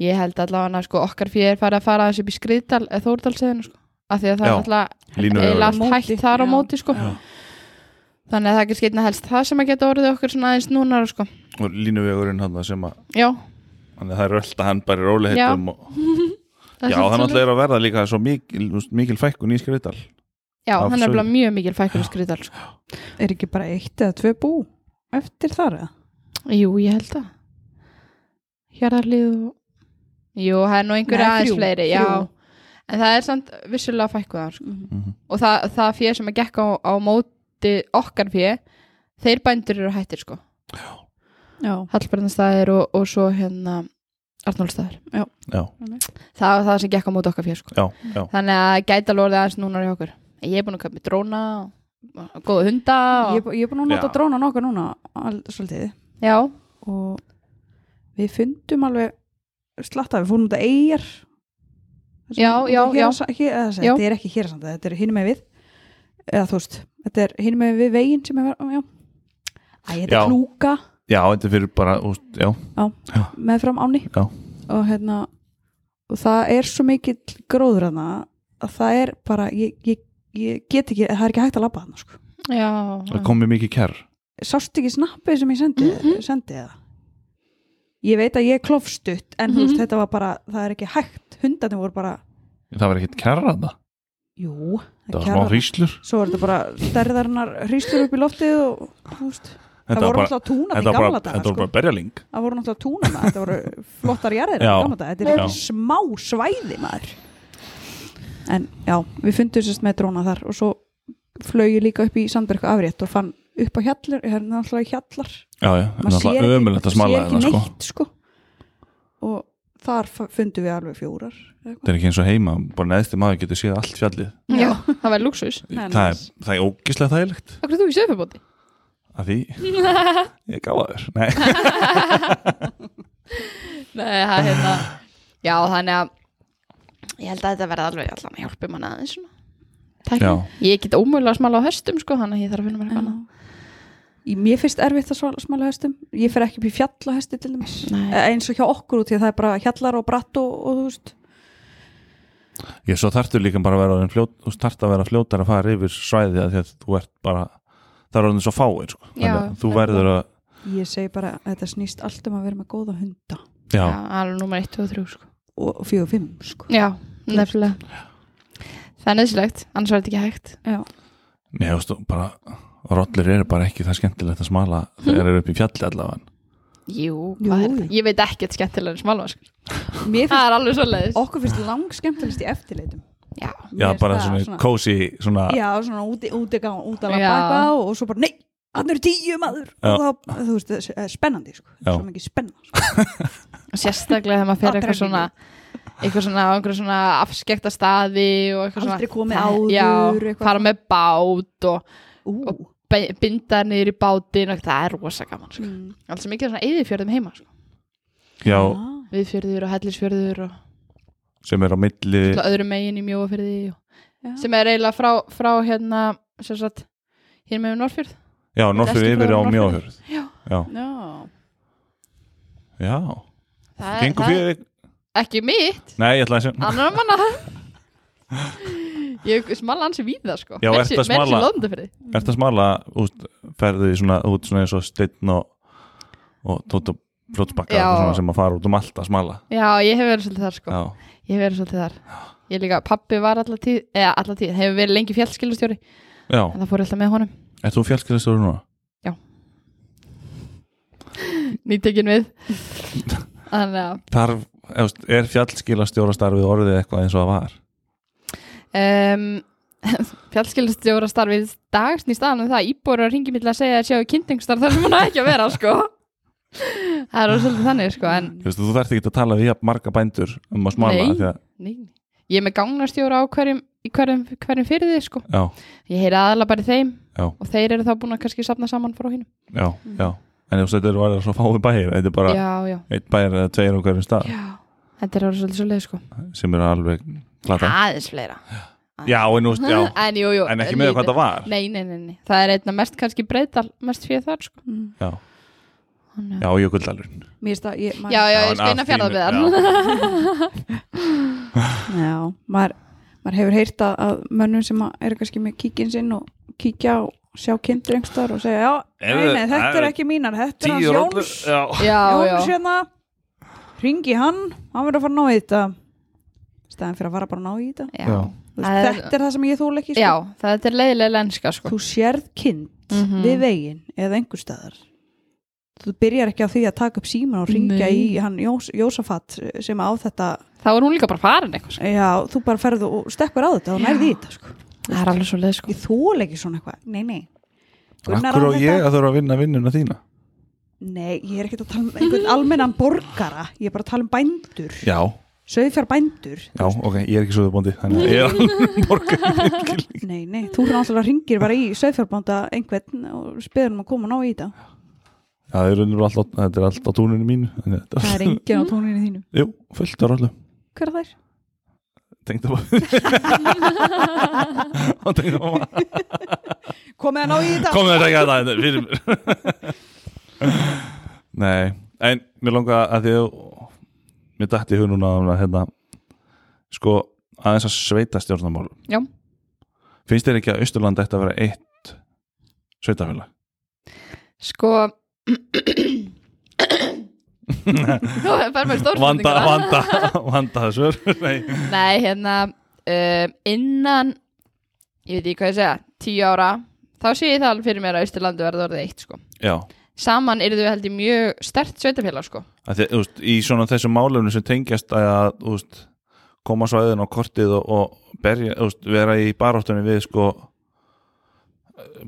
[SPEAKER 3] ég held allavega að sko okkar fyrir farið að fara þessi upp í skriðdal eða þórdalseginu sko af því að það
[SPEAKER 2] Já,
[SPEAKER 3] er alltaf
[SPEAKER 2] Línu
[SPEAKER 3] eiginlega
[SPEAKER 1] Línuvegurinn.
[SPEAKER 3] allt hægt þar á
[SPEAKER 1] Já.
[SPEAKER 3] móti sko
[SPEAKER 2] Já.
[SPEAKER 3] þannig að það er ekki skeitna helst það sem að geta orðið okkur svona aðeins núna sko
[SPEAKER 2] og línuvegurinn hann sem að
[SPEAKER 3] já,
[SPEAKER 2] þannig að það er öllt að hann bara í róliheitum og,
[SPEAKER 3] það
[SPEAKER 2] já,
[SPEAKER 3] svolítið
[SPEAKER 2] þannig að
[SPEAKER 3] svoleiðis.
[SPEAKER 2] það er að verða líka svo mikil, þú veist, mikil fækkun í skriðdal
[SPEAKER 3] já,
[SPEAKER 2] af
[SPEAKER 3] hann er
[SPEAKER 2] sögu.
[SPEAKER 3] alveg mjög mikil fækkur í skriðdal sko.
[SPEAKER 1] er ekki bara eitt eða tvö bú eftir þar eða
[SPEAKER 3] jú, ég held það hérðarlið og jú, það er nú einhverja
[SPEAKER 1] Nei,
[SPEAKER 3] aðeins
[SPEAKER 1] þrjú,
[SPEAKER 3] fleiri já,
[SPEAKER 1] þrjú.
[SPEAKER 3] en það er samt vissulega fækkuðan sko
[SPEAKER 1] Mm-hmm.
[SPEAKER 2] Mhm.
[SPEAKER 3] og það, það fjö sem að gekk á, á móti okkar fjö þeir bændur eru hættir sko
[SPEAKER 1] já,
[SPEAKER 3] Hallbrennastaðir og, og svo hérna Arnólstaðir
[SPEAKER 2] já,
[SPEAKER 3] það var það sem gekk á móti okkar fjö sko
[SPEAKER 2] já, já,
[SPEAKER 3] þannig að gæta lorðið aðeins núna hjá okkur ég er búin að köpa mér dróna og, og góða hunda og,
[SPEAKER 1] ég, er bú- ég er búin að nota
[SPEAKER 2] Já.
[SPEAKER 1] dróna nokkuð núna al, svolítið
[SPEAKER 3] já,
[SPEAKER 1] og við fundum alveg slatta, við fórum út að eigjar Það sem-
[SPEAKER 3] Já,
[SPEAKER 1] út að
[SPEAKER 3] já, já.
[SPEAKER 1] hérasa- hér- eða þessi,
[SPEAKER 3] Já.
[SPEAKER 1] þetta er ekki hér samt þetta er hinn með við eða þú veist, þetta er hinn með við veginn sem er, já Æ, þetta
[SPEAKER 2] Já.
[SPEAKER 1] er klúka
[SPEAKER 2] já, þetta er fyrir bara úst, já,
[SPEAKER 1] með fram áni
[SPEAKER 2] Já.
[SPEAKER 1] og hérna og það er svo mikill gróður hana að það er bara ég, ég, ég get ekki, það er ekki hægt að labba hana sko.
[SPEAKER 3] já,
[SPEAKER 2] það komið mikið kær
[SPEAKER 1] sást ekki snappið sem ég sendi, sendi það ég veit að ég klofst upp en þú veist þetta var bara, það er ekki hægt hundarnir voru bara,
[SPEAKER 2] það var ekkit kær að það,
[SPEAKER 1] jú
[SPEAKER 2] það var smá hríslur
[SPEAKER 1] svo var þetta bara stærðarinnar hríslur upp í loftið og þú veist, það voru
[SPEAKER 2] þetta var bara,
[SPEAKER 1] náttúrulega túnar
[SPEAKER 2] þetta
[SPEAKER 1] í
[SPEAKER 2] var bara,
[SPEAKER 1] gamla daga
[SPEAKER 2] þetta var
[SPEAKER 1] sko.
[SPEAKER 2] bara berjaling
[SPEAKER 1] það voru náttúrulega túnana, þetta voru flottar jarðir
[SPEAKER 2] Já.
[SPEAKER 1] í gamla daga, þetta er
[SPEAKER 2] Já.
[SPEAKER 1] ekki smá svæði maður en já, við fundum sérst með dróna þar og svo flög ég líka upp í Sandberg afrétt og fann upp á hjallar það er náttúrulega hjallar
[SPEAKER 2] já, já,
[SPEAKER 1] Maður sér
[SPEAKER 2] það
[SPEAKER 1] ekki-
[SPEAKER 2] var ömulegt að
[SPEAKER 1] sér
[SPEAKER 2] smala
[SPEAKER 1] ekki
[SPEAKER 2] þetta sko
[SPEAKER 1] neitt sko. og þar fa- fundum við alveg fjórar eða eitthvað.
[SPEAKER 2] þetta er ekki eins og heima, bara neðsti maður getur séð allt fjallið,
[SPEAKER 3] já, það væri luxus
[SPEAKER 1] Nei,
[SPEAKER 2] það er,
[SPEAKER 1] nice.
[SPEAKER 2] það er ógislega þægilegt
[SPEAKER 3] Akkur er þú í söfubóti?
[SPEAKER 2] að því, ég gáða þér nei,
[SPEAKER 3] Nei, það er hérna Já, þannig að ég held að þetta verði alveg allan að hjálpa manna aðeins svona
[SPEAKER 2] já,
[SPEAKER 3] Tækni. Ég get ómögulega að smala á höstum sko, þannig að ég þarf að finna mér eitthvað annað.
[SPEAKER 1] Í- mér finnst erfitt að svala- smala hestum ég fer ekki upp í fjallahesti til dæmis
[SPEAKER 3] Nei.
[SPEAKER 1] Eh, eins og hjá okkur út því að það er bara hjallar og bratt og, og þú veist
[SPEAKER 2] ég svo þarftu líka bara að vera orðin fljót, þú þarft að vera fljótar að fara yfir svæðið af því að þú ert bara það er orðin svo fáir, sko Þannig að
[SPEAKER 3] Já,
[SPEAKER 2] þú
[SPEAKER 3] það er
[SPEAKER 2] verður að,
[SPEAKER 1] ég segi bara að þetta snýst allt um að vera með góða hunda
[SPEAKER 2] já,
[SPEAKER 3] Já, alveg númer 1 og 3 sko.
[SPEAKER 1] og fjögur og fimm sko.
[SPEAKER 3] Já, nefnilega Það er nöðsilegt, annars var þetta ekki hægt
[SPEAKER 1] Já.
[SPEAKER 2] Nei, þú veist, þú bara Rollir eru bara ekki það skemmtilegt að smala þegar þeir eru upp í fjalli allavega
[SPEAKER 3] Jú,
[SPEAKER 1] Jú,
[SPEAKER 3] hvað er
[SPEAKER 1] jú.
[SPEAKER 3] þetta? Ég veit ekkert skemmtilega en smala sko.
[SPEAKER 1] Mér finnst,
[SPEAKER 3] Það er alveg svo leiðis
[SPEAKER 1] okkur finnst lang skemmtilegst í eftirleitum
[SPEAKER 3] Já,
[SPEAKER 2] Já,
[SPEAKER 1] Mér finnst
[SPEAKER 2] bara
[SPEAKER 1] það
[SPEAKER 2] svona, cozy svona,
[SPEAKER 1] já, svona úti, úti, gá, úti að
[SPEAKER 3] Já.
[SPEAKER 1] labba eitthvað og svo bara nei, hann eru tíu maður
[SPEAKER 2] Já.
[SPEAKER 1] og þá, þú veist, eh, spennandi sko.
[SPEAKER 2] Já.
[SPEAKER 1] svo mikið spenna sko.
[SPEAKER 3] sérstaklega þegar maður fer eitthvað svona
[SPEAKER 1] Adrenalín.
[SPEAKER 3] eitthvað svona, á einhverja svona afskekta staði og eitthvað
[SPEAKER 1] Aldrei komið
[SPEAKER 3] svona
[SPEAKER 1] áður,
[SPEAKER 3] Já,
[SPEAKER 1] eitthvað.
[SPEAKER 3] fara með bát og
[SPEAKER 1] Ú,
[SPEAKER 3] be- binda niður í bátinn og það er rosa gaman sko.
[SPEAKER 1] mm.
[SPEAKER 3] Allt sem ekki er svona eyðifjörðum heima sko.
[SPEAKER 2] já,
[SPEAKER 1] Ah.
[SPEAKER 3] Viðfjörður og hellisfjörður og
[SPEAKER 2] sem er á milli
[SPEAKER 3] Svo öðrum megin í mjóafyrði og...
[SPEAKER 1] Já.
[SPEAKER 3] sem er eiginlega frá, frá hérna sem sagt, hér með Norfjörð
[SPEAKER 2] Já, norfyrir
[SPEAKER 3] Vesturfjörður
[SPEAKER 2] yfir á
[SPEAKER 3] og Norðfjörður.
[SPEAKER 2] mjóhörð
[SPEAKER 3] Já.
[SPEAKER 2] Já,
[SPEAKER 1] Já.
[SPEAKER 2] já,
[SPEAKER 3] það er,
[SPEAKER 2] gengur
[SPEAKER 3] það er
[SPEAKER 2] fyrir
[SPEAKER 3] ekki mitt,
[SPEAKER 2] Nei, ég ætla að sem
[SPEAKER 3] annar manna Ég smala hans við það sko
[SPEAKER 2] Já, ertu að smala?
[SPEAKER 3] Londafyrði
[SPEAKER 2] Er það smala, úst, ferðu í svona út svona eins og steinn og, og tóttu fljótsbakka
[SPEAKER 3] Já.
[SPEAKER 2] og svona sem að fara út um allt að smala
[SPEAKER 3] Já, ég hef verið svolítið þar sko
[SPEAKER 2] Já,
[SPEAKER 3] Ég hef verið svolítið þar Ég líka, pappi var alltaf tíð Eða alltaf tíð, hefur verið lengi fjallskilustjóri
[SPEAKER 2] já,
[SPEAKER 3] En það fór alltaf með honum
[SPEAKER 2] er þú fjallskilastjóri núna?
[SPEAKER 3] Nýtekin við Þannig að
[SPEAKER 2] Þarf, eðust, er fjallskilastjóra starfið orðið eitthvað eins og það var?
[SPEAKER 3] um, fjallskilastjóra starfið dags nýst aðan um það íbúru að ringi mill að segja að sjáu kynntingstarf þar sem hann á ekki að vera sko það er svolítið þannig sko en
[SPEAKER 2] Þú veist, þú verður ekki að tala við jafn marga bændur um að smala
[SPEAKER 3] Nei.
[SPEAKER 2] því að,
[SPEAKER 3] nei, ég er með gangnastjóra á hverjum í hverjum, hverjum fyrir þið sko
[SPEAKER 2] já,
[SPEAKER 3] ég heyri aðalega bara í þeim
[SPEAKER 2] Já.
[SPEAKER 3] og þeir eru þá búin að kannski safna saman frá hinn
[SPEAKER 2] já, já En þú veist, þetta eru orðið svo fáið bæir Þetta er bara
[SPEAKER 3] já, já,
[SPEAKER 2] einn bæir eða tveir á hverjum stað
[SPEAKER 3] já þetta er orðið svolítið svolítið sko
[SPEAKER 2] sem eru alveg glata
[SPEAKER 3] aðeins fleira
[SPEAKER 2] Já, en, þú veist, já,
[SPEAKER 3] en, jú, jú,
[SPEAKER 2] en ekki með hvað það var
[SPEAKER 3] nei, nei, nei, nei, það er einna mest kannski breytal mest fyrir þar sko
[SPEAKER 1] Mm.
[SPEAKER 2] Já,
[SPEAKER 3] Þannig að-
[SPEAKER 2] já, jökuldalur
[SPEAKER 1] Mér finnst að ég, maður,
[SPEAKER 3] já, já,
[SPEAKER 2] Já,
[SPEAKER 3] ég
[SPEAKER 2] en af
[SPEAKER 3] steina
[SPEAKER 2] þínu-
[SPEAKER 3] fjárðarbyðan
[SPEAKER 1] já, maður, maður hefur heyrt að, að mönnum sem að eru kannski með kíkinn sinn og kíkja og sjá kindur einhverstaðar og segja, já,
[SPEAKER 2] Ef
[SPEAKER 1] nei,
[SPEAKER 2] þið-
[SPEAKER 1] nei, þetta
[SPEAKER 2] ef
[SPEAKER 1] er
[SPEAKER 2] þið-
[SPEAKER 1] ekki mínar, þetta er
[SPEAKER 2] Tíu
[SPEAKER 1] hans
[SPEAKER 2] rollur
[SPEAKER 1] Jóns
[SPEAKER 2] Já,
[SPEAKER 3] já, já,
[SPEAKER 1] Jóns hérna ringi hann, hann verður að fara að ná í þetta staðan fyrir að fara bara að ná í þetta
[SPEAKER 3] já.
[SPEAKER 2] Já.
[SPEAKER 1] Þú
[SPEAKER 3] Það
[SPEAKER 1] veist,
[SPEAKER 3] er-
[SPEAKER 1] þetta er það sem ég þúl ekki sko.
[SPEAKER 3] já þetta er leiðilega lenska sko.
[SPEAKER 1] þú sérð kind
[SPEAKER 3] Mhm.
[SPEAKER 1] við veginn eða einhver staðar þú byrjar ekki á því að taka upp síman og ringja
[SPEAKER 3] Nei.
[SPEAKER 1] í hann Jós, Jósafat sem á þetta,
[SPEAKER 3] þá er hún líka bara farin eitthvað sko.
[SPEAKER 1] já, þú bara ferðu og stekkur á þetta og nærði í þetta sko.
[SPEAKER 3] það er alveg svo leið sko.
[SPEAKER 1] ég þól ekki svona eitthvað, nei, nei Gunnar á
[SPEAKER 2] Akkur og
[SPEAKER 1] þetta-
[SPEAKER 2] ég að þurfa að vinna vinnuna þína
[SPEAKER 1] nei, ég er ekki að tala um einhvern almennan borgara, ég er bara að tala um bændur
[SPEAKER 2] Já,
[SPEAKER 1] söðfjár bændur
[SPEAKER 2] já, ok, ég er ekki svo uppbóndi Þannig að ég er alveg borgar
[SPEAKER 1] nei, nei, þú er náttúrulega ringir bara í söðfjárbænda einhvern og spyrir um að koma og ná í þetta
[SPEAKER 2] Já, það er raunir alltaf, þetta er alltaf túninu mínu þannig að þetta
[SPEAKER 1] það er enginn á tóninu þínu
[SPEAKER 2] Jú, fullt af rollu
[SPEAKER 1] hver er þær?
[SPEAKER 2] Tengd upp Og tengd upp
[SPEAKER 1] komið að ná í þetta
[SPEAKER 2] Komið að segja þetta fyrir mér Nei, en mér langa að því að Mér dætti í hug núna að hérna Sko, aðeins að sveita stjórnamál
[SPEAKER 3] Já.
[SPEAKER 2] Finnst þér ekki að Austurland ætti að vera eitt sveitafélag?
[SPEAKER 3] sko þú fær mér stór
[SPEAKER 2] vanda, vanda, vanda þessu Nei,
[SPEAKER 3] nei hérna um, innan ég veit ekki hvað ég segja, tíu ára þá sé ég það alveg fyrir mér að Austurlandu verður orðið eitt sko.
[SPEAKER 2] já
[SPEAKER 3] saman eru þau held ég mjög stert sveitafélag sko.
[SPEAKER 2] að því, þú veist, í svona þessum málefnum sem tengjast að, þú veist, koma svæðin á kortið og, og berja, þú veist, vera í baráttunni við, sko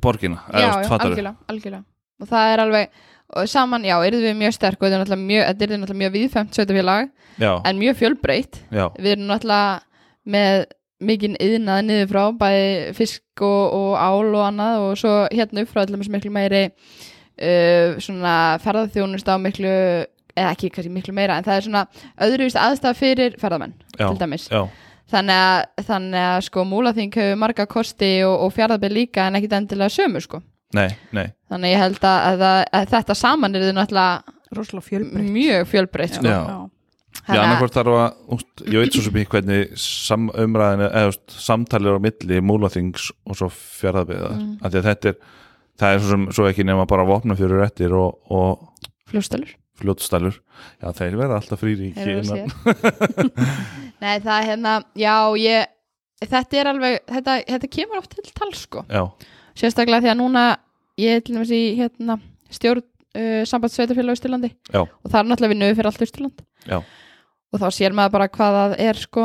[SPEAKER 2] borgina,
[SPEAKER 3] já,
[SPEAKER 2] þú
[SPEAKER 3] já,
[SPEAKER 2] veist, fattarðu?
[SPEAKER 3] algjörlega, algjörlega og það er alveg, og saman, já, eru við mjög sterk og þetta er náttúrulega mjög, þetta er náttúrulega mjög viðfemt sveitafélag,
[SPEAKER 2] já,
[SPEAKER 3] en mjög fjölbreytt
[SPEAKER 2] já,
[SPEAKER 3] við erum náttúrulega með mikinn yðnað niður frá bæði fisk og, og ál og annað og svo hérna upp frá allir miklu meiri uh, svona ferðarþjónust á miklu eða ekki kannski miklu meira en það er svona öðruvist aðstæða fyrir ferðamenn
[SPEAKER 2] já,
[SPEAKER 3] til dæmis
[SPEAKER 2] já,
[SPEAKER 3] þannig að, þannig að sko múlaþing hefur marga kosti og, og fjárðabir líka en ekkit endilega sömu sko
[SPEAKER 2] nei, nei
[SPEAKER 3] þannig að ég held að, að, það- að þetta saman er þið náttúrulega
[SPEAKER 1] rosalega fjölbreytt
[SPEAKER 3] mjög fjölbreytt sko.
[SPEAKER 2] Já. Já, annarkvort þarf að, úst, ég veit svo sem ekki hvernig sam, umræðinu, eða úst, samtalir á milli múlaþings og svo fjaraðbyðar, mm. að því að þetta er það er svo sem, svo ekki nema bara vopna fyrir réttir og, og
[SPEAKER 3] fljóstalur
[SPEAKER 2] fljótstælur já, þeir verða alltaf fríríki
[SPEAKER 3] Þeir eru
[SPEAKER 2] innan-
[SPEAKER 3] Nei, það er hérna, já, ég, þetta er alveg, þetta, þetta kemur oft til tal, sko.
[SPEAKER 2] já,
[SPEAKER 3] Sérstaklega því að núna, ég er til dæmis í, hérna, stjórn uh, sambandsveitafélag Ístilandi
[SPEAKER 2] Já.
[SPEAKER 3] og það er náttúrulega vinnu fyrir allt Ístiland.
[SPEAKER 2] Já.
[SPEAKER 3] Og þá sér maður bara hvað það er, sko,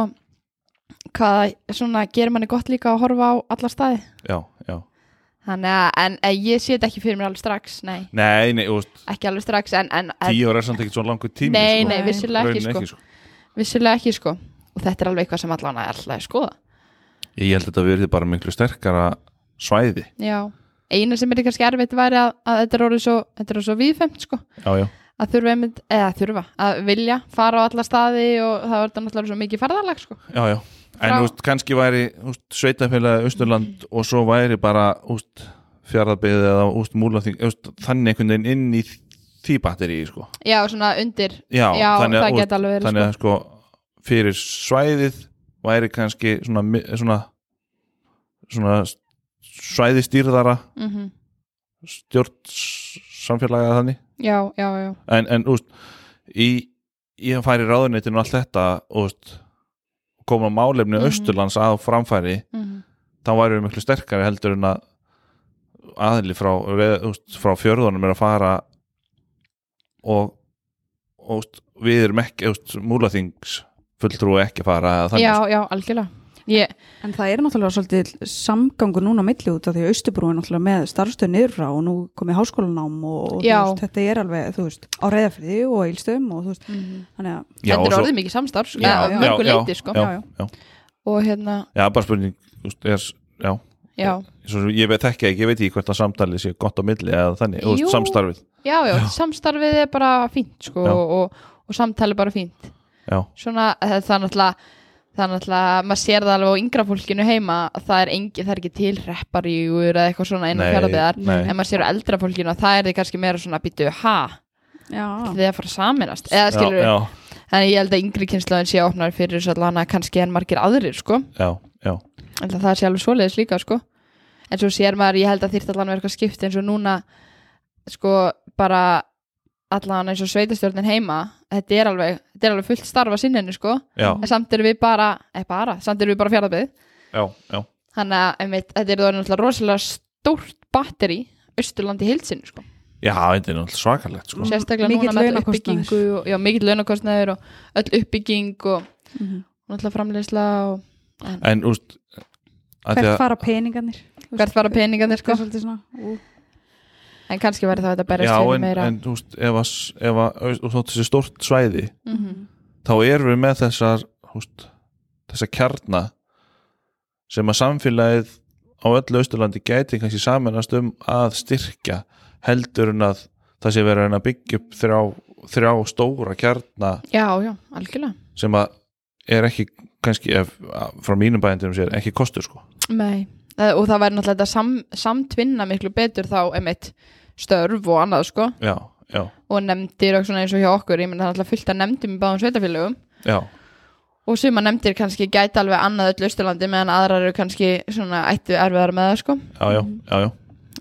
[SPEAKER 3] hvað svona gerir manni gott líka að horfa á alla staði.
[SPEAKER 2] já, já
[SPEAKER 3] Þannig að, en, en ég sé þetta ekki fyrir mér alveg strax, nei,
[SPEAKER 2] Nei, nei, úst,
[SPEAKER 3] ekki alveg strax, en, en, en
[SPEAKER 2] tíu ára er samt ekki svona langur tími
[SPEAKER 3] nei,
[SPEAKER 2] sko.
[SPEAKER 3] nei,
[SPEAKER 1] Nei.
[SPEAKER 3] vissulega ekki,
[SPEAKER 2] Raunin
[SPEAKER 3] sko. Vissulega ekki, sko. Og þetta er alveg eitthvað sem allan er alltaf að skoða.
[SPEAKER 2] Ég held að þetta verði bara miklu sterkara svæði
[SPEAKER 3] Já, eina sem er kannski erfitt væri að, að þetta er orðið svo, þetta er orðið svo viðfemt sko,
[SPEAKER 2] Já, já,
[SPEAKER 3] að þurfa einmitt, eða þurfa að vilja fara á alla staði og það er þetta náttúrulega svo mikið ferðalag sko.
[SPEAKER 2] já, já En
[SPEAKER 3] Frá-
[SPEAKER 2] úst, kannski væri úst, sveitafélagi Austurland og svo væri bara úst, fjaraðbyði eða úst, múlaþing úst, þannig einhvern veginn inn í því batteri sko.
[SPEAKER 3] Já, svona undir,
[SPEAKER 2] Já,
[SPEAKER 3] já,
[SPEAKER 2] þannig, að,
[SPEAKER 3] það
[SPEAKER 2] úst,
[SPEAKER 3] geta alveg verið
[SPEAKER 2] þannig
[SPEAKER 3] sko.
[SPEAKER 2] að sko, fyrir svæðið væri kannski svona, mi- svona svona svæðistýrðara
[SPEAKER 3] mm -hmm.
[SPEAKER 2] stjórn samfélaga þannig
[SPEAKER 3] já, já, já
[SPEAKER 2] en, en úst, í, ég færi ráðuneytinu og allt þetta úst, koma málefni
[SPEAKER 3] Mhm.
[SPEAKER 2] Austurlands að framfæri
[SPEAKER 3] mm
[SPEAKER 2] þá væri við miklu sterkari heldur en að aðli frá, reð- úst, frá fjörðunum er að fara og og, úst, við erum ekki úst, múlaþings fulltrú ekki að fara eða þannig,
[SPEAKER 3] já, já, algjörlega ég,
[SPEAKER 1] En það er náttúrulega svolítið samgangur núna á milli út af því að Austurbrú er náttúrulega með starfstöð niður frá og nú komið háskólanám og, og þú
[SPEAKER 3] Já.
[SPEAKER 1] veist, þetta er alveg, þú veist, á reyðafriði og eilstöðum og þú veist, þannig að,
[SPEAKER 2] sko. Já,
[SPEAKER 3] þetta
[SPEAKER 2] og
[SPEAKER 3] er
[SPEAKER 2] svo-
[SPEAKER 3] orðið mikið samstarf sko,
[SPEAKER 1] Já,
[SPEAKER 3] að
[SPEAKER 1] já,
[SPEAKER 3] mörgu
[SPEAKER 2] já,
[SPEAKER 3] leiti sko.
[SPEAKER 2] já,
[SPEAKER 1] já.
[SPEAKER 2] já.
[SPEAKER 3] og hérna,
[SPEAKER 2] já, bara spurning úst, er, já,
[SPEAKER 3] já,
[SPEAKER 2] svo, sem ég veit ekki ekki, ég veit ekki hvort að samtalið sé gott á milli eða þannig, úst,
[SPEAKER 3] Jú.
[SPEAKER 2] samstarfið
[SPEAKER 3] já, já,
[SPEAKER 2] Já.
[SPEAKER 3] samstarfið er bara fínt sko,
[SPEAKER 2] Já.
[SPEAKER 3] og, og, og samtali bara fínt
[SPEAKER 2] já,
[SPEAKER 3] svona, eh, það það er náttúrulega það er náttúrulega, maður sér það alveg á yngra fólkinu heima, að það er, engi, það er ekki til repparígur eða eitthvað svona innan fjaraðiðar
[SPEAKER 2] nei,
[SPEAKER 3] en maður sér á eldra fólkinu að það er þið kannski meira svona býtu, ha,
[SPEAKER 1] já,
[SPEAKER 3] þið er að fara að saminast eða
[SPEAKER 2] já,
[SPEAKER 3] skilur við,
[SPEAKER 2] já,
[SPEAKER 3] þannig ég held að yngri kynslaðin sé opnar fyrir þess að lana kannski en margir aðrir sko,
[SPEAKER 2] já, já,
[SPEAKER 3] ég held að það sé alveg svoleiðis líka sko, en svo sér maður ég held að þýrt allan verið eitthvað skipt eins og núna sko bara allan eins og sveitastjórnin heima þetta er alveg, þetta er alveg fullt starfa sinninu sko,
[SPEAKER 2] já,
[SPEAKER 3] en samt erum við bara eða bara, samt erum við bara fjaraðbyð
[SPEAKER 2] já, já.
[SPEAKER 3] þannig að einmitt, þetta er það náttúrulega rosalega stórt batteri Östurlandi hilsinu sko
[SPEAKER 2] Já, þetta er náttúrulega svakalegt sko.
[SPEAKER 1] Mm.
[SPEAKER 3] sérstaklega
[SPEAKER 1] Mikill
[SPEAKER 3] núna með alla
[SPEAKER 1] launakostnaður.
[SPEAKER 3] uppbyggingu og, já, mikill launakostnaður og öll uppbygging og
[SPEAKER 1] Mhm.
[SPEAKER 3] náttúrulega framleysla og
[SPEAKER 2] En úst að því
[SPEAKER 1] hvert
[SPEAKER 2] að-
[SPEAKER 1] fara peningarnir?
[SPEAKER 3] hvert
[SPEAKER 1] eh,
[SPEAKER 3] fara peningarnir
[SPEAKER 1] Það
[SPEAKER 3] sko
[SPEAKER 1] er svolítið svona, ú,
[SPEAKER 3] en kannski væri það þetta berjast
[SPEAKER 2] Já,
[SPEAKER 3] fyrir
[SPEAKER 2] en,
[SPEAKER 3] meira
[SPEAKER 2] en úst, ef að s- ef að og þótt þessi stórt svæði
[SPEAKER 3] Mhm.
[SPEAKER 2] þá erum við með þessar úst, þessar kjarna sem að samfélagið á öllu austurlandi gæti kannski samanast um að styrkja heldur en að það sé verið að reyna að byggja upp þrjá, þrjá stóra kjarna
[SPEAKER 3] já, já, algjörlega
[SPEAKER 2] sem að er ekki kannski ef, frá mínum bændum sér ekki kostur sko.
[SPEAKER 3] Nei. Eh, og það væri náttúrulega þetta sam, samtvinna miklu betur þá einmitt störf og annað sko
[SPEAKER 2] Já, já,
[SPEAKER 3] og nefndir og svona eins og hjá okkur ég menn það er náttúrulega fullt að nefndum í báðum sveitafélögum
[SPEAKER 2] já,
[SPEAKER 3] og suma nefndir kannski gæti alveg annað öll Östurlandi meðan aðrar eru kannski svona ættu erfiðar með það sko
[SPEAKER 2] já, já, já, já.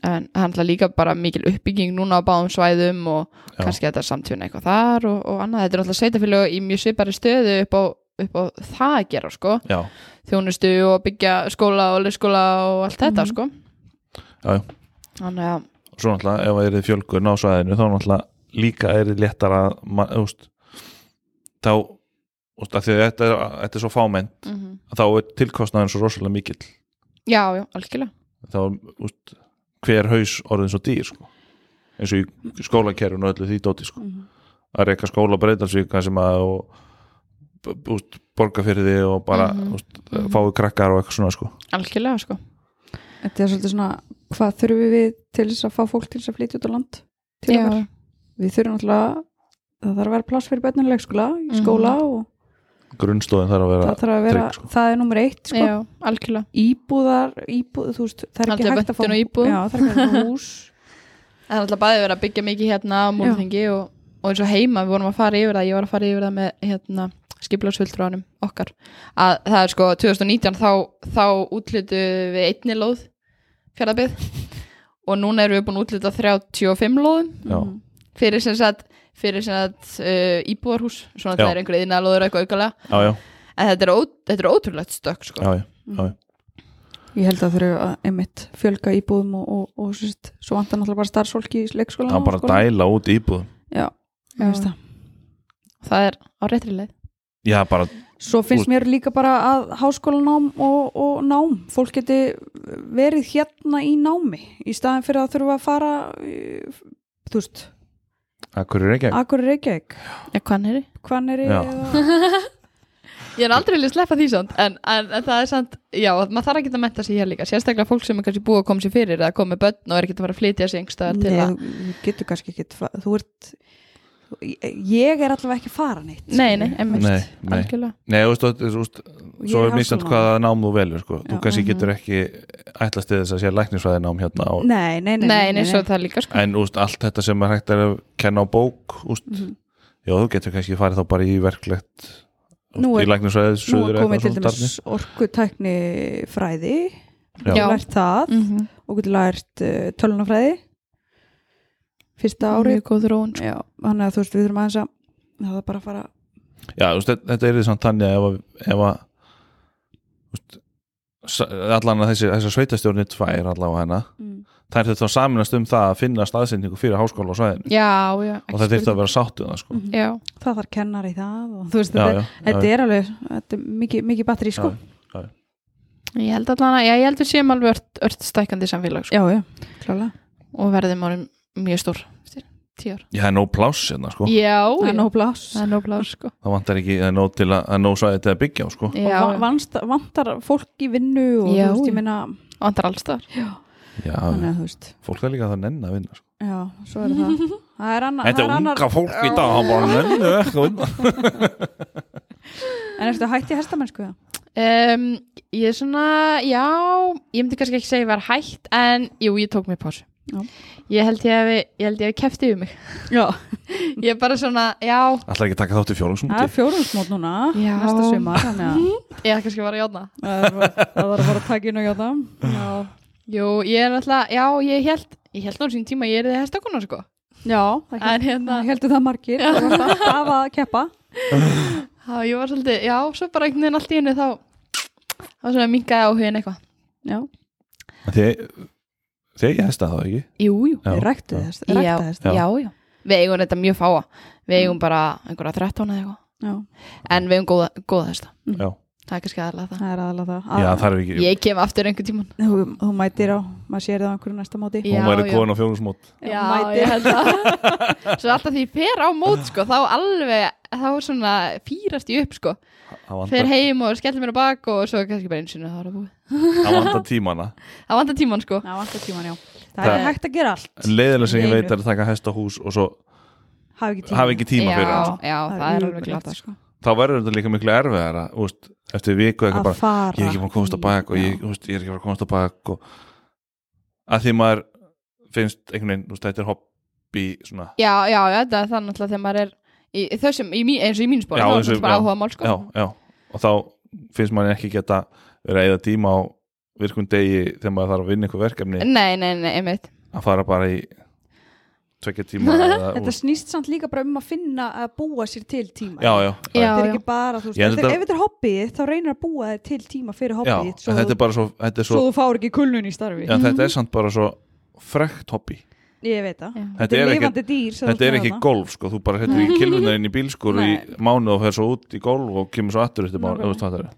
[SPEAKER 3] en það er náttúrulega líka bara mikil uppbygging núna á báðum svæðum og
[SPEAKER 2] Já.
[SPEAKER 3] kannski þetta er samtvinna eitthvað þar og, og annað, þetta er náttúrulega sveitafélög í mjög svipari stöðu upp á, upp á það að gera sko,
[SPEAKER 2] já.
[SPEAKER 3] þjónustu og byggja skóla og leikskóla og allt þetta
[SPEAKER 1] Mhm.
[SPEAKER 3] sko
[SPEAKER 2] Já, já.
[SPEAKER 3] þannig að,
[SPEAKER 2] svo náttúrulega ef það er fjölgun á svæðinu þá náttúrulega líka er þið léttara ma- þú veist, þá úst, því að þetta er, þetta er svo fámenn
[SPEAKER 3] mm
[SPEAKER 2] þá er tilkostnaðin svo rosalega mikill
[SPEAKER 3] já, já, algjörlega
[SPEAKER 2] þá úst, hver haus orðin svo dýr sko. eins og í skólakerfinu og öllu því dóti sko.
[SPEAKER 1] Mhm.
[SPEAKER 2] að reyka skóla breytalsvíka sem að og, úst, borga fyrir því og bara
[SPEAKER 3] Mhm.
[SPEAKER 2] úst,
[SPEAKER 3] Mhm.
[SPEAKER 2] fáið krakkar og eitthvað svona sko.
[SPEAKER 3] algjörlega sko,
[SPEAKER 1] þetta er svolítið svona, hvað þurfum við til þess að fá fólk til þess að flytja út á land? Til
[SPEAKER 3] já,
[SPEAKER 1] okkar? Við þurfum náttúrulega, það þarf að vera pláss fyrir börnulegskóla,
[SPEAKER 3] Mhm.
[SPEAKER 1] skóla og
[SPEAKER 2] grunnstóðin þarf að vera
[SPEAKER 1] það þarf að vera,
[SPEAKER 2] trygg, sko.
[SPEAKER 1] það er nummer eitt sko.
[SPEAKER 3] já, algjörlega
[SPEAKER 1] íbúðar, íbúð, þú veist, það er ekki
[SPEAKER 3] Aldrei
[SPEAKER 1] hægt að fá
[SPEAKER 3] vöntun á íbúð.
[SPEAKER 1] já, það er ekki hægt að fá hús
[SPEAKER 3] það er náttúrulega bæði verið að byggja mikið hérna á múlþingi og, og eins og heima við vorum að fara yfir það, ég var að fara yfir það með hérna skiplarsfulltrúanum okkar að það er sko 2019 þá, þá útlutu við einni lóð fjaraðbyð og núna erum við búin að útluta 35 lóðum
[SPEAKER 2] Já.
[SPEAKER 1] Mhm.
[SPEAKER 3] fyrir sem sagt, fyrir sem sagt uh, íbúarhús, svona
[SPEAKER 2] Já.
[SPEAKER 3] það er einhver einna lóður eitthvað aukalega,
[SPEAKER 2] já, já,
[SPEAKER 3] en þetta er, ó, þetta er ótrúlegt stökk sko.
[SPEAKER 2] já, já.
[SPEAKER 1] ég held að þurfum að einmitt fjölga íbúðum og, og, og sérst, svo vantar náttúrulega bara starfsfólki í leikskóla
[SPEAKER 2] það er bara að dæla út íbúðum
[SPEAKER 1] já, já.
[SPEAKER 3] Já. það er á réttri leið
[SPEAKER 2] já, bara
[SPEAKER 1] svo finnst mér líka bara að háskólanám og, og nám, fólk geti verið hérna í námi í staðin fyrir að þurfa að fara eh, þú veist,
[SPEAKER 2] að hverju reykja
[SPEAKER 1] akkur Reykjavík
[SPEAKER 3] Já, hvað er
[SPEAKER 1] hvan er
[SPEAKER 2] Já.
[SPEAKER 1] ég
[SPEAKER 3] Ég er aldrei vilja sleppa því samt en, en, en það er samt, já, maður þarf að geta að menta sig hér líka, sérstaklega fólk sem er kannski búið að koma sér fyrir eða komið með börn og er ekkert að fara að flytja sig einhverstaðar til að
[SPEAKER 1] þú getur kannski ekki fa- þú ert ég er allavega ekki að fara neitt
[SPEAKER 3] Nei, nei, einmitt,
[SPEAKER 2] Nei, nei.
[SPEAKER 3] algjörlega
[SPEAKER 2] Nei, þú veist, þú veist,
[SPEAKER 1] Og
[SPEAKER 2] svo
[SPEAKER 1] ég
[SPEAKER 2] er misjönd
[SPEAKER 1] háskólanám.
[SPEAKER 2] hvaða nám þú velur, sko. Þú
[SPEAKER 1] Já.
[SPEAKER 2] kannski
[SPEAKER 3] Mhm.
[SPEAKER 2] getur ekki ætlast til þess að sé læknisfræðinám hérna og,
[SPEAKER 1] Nei, nei, nei,
[SPEAKER 3] Nei, nei, svo er það líka sko
[SPEAKER 2] en úst, allt þetta sem er hægt að kenna á bók, úst,
[SPEAKER 1] Mhm.
[SPEAKER 2] já, þú getur kannski farið þá bara í verklegt úst,
[SPEAKER 1] Nú er-
[SPEAKER 2] í læknisfræði,
[SPEAKER 1] Nú
[SPEAKER 2] suður
[SPEAKER 1] er
[SPEAKER 2] eitthvað
[SPEAKER 1] komið til
[SPEAKER 2] svona
[SPEAKER 1] dæmis orkutækni fræði
[SPEAKER 2] Já.
[SPEAKER 1] getur lært það
[SPEAKER 3] -hmm.
[SPEAKER 1] og getur lært uh, tölunafræði fyrsta ári
[SPEAKER 3] Mjög góð þróun sko.
[SPEAKER 1] Já, þannig að þú veist, við þurfum aðeins að það er bara að fara
[SPEAKER 2] Já, þú veist, þetta- þetta er því samt þannig að ef að, ef að þú veist, sa- allan að þessi, þessi sveitastjórnir tvær allavega hana
[SPEAKER 1] mm.
[SPEAKER 2] þær þurftu að saminast um það að finna staðsendingu fyrir háskóla á svæðinu
[SPEAKER 3] Já, já
[SPEAKER 2] og það þurftu að vera sátt um það sko.
[SPEAKER 1] Mhm.
[SPEAKER 3] Já,
[SPEAKER 1] það þarf kennar í það og þú veist,
[SPEAKER 2] já,
[SPEAKER 1] þetta,
[SPEAKER 2] já,
[SPEAKER 1] þetta
[SPEAKER 2] já,
[SPEAKER 1] er alveg þetta er mikið, mikið batteri sko
[SPEAKER 2] Já,
[SPEAKER 3] ég held allan að já, ég held við séum alveg ört, ört stækandi samfélag sko.
[SPEAKER 1] já, já, klálega
[SPEAKER 3] og verðum orðin mjög stór eftir tíu ár
[SPEAKER 2] já, það er nóg pláss hérna sko.
[SPEAKER 3] Já,
[SPEAKER 1] það er
[SPEAKER 3] já.
[SPEAKER 1] nóg pláss
[SPEAKER 3] það er nóblað sko.
[SPEAKER 2] það vantar ekki, það er nóg til að, að nóg svæði til að byggja á sko.
[SPEAKER 1] og
[SPEAKER 3] Já,
[SPEAKER 1] va- vanst, vantar fólk í vinnu og
[SPEAKER 3] Já,
[SPEAKER 1] þú veist,
[SPEAKER 3] já.
[SPEAKER 1] ég minna
[SPEAKER 3] vantar allstar
[SPEAKER 2] Já,
[SPEAKER 1] þannig að þú veist,
[SPEAKER 2] fólk er líka að það nenni að vinna sko.
[SPEAKER 1] já, svo er það það er annar,
[SPEAKER 2] Þetta
[SPEAKER 1] það
[SPEAKER 2] er
[SPEAKER 1] er annar
[SPEAKER 2] unga fólk í dag, hann bara nenni ekki að vinna
[SPEAKER 1] en eftir hætti hestamennsku það
[SPEAKER 3] um, Ég er svona, já ég myndi kannski ekki segja að ég var hægt en jú, ég tók mér pásu
[SPEAKER 1] Já.
[SPEAKER 3] Ég held ég hafi, ég held ég hafi kefti um mig
[SPEAKER 1] já,
[SPEAKER 3] Ég er bara svona, já
[SPEAKER 2] Ætlar ekki að taka þátt í
[SPEAKER 1] það
[SPEAKER 2] fjórumsmúti
[SPEAKER 1] er fjórumsmót núna
[SPEAKER 3] Já.
[SPEAKER 1] næsta sumar, þannig að
[SPEAKER 3] Ég er kannski bara að játna
[SPEAKER 1] það er bara- það var að fara að taka inn og hjáta já,
[SPEAKER 3] Jú, ég er alltaf, já, ég held Ég held á sín tíma að ég er þið hestakona sko
[SPEAKER 1] já það
[SPEAKER 3] En
[SPEAKER 1] held-
[SPEAKER 3] hérna-
[SPEAKER 1] það heldur það margir það var alltaf að keppa
[SPEAKER 3] Já, ég var svolítið, já, svo bara einhvern veginn allt í henni þá þá svona mingaði áhugin eitthvað
[SPEAKER 1] já,
[SPEAKER 2] Þegar þegar ég hesta það ekki
[SPEAKER 3] Jú, jú
[SPEAKER 2] Já,
[SPEAKER 1] þið ræktu
[SPEAKER 2] já.
[SPEAKER 1] þess
[SPEAKER 3] já,
[SPEAKER 1] rækta þess
[SPEAKER 3] já, já Við eigum þetta mjög fáa Við eigum bara einhverja 13 eða eitthvað
[SPEAKER 1] já,
[SPEAKER 3] En við eigum góða, góða þesta
[SPEAKER 2] Já,
[SPEAKER 3] Það er kannski aðalega það
[SPEAKER 1] það er aðalega það
[SPEAKER 2] já
[SPEAKER 1] Að-
[SPEAKER 2] það er ekki
[SPEAKER 3] Ég kem aftur einhvern tíman
[SPEAKER 1] þú, þú mætir á, maður sér það á einhverju næsta móti
[SPEAKER 3] Já,
[SPEAKER 2] Hún væri
[SPEAKER 3] já.
[SPEAKER 2] komin á fjórumsmút
[SPEAKER 3] Já,
[SPEAKER 1] mætir.
[SPEAKER 3] ég held að Svo alltaf því ég fer á mót sko Þá alveg, þá er svona fýrast ég upp sko
[SPEAKER 2] Það
[SPEAKER 3] Fer
[SPEAKER 2] vantar-
[SPEAKER 3] heim og skellir mér á bak og svo kannski bara einsinu Það var það búið
[SPEAKER 2] það vantar tímana
[SPEAKER 3] Það vantar tíman sko
[SPEAKER 1] það vantar tíman, já það
[SPEAKER 2] Það-
[SPEAKER 1] er hægt að gera allt
[SPEAKER 2] Leðilega sem ég
[SPEAKER 1] Einu.
[SPEAKER 2] veit er að taka hesta hús og svo
[SPEAKER 1] hafi ekki tíma,
[SPEAKER 2] hafa ekki tíma
[SPEAKER 3] já,
[SPEAKER 2] fyrir það
[SPEAKER 3] Já, það er alveg
[SPEAKER 1] ömurlegt,
[SPEAKER 3] glata sko.
[SPEAKER 1] sko.
[SPEAKER 2] þá verður þetta líka miklu erfiðara úst, eftir viku eitthvað
[SPEAKER 1] að
[SPEAKER 2] bara
[SPEAKER 1] fara
[SPEAKER 2] ég er ekki búin að komast á bak og ég, úst, ég er ekki búin að komast á bak og að því maður finnst einhvern veginn, úst, þetta er hobby svona,
[SPEAKER 3] Já, já, já, þetta er þannig að þegar maður er í, í þessum, í, mín- eins og í mínu spóri
[SPEAKER 2] Já,
[SPEAKER 3] þá er
[SPEAKER 2] eins og-
[SPEAKER 3] þetta bara
[SPEAKER 2] já.
[SPEAKER 3] áhuga mál sko
[SPEAKER 2] já, já og þá finnst maður ekki geta verið að eða tíma á virkum degi þegar maður þarf að vinna einhver verkefni
[SPEAKER 3] Nei, nei, nei, einmitt
[SPEAKER 2] að fara bara í tvekja tíma eða,
[SPEAKER 1] þetta
[SPEAKER 2] úst,
[SPEAKER 1] snýst samt líka bara um að finna að búa sér til tíma
[SPEAKER 2] já, já, já,
[SPEAKER 1] þetta
[SPEAKER 3] Já,
[SPEAKER 1] er
[SPEAKER 3] já.
[SPEAKER 1] ekki bara, þú veist,
[SPEAKER 2] Ég held
[SPEAKER 1] þetta,
[SPEAKER 2] að-
[SPEAKER 1] ef þetta er hobbyið þá reynir að búa þér til tíma fyrir
[SPEAKER 2] já
[SPEAKER 1] hobbyið
[SPEAKER 2] en
[SPEAKER 1] svo,
[SPEAKER 2] þetta er
[SPEAKER 1] þú-
[SPEAKER 2] bara svo, þetta er
[SPEAKER 1] svo Mhm.
[SPEAKER 2] svo,
[SPEAKER 1] þú fáir ekki kulnun í starfi
[SPEAKER 2] já, þetta er samt bara svo frekt hobby
[SPEAKER 1] ég veit það,
[SPEAKER 3] Já.
[SPEAKER 1] þetta er
[SPEAKER 2] er ekki
[SPEAKER 1] lifandi dýr sem þú
[SPEAKER 2] Þetta er
[SPEAKER 1] ert með
[SPEAKER 2] ekki
[SPEAKER 1] þarna.
[SPEAKER 2] golf sko, þú bara hættir ekki kilvunar inn í bílskur í
[SPEAKER 1] Mhm. Nei.
[SPEAKER 2] mánu og fer svo út í golf og kemur svo aftur eftir mánu,
[SPEAKER 1] Nákvæmlega.
[SPEAKER 2] þú veist hvað það er
[SPEAKER 1] þú,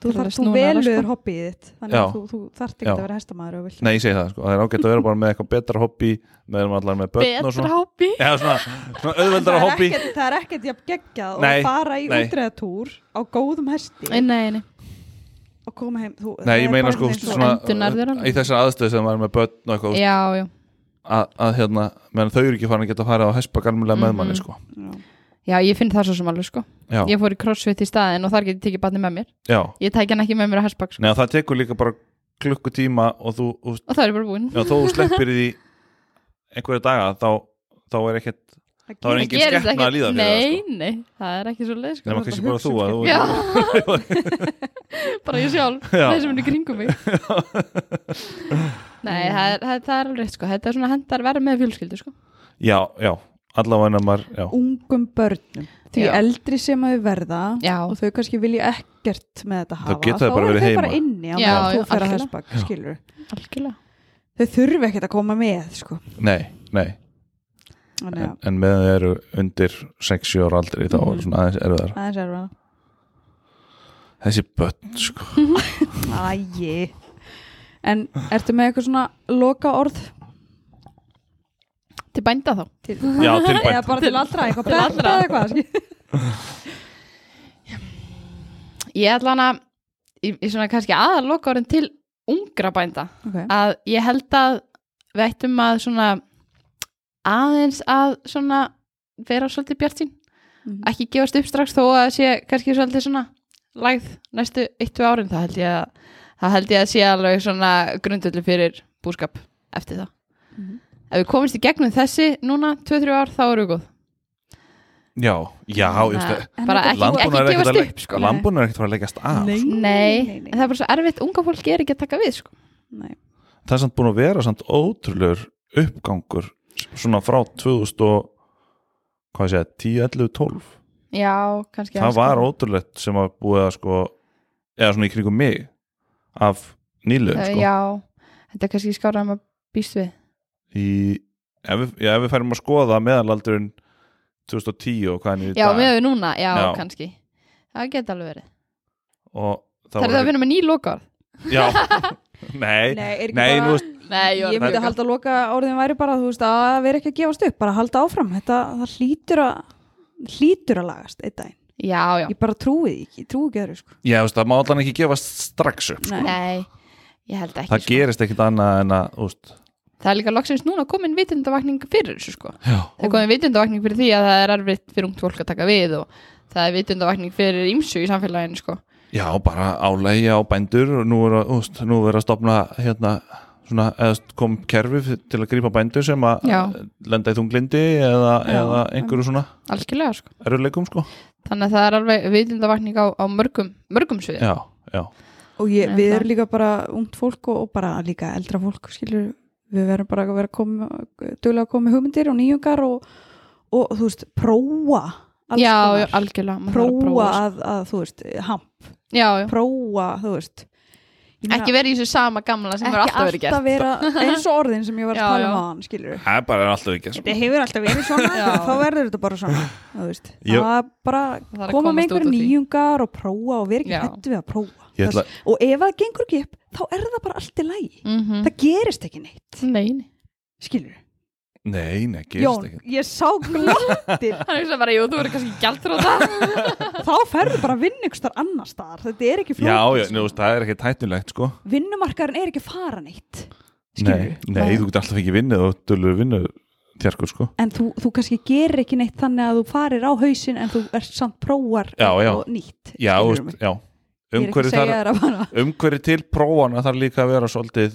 [SPEAKER 3] Þetta er
[SPEAKER 1] þarf, þú
[SPEAKER 3] snúnar,
[SPEAKER 1] velur
[SPEAKER 3] sko.
[SPEAKER 1] hobbyið þitt þannig
[SPEAKER 2] Já.
[SPEAKER 1] að þú, þú þarft ekki
[SPEAKER 2] Já.
[SPEAKER 1] að vera hestamaður ef þú vilt.
[SPEAKER 2] Nei, ég segi það, sko, það er ágætt að vera bara með eitthvað betra hobby með erum allar með börn og
[SPEAKER 3] Betra
[SPEAKER 2] svona
[SPEAKER 3] hobby
[SPEAKER 2] Já, svona, svona
[SPEAKER 1] það
[SPEAKER 2] auðveldara
[SPEAKER 1] er
[SPEAKER 2] hobby
[SPEAKER 1] ekkert- það er ekkert jafn geggjað
[SPEAKER 2] Nei,
[SPEAKER 1] og fara í
[SPEAKER 2] nei.
[SPEAKER 1] útreðatúr á góðum hesti
[SPEAKER 3] Nei, nei, nei
[SPEAKER 1] og koma heim þú,
[SPEAKER 2] Nei,
[SPEAKER 1] það
[SPEAKER 2] ég
[SPEAKER 1] er
[SPEAKER 2] meina
[SPEAKER 1] bara
[SPEAKER 2] sko
[SPEAKER 1] eins og-
[SPEAKER 2] svona,
[SPEAKER 3] endurnærður alveg.
[SPEAKER 2] í þessar aðstöð sem maður er með börn og eitthvað, þú veist,
[SPEAKER 3] Já, já
[SPEAKER 2] að, að hérna meðan þau eru ekki farin að geta að fara á hespa alveg með
[SPEAKER 3] Mhm.
[SPEAKER 2] manni, sko
[SPEAKER 1] Já.
[SPEAKER 3] Já, ég finn það svo sem alveg sko
[SPEAKER 2] Já,
[SPEAKER 3] Ég fór í crossfit í staðin og þar get ég tekið batni með mér
[SPEAKER 2] já,
[SPEAKER 3] Ég tæk hann ekki með mér á hashbag sko
[SPEAKER 2] Nei, og það tekur líka bara klukkutíma og þú, þú veist,
[SPEAKER 3] Og það er ég bara búin
[SPEAKER 2] já, þó þú sleppir því einhverja daga, þá, þá er ekkert
[SPEAKER 1] það
[SPEAKER 2] þá er
[SPEAKER 1] gerist-
[SPEAKER 2] engin
[SPEAKER 3] gerist
[SPEAKER 2] skepna að líða fyrir það,
[SPEAKER 3] Nei,
[SPEAKER 2] sko.
[SPEAKER 3] nei, það er ekki svo leið sko
[SPEAKER 2] nema
[SPEAKER 1] Þú
[SPEAKER 2] kannski
[SPEAKER 1] ert að
[SPEAKER 2] bara þú að
[SPEAKER 1] hugsa
[SPEAKER 2] þú
[SPEAKER 1] um
[SPEAKER 3] Já,
[SPEAKER 2] Já.
[SPEAKER 3] bara ég sjálf
[SPEAKER 2] Já.
[SPEAKER 3] Þeir sem henni kringum mig Nei, það er, það er- það er alveg rétt sko Þetta er svona hendar verð með fjölskyldu sko
[SPEAKER 2] já, já, allavega en að maður já,
[SPEAKER 1] ungum börnum því
[SPEAKER 3] Já.
[SPEAKER 1] eldri sem að þau verða
[SPEAKER 3] Já.
[SPEAKER 1] og þau kannski vilja ekkert með þetta hafa
[SPEAKER 2] geta þau bara
[SPEAKER 1] eru
[SPEAKER 2] verið
[SPEAKER 1] þau
[SPEAKER 2] heima.
[SPEAKER 1] bara inni á
[SPEAKER 3] Já,
[SPEAKER 1] meðan
[SPEAKER 3] já,
[SPEAKER 1] þú fer að
[SPEAKER 3] algjörlega.
[SPEAKER 1] hessbak, skilur
[SPEAKER 3] Algjörlega
[SPEAKER 1] þau þurfi ekkert að koma með sko.
[SPEAKER 2] nei, nei
[SPEAKER 1] þannig
[SPEAKER 2] en,
[SPEAKER 1] að
[SPEAKER 2] en meðan þau eru undir 60 ára aldri þá
[SPEAKER 3] Mhm.
[SPEAKER 2] er svona aðeins erfiðar
[SPEAKER 1] aðeins er það
[SPEAKER 2] þessi börn, sko
[SPEAKER 1] Æi En ertu með eitthvað svona loka orð
[SPEAKER 3] Til bænda þá
[SPEAKER 1] til,
[SPEAKER 2] já,
[SPEAKER 1] eða
[SPEAKER 2] tilbænt,
[SPEAKER 1] bara til allra eitthvað
[SPEAKER 3] Til allra.
[SPEAKER 1] prenta eða eitthvað skil-
[SPEAKER 3] Ég ætla hana í, í svona kannski aðaloka orðin til ungra bænda
[SPEAKER 1] okay.
[SPEAKER 3] að ég held að við ættum að svona aðeins að svona vera svolítið bjart sín
[SPEAKER 1] Mhm.
[SPEAKER 3] ekki gefast upp strax þó að sé kannski svolítið svona lægð næstu eittu árin það held ég að það held ég að sé alveg svona grundöldu fyrir búskap eftir það
[SPEAKER 1] Mhm.
[SPEAKER 3] ef við komumst í gegnum þessi núna 2-3 ár þá erum við góð
[SPEAKER 2] já, já, ég veist
[SPEAKER 3] Þannig að bara
[SPEAKER 1] En
[SPEAKER 3] ekki, sko.
[SPEAKER 1] þetta-
[SPEAKER 3] ekki
[SPEAKER 2] landbúnaður er ekkert að
[SPEAKER 3] gefast upp
[SPEAKER 2] legg- landbúnaður er ekkert að fara að leggjast af
[SPEAKER 3] Nei, en það er bara svo erfitt unga fólki er ekki að taka við sko.
[SPEAKER 1] Nei.
[SPEAKER 2] það er samt búin að vera samt ótrúlegur uppgangur svona frá 2000 og hvað ég segja, 10, 11, 12
[SPEAKER 3] Já, sko. kannski
[SPEAKER 2] það
[SPEAKER 3] aðeins
[SPEAKER 2] var
[SPEAKER 3] kannski.
[SPEAKER 2] ótrúlegt sem að búið að sko eða svona í kringum mig af nýlöðum
[SPEAKER 3] Eh,
[SPEAKER 2] sko
[SPEAKER 3] Já, þetta er kannski skárað að maður býst við
[SPEAKER 2] í, ef, við, já, ef við færum að skoða meðalaldurinn 2010 og hvað hann er í
[SPEAKER 3] Já,
[SPEAKER 2] dag
[SPEAKER 3] með við núna, já,
[SPEAKER 2] Já.
[SPEAKER 3] kannski Það geta alveg verið
[SPEAKER 2] og
[SPEAKER 3] Það er
[SPEAKER 2] voru-
[SPEAKER 3] það að finna með ný lokar
[SPEAKER 2] já, nei,
[SPEAKER 1] Nei, er ekki
[SPEAKER 2] nei
[SPEAKER 1] bara-
[SPEAKER 2] nú veist,
[SPEAKER 3] Nei,
[SPEAKER 1] Ég myndi að halda að loka orðin væri bara þú veist, að vera ekki að gefast upp, bara að halda áfram þetta, það hlýtur að hlýtur að lagast einn daginn,
[SPEAKER 3] Já, já,
[SPEAKER 1] ég bara trúi því ekki, ég trúi ekki öðru sko.
[SPEAKER 2] já, þú veist, það má allan ekki gefast strax upp
[SPEAKER 1] Nei.
[SPEAKER 3] nei, ég held ekki
[SPEAKER 2] það
[SPEAKER 3] sko.
[SPEAKER 2] gerist ekkit annað en að þú veist,
[SPEAKER 3] Það er líka loksins núna komin vitundavakning fyrir þessu sko
[SPEAKER 2] já,
[SPEAKER 3] Það er komin vitundavakning fyrir því að það er erfitt fyrir ungt fólk að taka við og það er vitundavakning fyrir ímsu í samfélaginu sko
[SPEAKER 2] já, bara álægi á bændur og nú er að, þú veist, nú er að stopna hérna svona, eða st- kom kerfi f- til að grípa bændur sem að
[SPEAKER 3] Já.
[SPEAKER 2] lenda í þunglindi eða,
[SPEAKER 1] Já,
[SPEAKER 2] eða einhverju svona
[SPEAKER 3] Algjörlega sko
[SPEAKER 2] eruleikum sko
[SPEAKER 3] Þannig að það er alveg vitundavakning á, á mörgum, mörgum sviðum
[SPEAKER 2] já, já,
[SPEAKER 1] og ég,
[SPEAKER 3] Nei,
[SPEAKER 1] við
[SPEAKER 3] það-
[SPEAKER 1] erum líka bara ungt fólk og, og bara líka eldra fólk skilur, við verðum bara að vera koma, duglega að koma með hugmyndir og nýjungar og, og þú veist, prófa alls
[SPEAKER 3] já,
[SPEAKER 1] konar.
[SPEAKER 3] já, algjörlega maður þarf
[SPEAKER 1] prófa,
[SPEAKER 3] að prófa, sko.
[SPEAKER 1] að, að, þú veist, hamp
[SPEAKER 3] já, já.
[SPEAKER 1] prófa, þú veist Ég meina,
[SPEAKER 3] ekki verið í þessu sama gamla sem verður alltaf verið gert
[SPEAKER 1] vera eins og orðin sem ég var
[SPEAKER 3] Já,
[SPEAKER 1] að tala
[SPEAKER 3] já.
[SPEAKER 1] um á hann, skilur
[SPEAKER 2] það er bara sko. alltaf ekki
[SPEAKER 1] Þetta hefur alltaf verið svona,
[SPEAKER 3] Já.
[SPEAKER 1] þá verður þetta bara svona þú veist.
[SPEAKER 2] Já.
[SPEAKER 1] Það er bara
[SPEAKER 3] Það er að
[SPEAKER 1] koma með
[SPEAKER 3] komast út úr
[SPEAKER 1] einhverju
[SPEAKER 3] því.
[SPEAKER 1] nýjungar og prófa og vera ekki
[SPEAKER 3] Já.
[SPEAKER 1] hættu við að prófa
[SPEAKER 2] Ég ætla-
[SPEAKER 1] Þess, og ef það gengur ekki upp, þá er það bara allt í lagi
[SPEAKER 3] mm -hmm.
[SPEAKER 1] það gerist ekki neitt,
[SPEAKER 3] Nei, nei.
[SPEAKER 1] skilur
[SPEAKER 2] Nei, nei, gerist
[SPEAKER 1] Jón,
[SPEAKER 2] ekki
[SPEAKER 1] ég sá glottir
[SPEAKER 3] Hann hugsa bara, jú, þú verður kannski gælt frá það
[SPEAKER 1] þá ferður bara að vinna ykkur starf annar staðar, þetta er ekki
[SPEAKER 2] Já, já,
[SPEAKER 1] flókið
[SPEAKER 2] nú, veist, það er ekki tætnilegt sko
[SPEAKER 1] vinnumarkaðurinn er ekki að fara neitt
[SPEAKER 2] Nei,
[SPEAKER 1] skilur
[SPEAKER 2] nei, þú getur alltaf ekki vinnið og dölur vinnu tjarkur sko
[SPEAKER 1] en þú, þú kannski gerir ekki neitt þannig að þú farir á hausin en þú ert samt prófar
[SPEAKER 2] Já, já.
[SPEAKER 1] og nýtt
[SPEAKER 2] Já,
[SPEAKER 1] skilurðu
[SPEAKER 2] veist,
[SPEAKER 1] mig?
[SPEAKER 2] já
[SPEAKER 1] ég er ekki að
[SPEAKER 2] Umhverju
[SPEAKER 1] segja
[SPEAKER 2] þar,
[SPEAKER 1] þér að bara
[SPEAKER 2] umhverju til prófana þarf líka að vera svolítið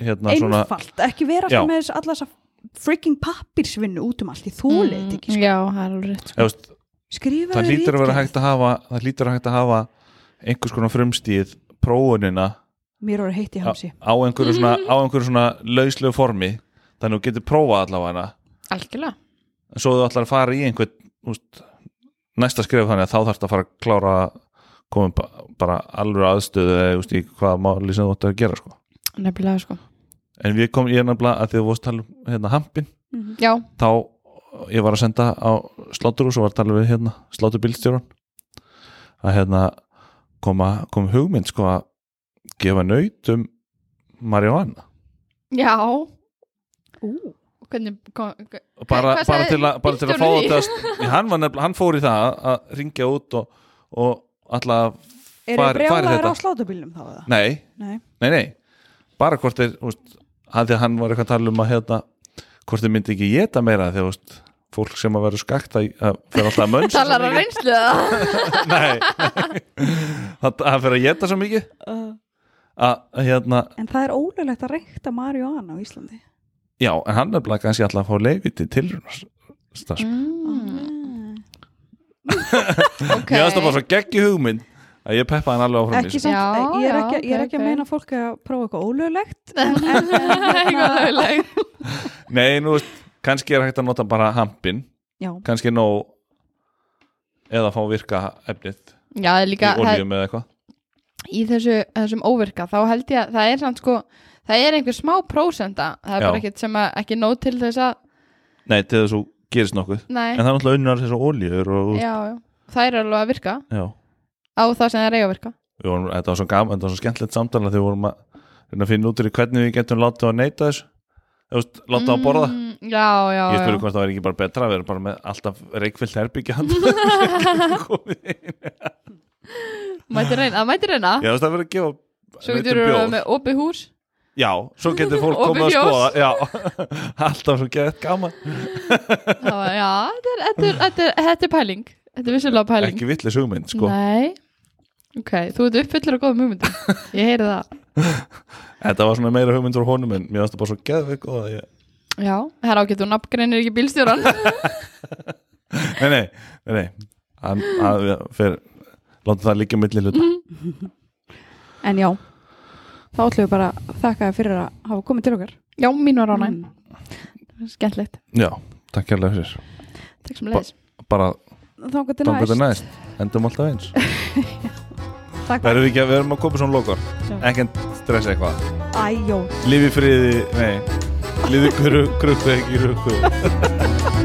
[SPEAKER 2] hérna svona
[SPEAKER 1] einfalt, ekki vera
[SPEAKER 2] Já.
[SPEAKER 1] alltaf með þess alla þessa freaking pappirsvinnu út um allt í þólið mm, ekki,
[SPEAKER 3] Já, það er alveg rétt sko.
[SPEAKER 2] eða, veist,
[SPEAKER 1] skrifa
[SPEAKER 2] Það lítur að vera hægt að hafa það lítur að hægt að hafa einhvers konar frumstíð prófunina
[SPEAKER 1] mér voru heitt í Mm-hmm.
[SPEAKER 2] á,
[SPEAKER 1] hamsi
[SPEAKER 2] á einhverju svona, á einhverju svona lauslegu formi þannig að þú getur prófað allavega hana
[SPEAKER 3] Algjörlega
[SPEAKER 2] en svo þú ætlar að fara í einhvern úst, næsta skref þannig að þá þarfst að fara að klára komum ba bara alveg aðstöðu eða úst, í hvaða máli sem þú ætti að gera sko.
[SPEAKER 3] Nefnilega, sko
[SPEAKER 2] en við kom ég er nefnilega að því þú vorst að tala um hérna hampin
[SPEAKER 1] Mhm.
[SPEAKER 3] Já,
[SPEAKER 2] þá ég var að senda á sláturús og var að tala við hérna sláturbílstjóran að hérna koma, kom hugmynd sko að gefa naut um marihuana
[SPEAKER 3] já
[SPEAKER 1] Ú,
[SPEAKER 3] Hvernig, kom,
[SPEAKER 2] bara,
[SPEAKER 3] hva- Hvað
[SPEAKER 2] bara,
[SPEAKER 3] sagði
[SPEAKER 2] til, að, bara til að fá
[SPEAKER 3] bílstjórinn í?
[SPEAKER 2] þetta að st- hann, var nefnilega- hann fór í það að- að ringja út og, og alltaf
[SPEAKER 1] eru
[SPEAKER 2] Hvar- hvar er
[SPEAKER 1] brjálæður
[SPEAKER 2] þetta?
[SPEAKER 1] á slátabílnum þá eða?
[SPEAKER 2] Nei,
[SPEAKER 1] Nei.
[SPEAKER 2] nei, nei bara hvort þeir, þú veist, að því að hann var eitthvað að tala um að hérna, hvort þeir myndi ekki geta meira því að þú veist, fólk sem að vera skakt að, að fyrir alltaf að mönsa
[SPEAKER 3] talar að reynslu það
[SPEAKER 2] Nei, það að fyrir að geta svo mikið
[SPEAKER 1] Uh,
[SPEAKER 2] að, að hérna,
[SPEAKER 1] en það er ólulegt að reykta marihuana á Íslandi
[SPEAKER 2] já, en hann er bara kannski alltaf að fá leiði til tilrunars starf.
[SPEAKER 3] mm,
[SPEAKER 1] mm.
[SPEAKER 3] ok.
[SPEAKER 2] Mér finnst það bara svo geggi hugmynd að ég peppa hann alveg áfram í
[SPEAKER 1] ekki
[SPEAKER 2] þessu.
[SPEAKER 1] samt,
[SPEAKER 3] Já,
[SPEAKER 1] ég er ekki, ég
[SPEAKER 3] já,
[SPEAKER 1] er
[SPEAKER 3] ok,
[SPEAKER 1] ekki
[SPEAKER 3] ok.
[SPEAKER 1] að meina fólk að prófa eitthvað ólulegt en, en, en,
[SPEAKER 3] Eitthvað
[SPEAKER 1] hérna,
[SPEAKER 3] löglegt.
[SPEAKER 2] Nei, nú veist, kannski er hægt að nota bara hampin,
[SPEAKER 1] já,
[SPEAKER 2] kannski er nóg eða fá virka efnið
[SPEAKER 3] Já, það er
[SPEAKER 2] í
[SPEAKER 3] líka það er-
[SPEAKER 2] olíum eða eitthvað
[SPEAKER 3] í þessu, þessum óvirka þá held ég að það er samt sko það er einhver smá prósenda það er
[SPEAKER 2] Já.
[SPEAKER 3] bara ekkert sem að ekki nóg til þess að
[SPEAKER 2] Nei, til þess að þú gerist nokkuð
[SPEAKER 3] nei,
[SPEAKER 2] En það er náttúrulega unnar þessu ólíur og,
[SPEAKER 3] já, já, það er alveg að virka
[SPEAKER 2] já.
[SPEAKER 3] á það sem það er eiga að virka
[SPEAKER 2] Við Vorum, Þetta var svo gaman, þetta var svo skemmtilegt samtala þegar við vorum að, reyna að finna út úr í hvernig við getum látið að neyta þessu Þú veist, Látið að borða
[SPEAKER 3] mm, já, já,
[SPEAKER 2] Ég spurði
[SPEAKER 3] já,
[SPEAKER 2] hvort það var ekki bara betra að vera bara með alltaf reikfyllt herbyggja handa.
[SPEAKER 3] mætti reyna það mætti reyna,
[SPEAKER 2] Já, þú veist, það verið að gefa
[SPEAKER 3] svo
[SPEAKER 2] nautum
[SPEAKER 3] getur við
[SPEAKER 2] bjór.
[SPEAKER 3] með opið hús
[SPEAKER 2] Já, svo getur fólk
[SPEAKER 3] Opið
[SPEAKER 2] komið að
[SPEAKER 3] fjós.
[SPEAKER 2] skoða Já, alltaf svo geðið gaman
[SPEAKER 3] það var, já, þetta er, þetta, er, þetta, er, þetta er pæling þetta er vissulega pæling
[SPEAKER 2] Ekki villis hugmynd, sko
[SPEAKER 3] nei, ok, þú ert uppfyllur og góðum hugmyndum ég heyri það
[SPEAKER 2] Þetta var svona meira hugmynd frá honum en mér varst það bara svo geðið góð að ég
[SPEAKER 3] já, það er ágætt og nafngreinir ekki bílstjóran
[SPEAKER 2] Nei, nei, nei, nei. Hann,
[SPEAKER 3] Mhm.
[SPEAKER 2] hann fer, láta það líka milli hluta
[SPEAKER 1] en já þá ætlum við bara að þakka þér fyrir að hafa komið til okkar
[SPEAKER 3] Já, mín var ánæg,
[SPEAKER 1] Mm.
[SPEAKER 3] mm. skemmtilegt
[SPEAKER 2] já, takk hérlega fyrir
[SPEAKER 3] Takk sem leiðis
[SPEAKER 2] bara
[SPEAKER 1] Þangað til næst
[SPEAKER 2] þangur til næst endum alltaf eins
[SPEAKER 1] Takk
[SPEAKER 2] verðum við ekki að við erum að koma svona lokar
[SPEAKER 1] Já.
[SPEAKER 2] ekki að stressa eitthvað
[SPEAKER 1] Æjó
[SPEAKER 2] lifi friði, nei lifi krukku ekki rukku